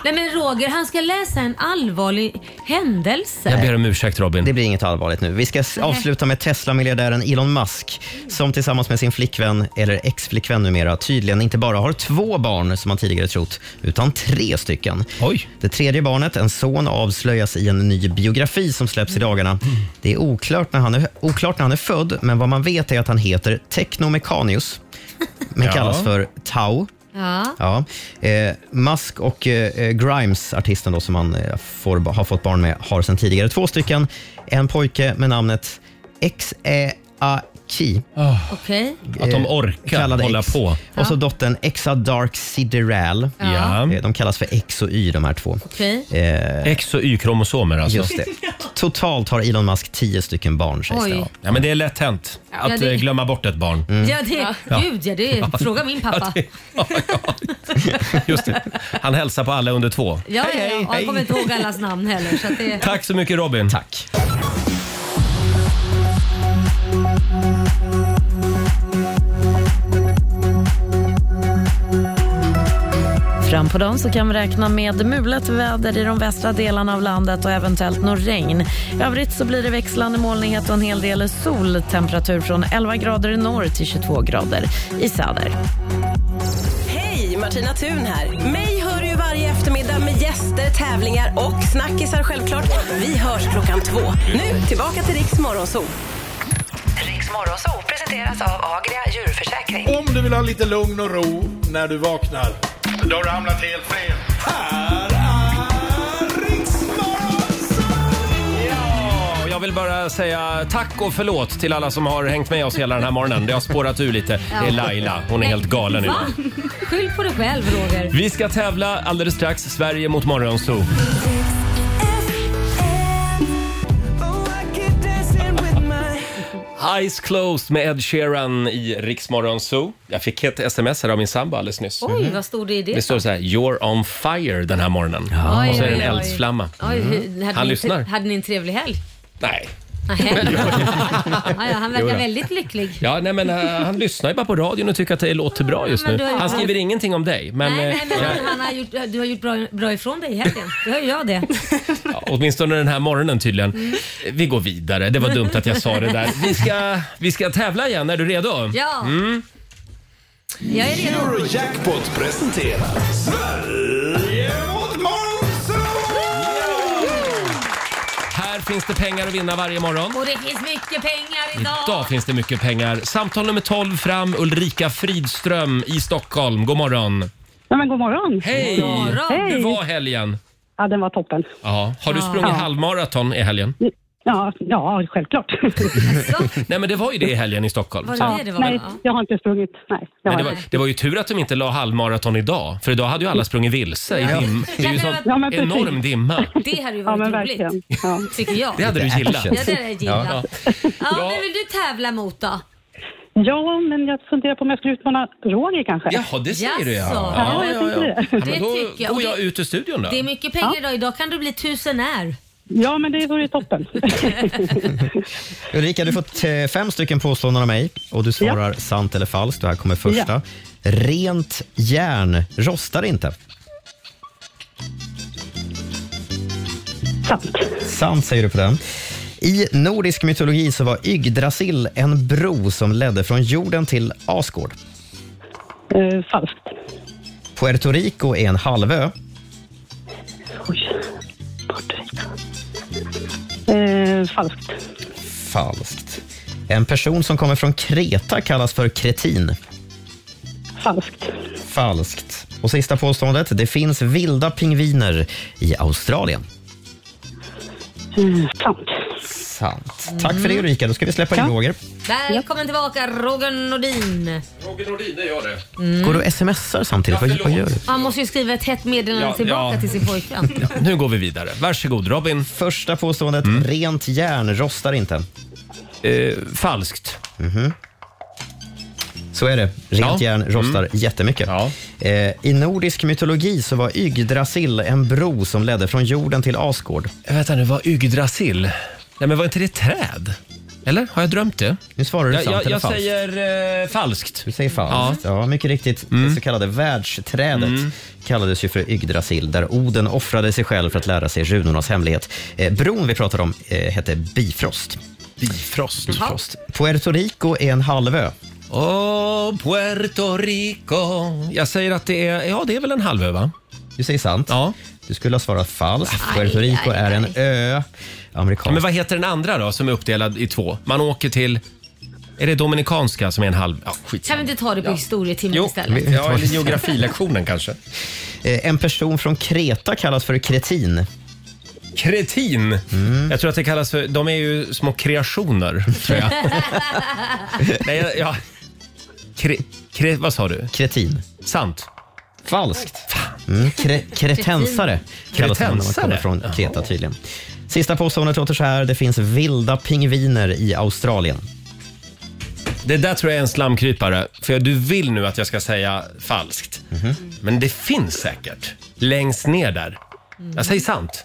B: Nej men Roger, han ska läsa en allvarlig händelse.
A: om ursäkt Robin.
C: Det blir inget allvarligt nu. Vi ska s-
B: Nej.
C: avsluta med Tesla-miljardären Elon Musk som tillsammans med sin flickvän, eller ex-flickvän numera, tydligen inte bara har två barn som man tidigare trott, utan tre stycken.
A: Oj.
C: Det tredje barnet, en son, avslöjas i en ny biografi som släpps i dagarna. Det är oklart när han är, oklart när han är född, men vad man vet är att han heter Technomechanius, men
G: Ja.
C: kallas för Tau.
B: Ja.
C: Ja. Eh, Musk och eh, eh, Grimes, artisten då som han eh, får, har fått barn med, har sedan tidigare två stycken. En pojke med namnet E Xeaki.
B: Okej.
A: Att de orkar hålla på.
C: Och så dottern Exa Dark Sideral.
A: Ja.
C: Eh, De kallas för X och Y de här två. Eh,
B: Okej.
A: X och Y-kromosomer alltså.
C: Just det. Totalt har Elon Musk tio stycken barn sägs det.
B: Oj.
C: vara.
A: Ja, men det är lätt hänt
B: att, Ja, det- eh,
A: glömma bort ett barn.
B: Ja, det,
A: Mm. Ja.
B: Gud ja, det,
A: Ja.
B: fråga min pappa.
A: Just det. Han hälsar på alla under två.
B: Ja, ja, ja. Och jag kommer inte ihåg allas namn heller. Så att det,
A: Tack så mycket Robin.
C: Tack.
M: Fram på dagen så kan vi räkna med mulet väder i de västra delarna av landet och eventuellt något regn. I övrigt så blir det växlande molnighet och en hel del sol. Temperatur från 11 grader i norr till 22 grader i söder.
N: Hej, Martina Thun här. Mig hör du ju varje varje eftermiddag med gäster, tävlingar och snackisar självklart. Vi hörs klockan två. Nu tillbaka till Riks Morgonzoo.
O: Riks Morgonzoo presenteras av Agria djurförsäkring.
I: Om du vill ha lite lugn och ro när du vaknar, då har du hamnat helt fel. Här
A: Ja, Jag vill bara säga tack och förlåt till alla som har hängt med oss hela den här morgonen. Det har spårat ur lite. Det är Laila. Hon är helt galen nu.
B: Va? Skyll på dig själv Roger.
A: Vi ska tävla alldeles strax. Sverige mot Morgonzoo. Eyes closed med Ed Sheeran i Rix Morgonzoo. Jag fick ett sms här av min sambo alldeles nyss.
B: Oj, vad stod det i det?
A: Det står
B: då?
A: så här, “You're on fire” den här morgonen.
B: Oj,
A: Och så är det
B: oj,
A: en
B: oj.
A: eldsflamma.
B: Oj, hur- hade
A: Mm. Han
B: ni,
A: lyssnar.
B: Hade ni en trevlig helg?
A: Nej.
B: Nähä. ja, ja, han verkar
A: Jo då.
B: väldigt lycklig.
A: Ja, nej, men, eh, han lyssnar ju bara på radion och tycker att det låter bra just
B: Ja, men
A: nu.
B: du har ju
A: Han
B: bra-
A: skriver ingenting om dig, men,
B: nej,
A: eh,
B: nej, men han, han har gjort, du har gjort bra, bra ifrån dig i helgen. Det har ju jag det.
A: ja, åtminstone den här morgonen tydligen.
B: Mm.
A: Vi går vidare. Det var dumt att jag sa det där. Vi ska, vi ska tävla igen. Är du redo?
B: Ja.
A: Mm.
B: Jag är redo.
I: Eurojackpot presenterar Sverige mot
A: Här finns det pengar att vinna varje morgon.
B: Och det finns mycket pengar idag.
A: Idag finns det mycket pengar. Samtal nummer 12 fram, Ulrika Fridström i Stockholm. God morgon.
P: Nej, men god morgon.
A: Hej! Hur var helgen?
P: Ja, den var toppen.
A: Ja. Har du
P: Ja.
A: sprungit
P: Ja.
A: halvmaraton i helgen?
P: Ja, ja självklart.
A: Nej, men det var ju det i helgen i Stockholm.
P: ja, Nej,
B: ja.
P: jag har inte sprungit. Nej, jag
A: Men
P: har
A: det, var,
P: inte.
A: det var ju tur att de inte la halvmaraton idag, för då hade ju alla sprungit vilse i
P: Ja.
A: dim. Det är ju
P: Ja,
A: sån
P: men det var- Ja, men precis.
A: enorm dimma.
B: Det hade ju
P: Ja, men
B: varit
P: verkligen.
B: roligt. Tycker jag.
A: Det hade du gillat.
B: Ja, det hade jag gillat. Ja,
A: Ja.
B: vem vill du tävla mot då?
P: Ja, men jag funderar på om jag skulle utmana Roger kanske.
A: Jaha, det säger du ja.
B: Jaså?
A: Ja, ja, ja. ja.
B: Det
A: men då
B: tycker jag. Och
A: går
B: det-
A: jag ut ur studion då.
B: Det är mycket pengar idag. Idag kan du bli tusenär.
P: Ja, men det vore ju toppen.
C: Ulrika, du får t- fem stycken påståenden av mig och du svarar sant eller falskt. Och här kommer första. Rent järn rostar inte.
P: Sant.
C: Sant säger du på den. I nordisk mytologi så var Yggdrasil en bro som ledde från jorden till Asgård.
P: Eh, falskt.
C: Puerto Rico är en halvö.
P: Eh, falskt.
C: Falskt. En person som kommer från Kreta kallas för kretin.
P: Falskt.
C: Falskt. Och sista påståendet. Det finns vilda pingviner i Australien.
P: Eh, sant.
C: Sant. Tack för det Ulrika. Då ska vi släppa in Roger.
B: Välkommen tillbaka Roger Nordin.
A: Roger Nordin, det gör det.
C: Går du och smsar samtidigt? Vad- Vad gör du?
B: Han måste ju skriva ett hett meddelande
C: Ja,
B: tillbaka
C: ja.
B: till sin pojkvän.
A: Nu går vi vidare. Varsågod Robin.
C: Första påståendet. Rent järn rostar inte.
A: falskt.
C: Så är det. Rent
A: Ja. Mm.
C: järn rostar jättemycket. Eh, I nordisk mytologi så var Yggdrasil en bro som ledde från jorden till Asgård.
A: Vänta nu, var Yggdrasil? Nej, men var inte det ett träd? Eller? Har jag drömt det?
C: Nu svarar du
A: jag,
C: sant
A: jag,
C: eller
A: jag
C: falskt.
A: säger eh, falskt.
C: Du säger falskt. Ja. mycket riktigt.
A: Mm.
C: Det så kallade världsträdet kallades ju för Yggdrasil, där Oden offrade sig själv för att lära sig runornas hemlighet. Eh, bron vi pratade om eh, hette Bifrost.
A: Bifrost.
C: Bifrost. Puerto Rico är en halvö.
A: Åh, Puerto Rico. Jag säger att det är, ja det är väl en halvö va?
C: Du säger sant.
A: Ja.
C: Du skulle ha svarat falskt.
A: Aj,
C: Puerto Rico
A: aj,
C: är en
A: aj.
C: ö. Amerikansk.
A: Men vad heter den andra då som är uppdelad i två? Man åker till, är det Dominikanska som är en halv, ja skit.
B: Kan vi inte ta det på historietimmen
A: Jo,
B: istället?
A: ja, eller geografilektionen kanske.
C: Eh, En person från Kreta kallas för kretin.
A: Kretin?
B: Mm.
A: Jag tror att det kallas för, de är ju små kreationer tror jag. Nej, jag- ja. Kre, kre, vad sa du?
C: Kretin.
A: Sant.
C: Falskt. Mm. Kre, kretensare kallas det när man
A: Kretensare?
C: kommer från Kreta tydligen. Sista påståendet låter så här. Det finns vilda pingviner i Australien.
A: Det där tror jag är en slamkrypare. För du vill nu att jag ska säga falskt.
B: Mhm.
A: Men det finns säkert. Längst ner där. Jag säger sant.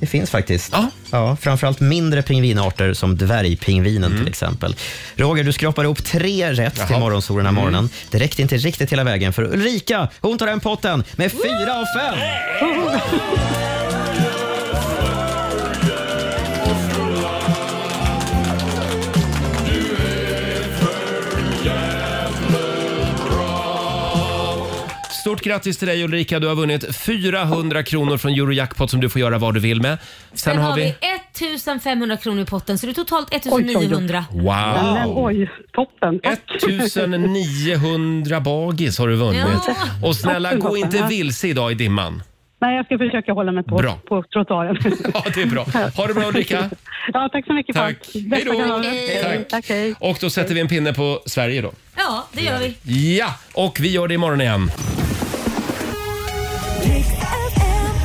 C: Det finns faktiskt. Ja. framförallt mindre pingvinarter som dvärgpingvinen till exempel. Roger, du skrapar ihop tre rätt till morgonsol den här morgonen. Det räckte inte riktigt hela vägen för Ulrika, hon tar hem potten med fyra av fem.
A: Stort grattis till dig Ulrika, du har vunnit 400 kronor från Eurojackpot som du får göra vad du vill med.
B: Sen har vi 1500 kronor i potten så det är totalt 1900.
A: Wow!
P: oj, toppen.
A: 1900 bagis har du vunnit.
P: Ja.
A: Och snälla, gå inte
P: Ja.
A: vilse idag i dimman.
P: Nej, jag ska försöka hålla mig på,
A: Bra.
P: på trottoaren.
A: Ja, det är bra. Ha det bra Ulrika.
P: ja, tack så mycket.
A: Tack. Hej då.
P: Hej.
A: Tack.
P: Tack, hej.
A: Och då sätter vi en pinne på Sverige då.
B: Ja, det gör vi.
A: Ja, och vi gör det imorgon igen.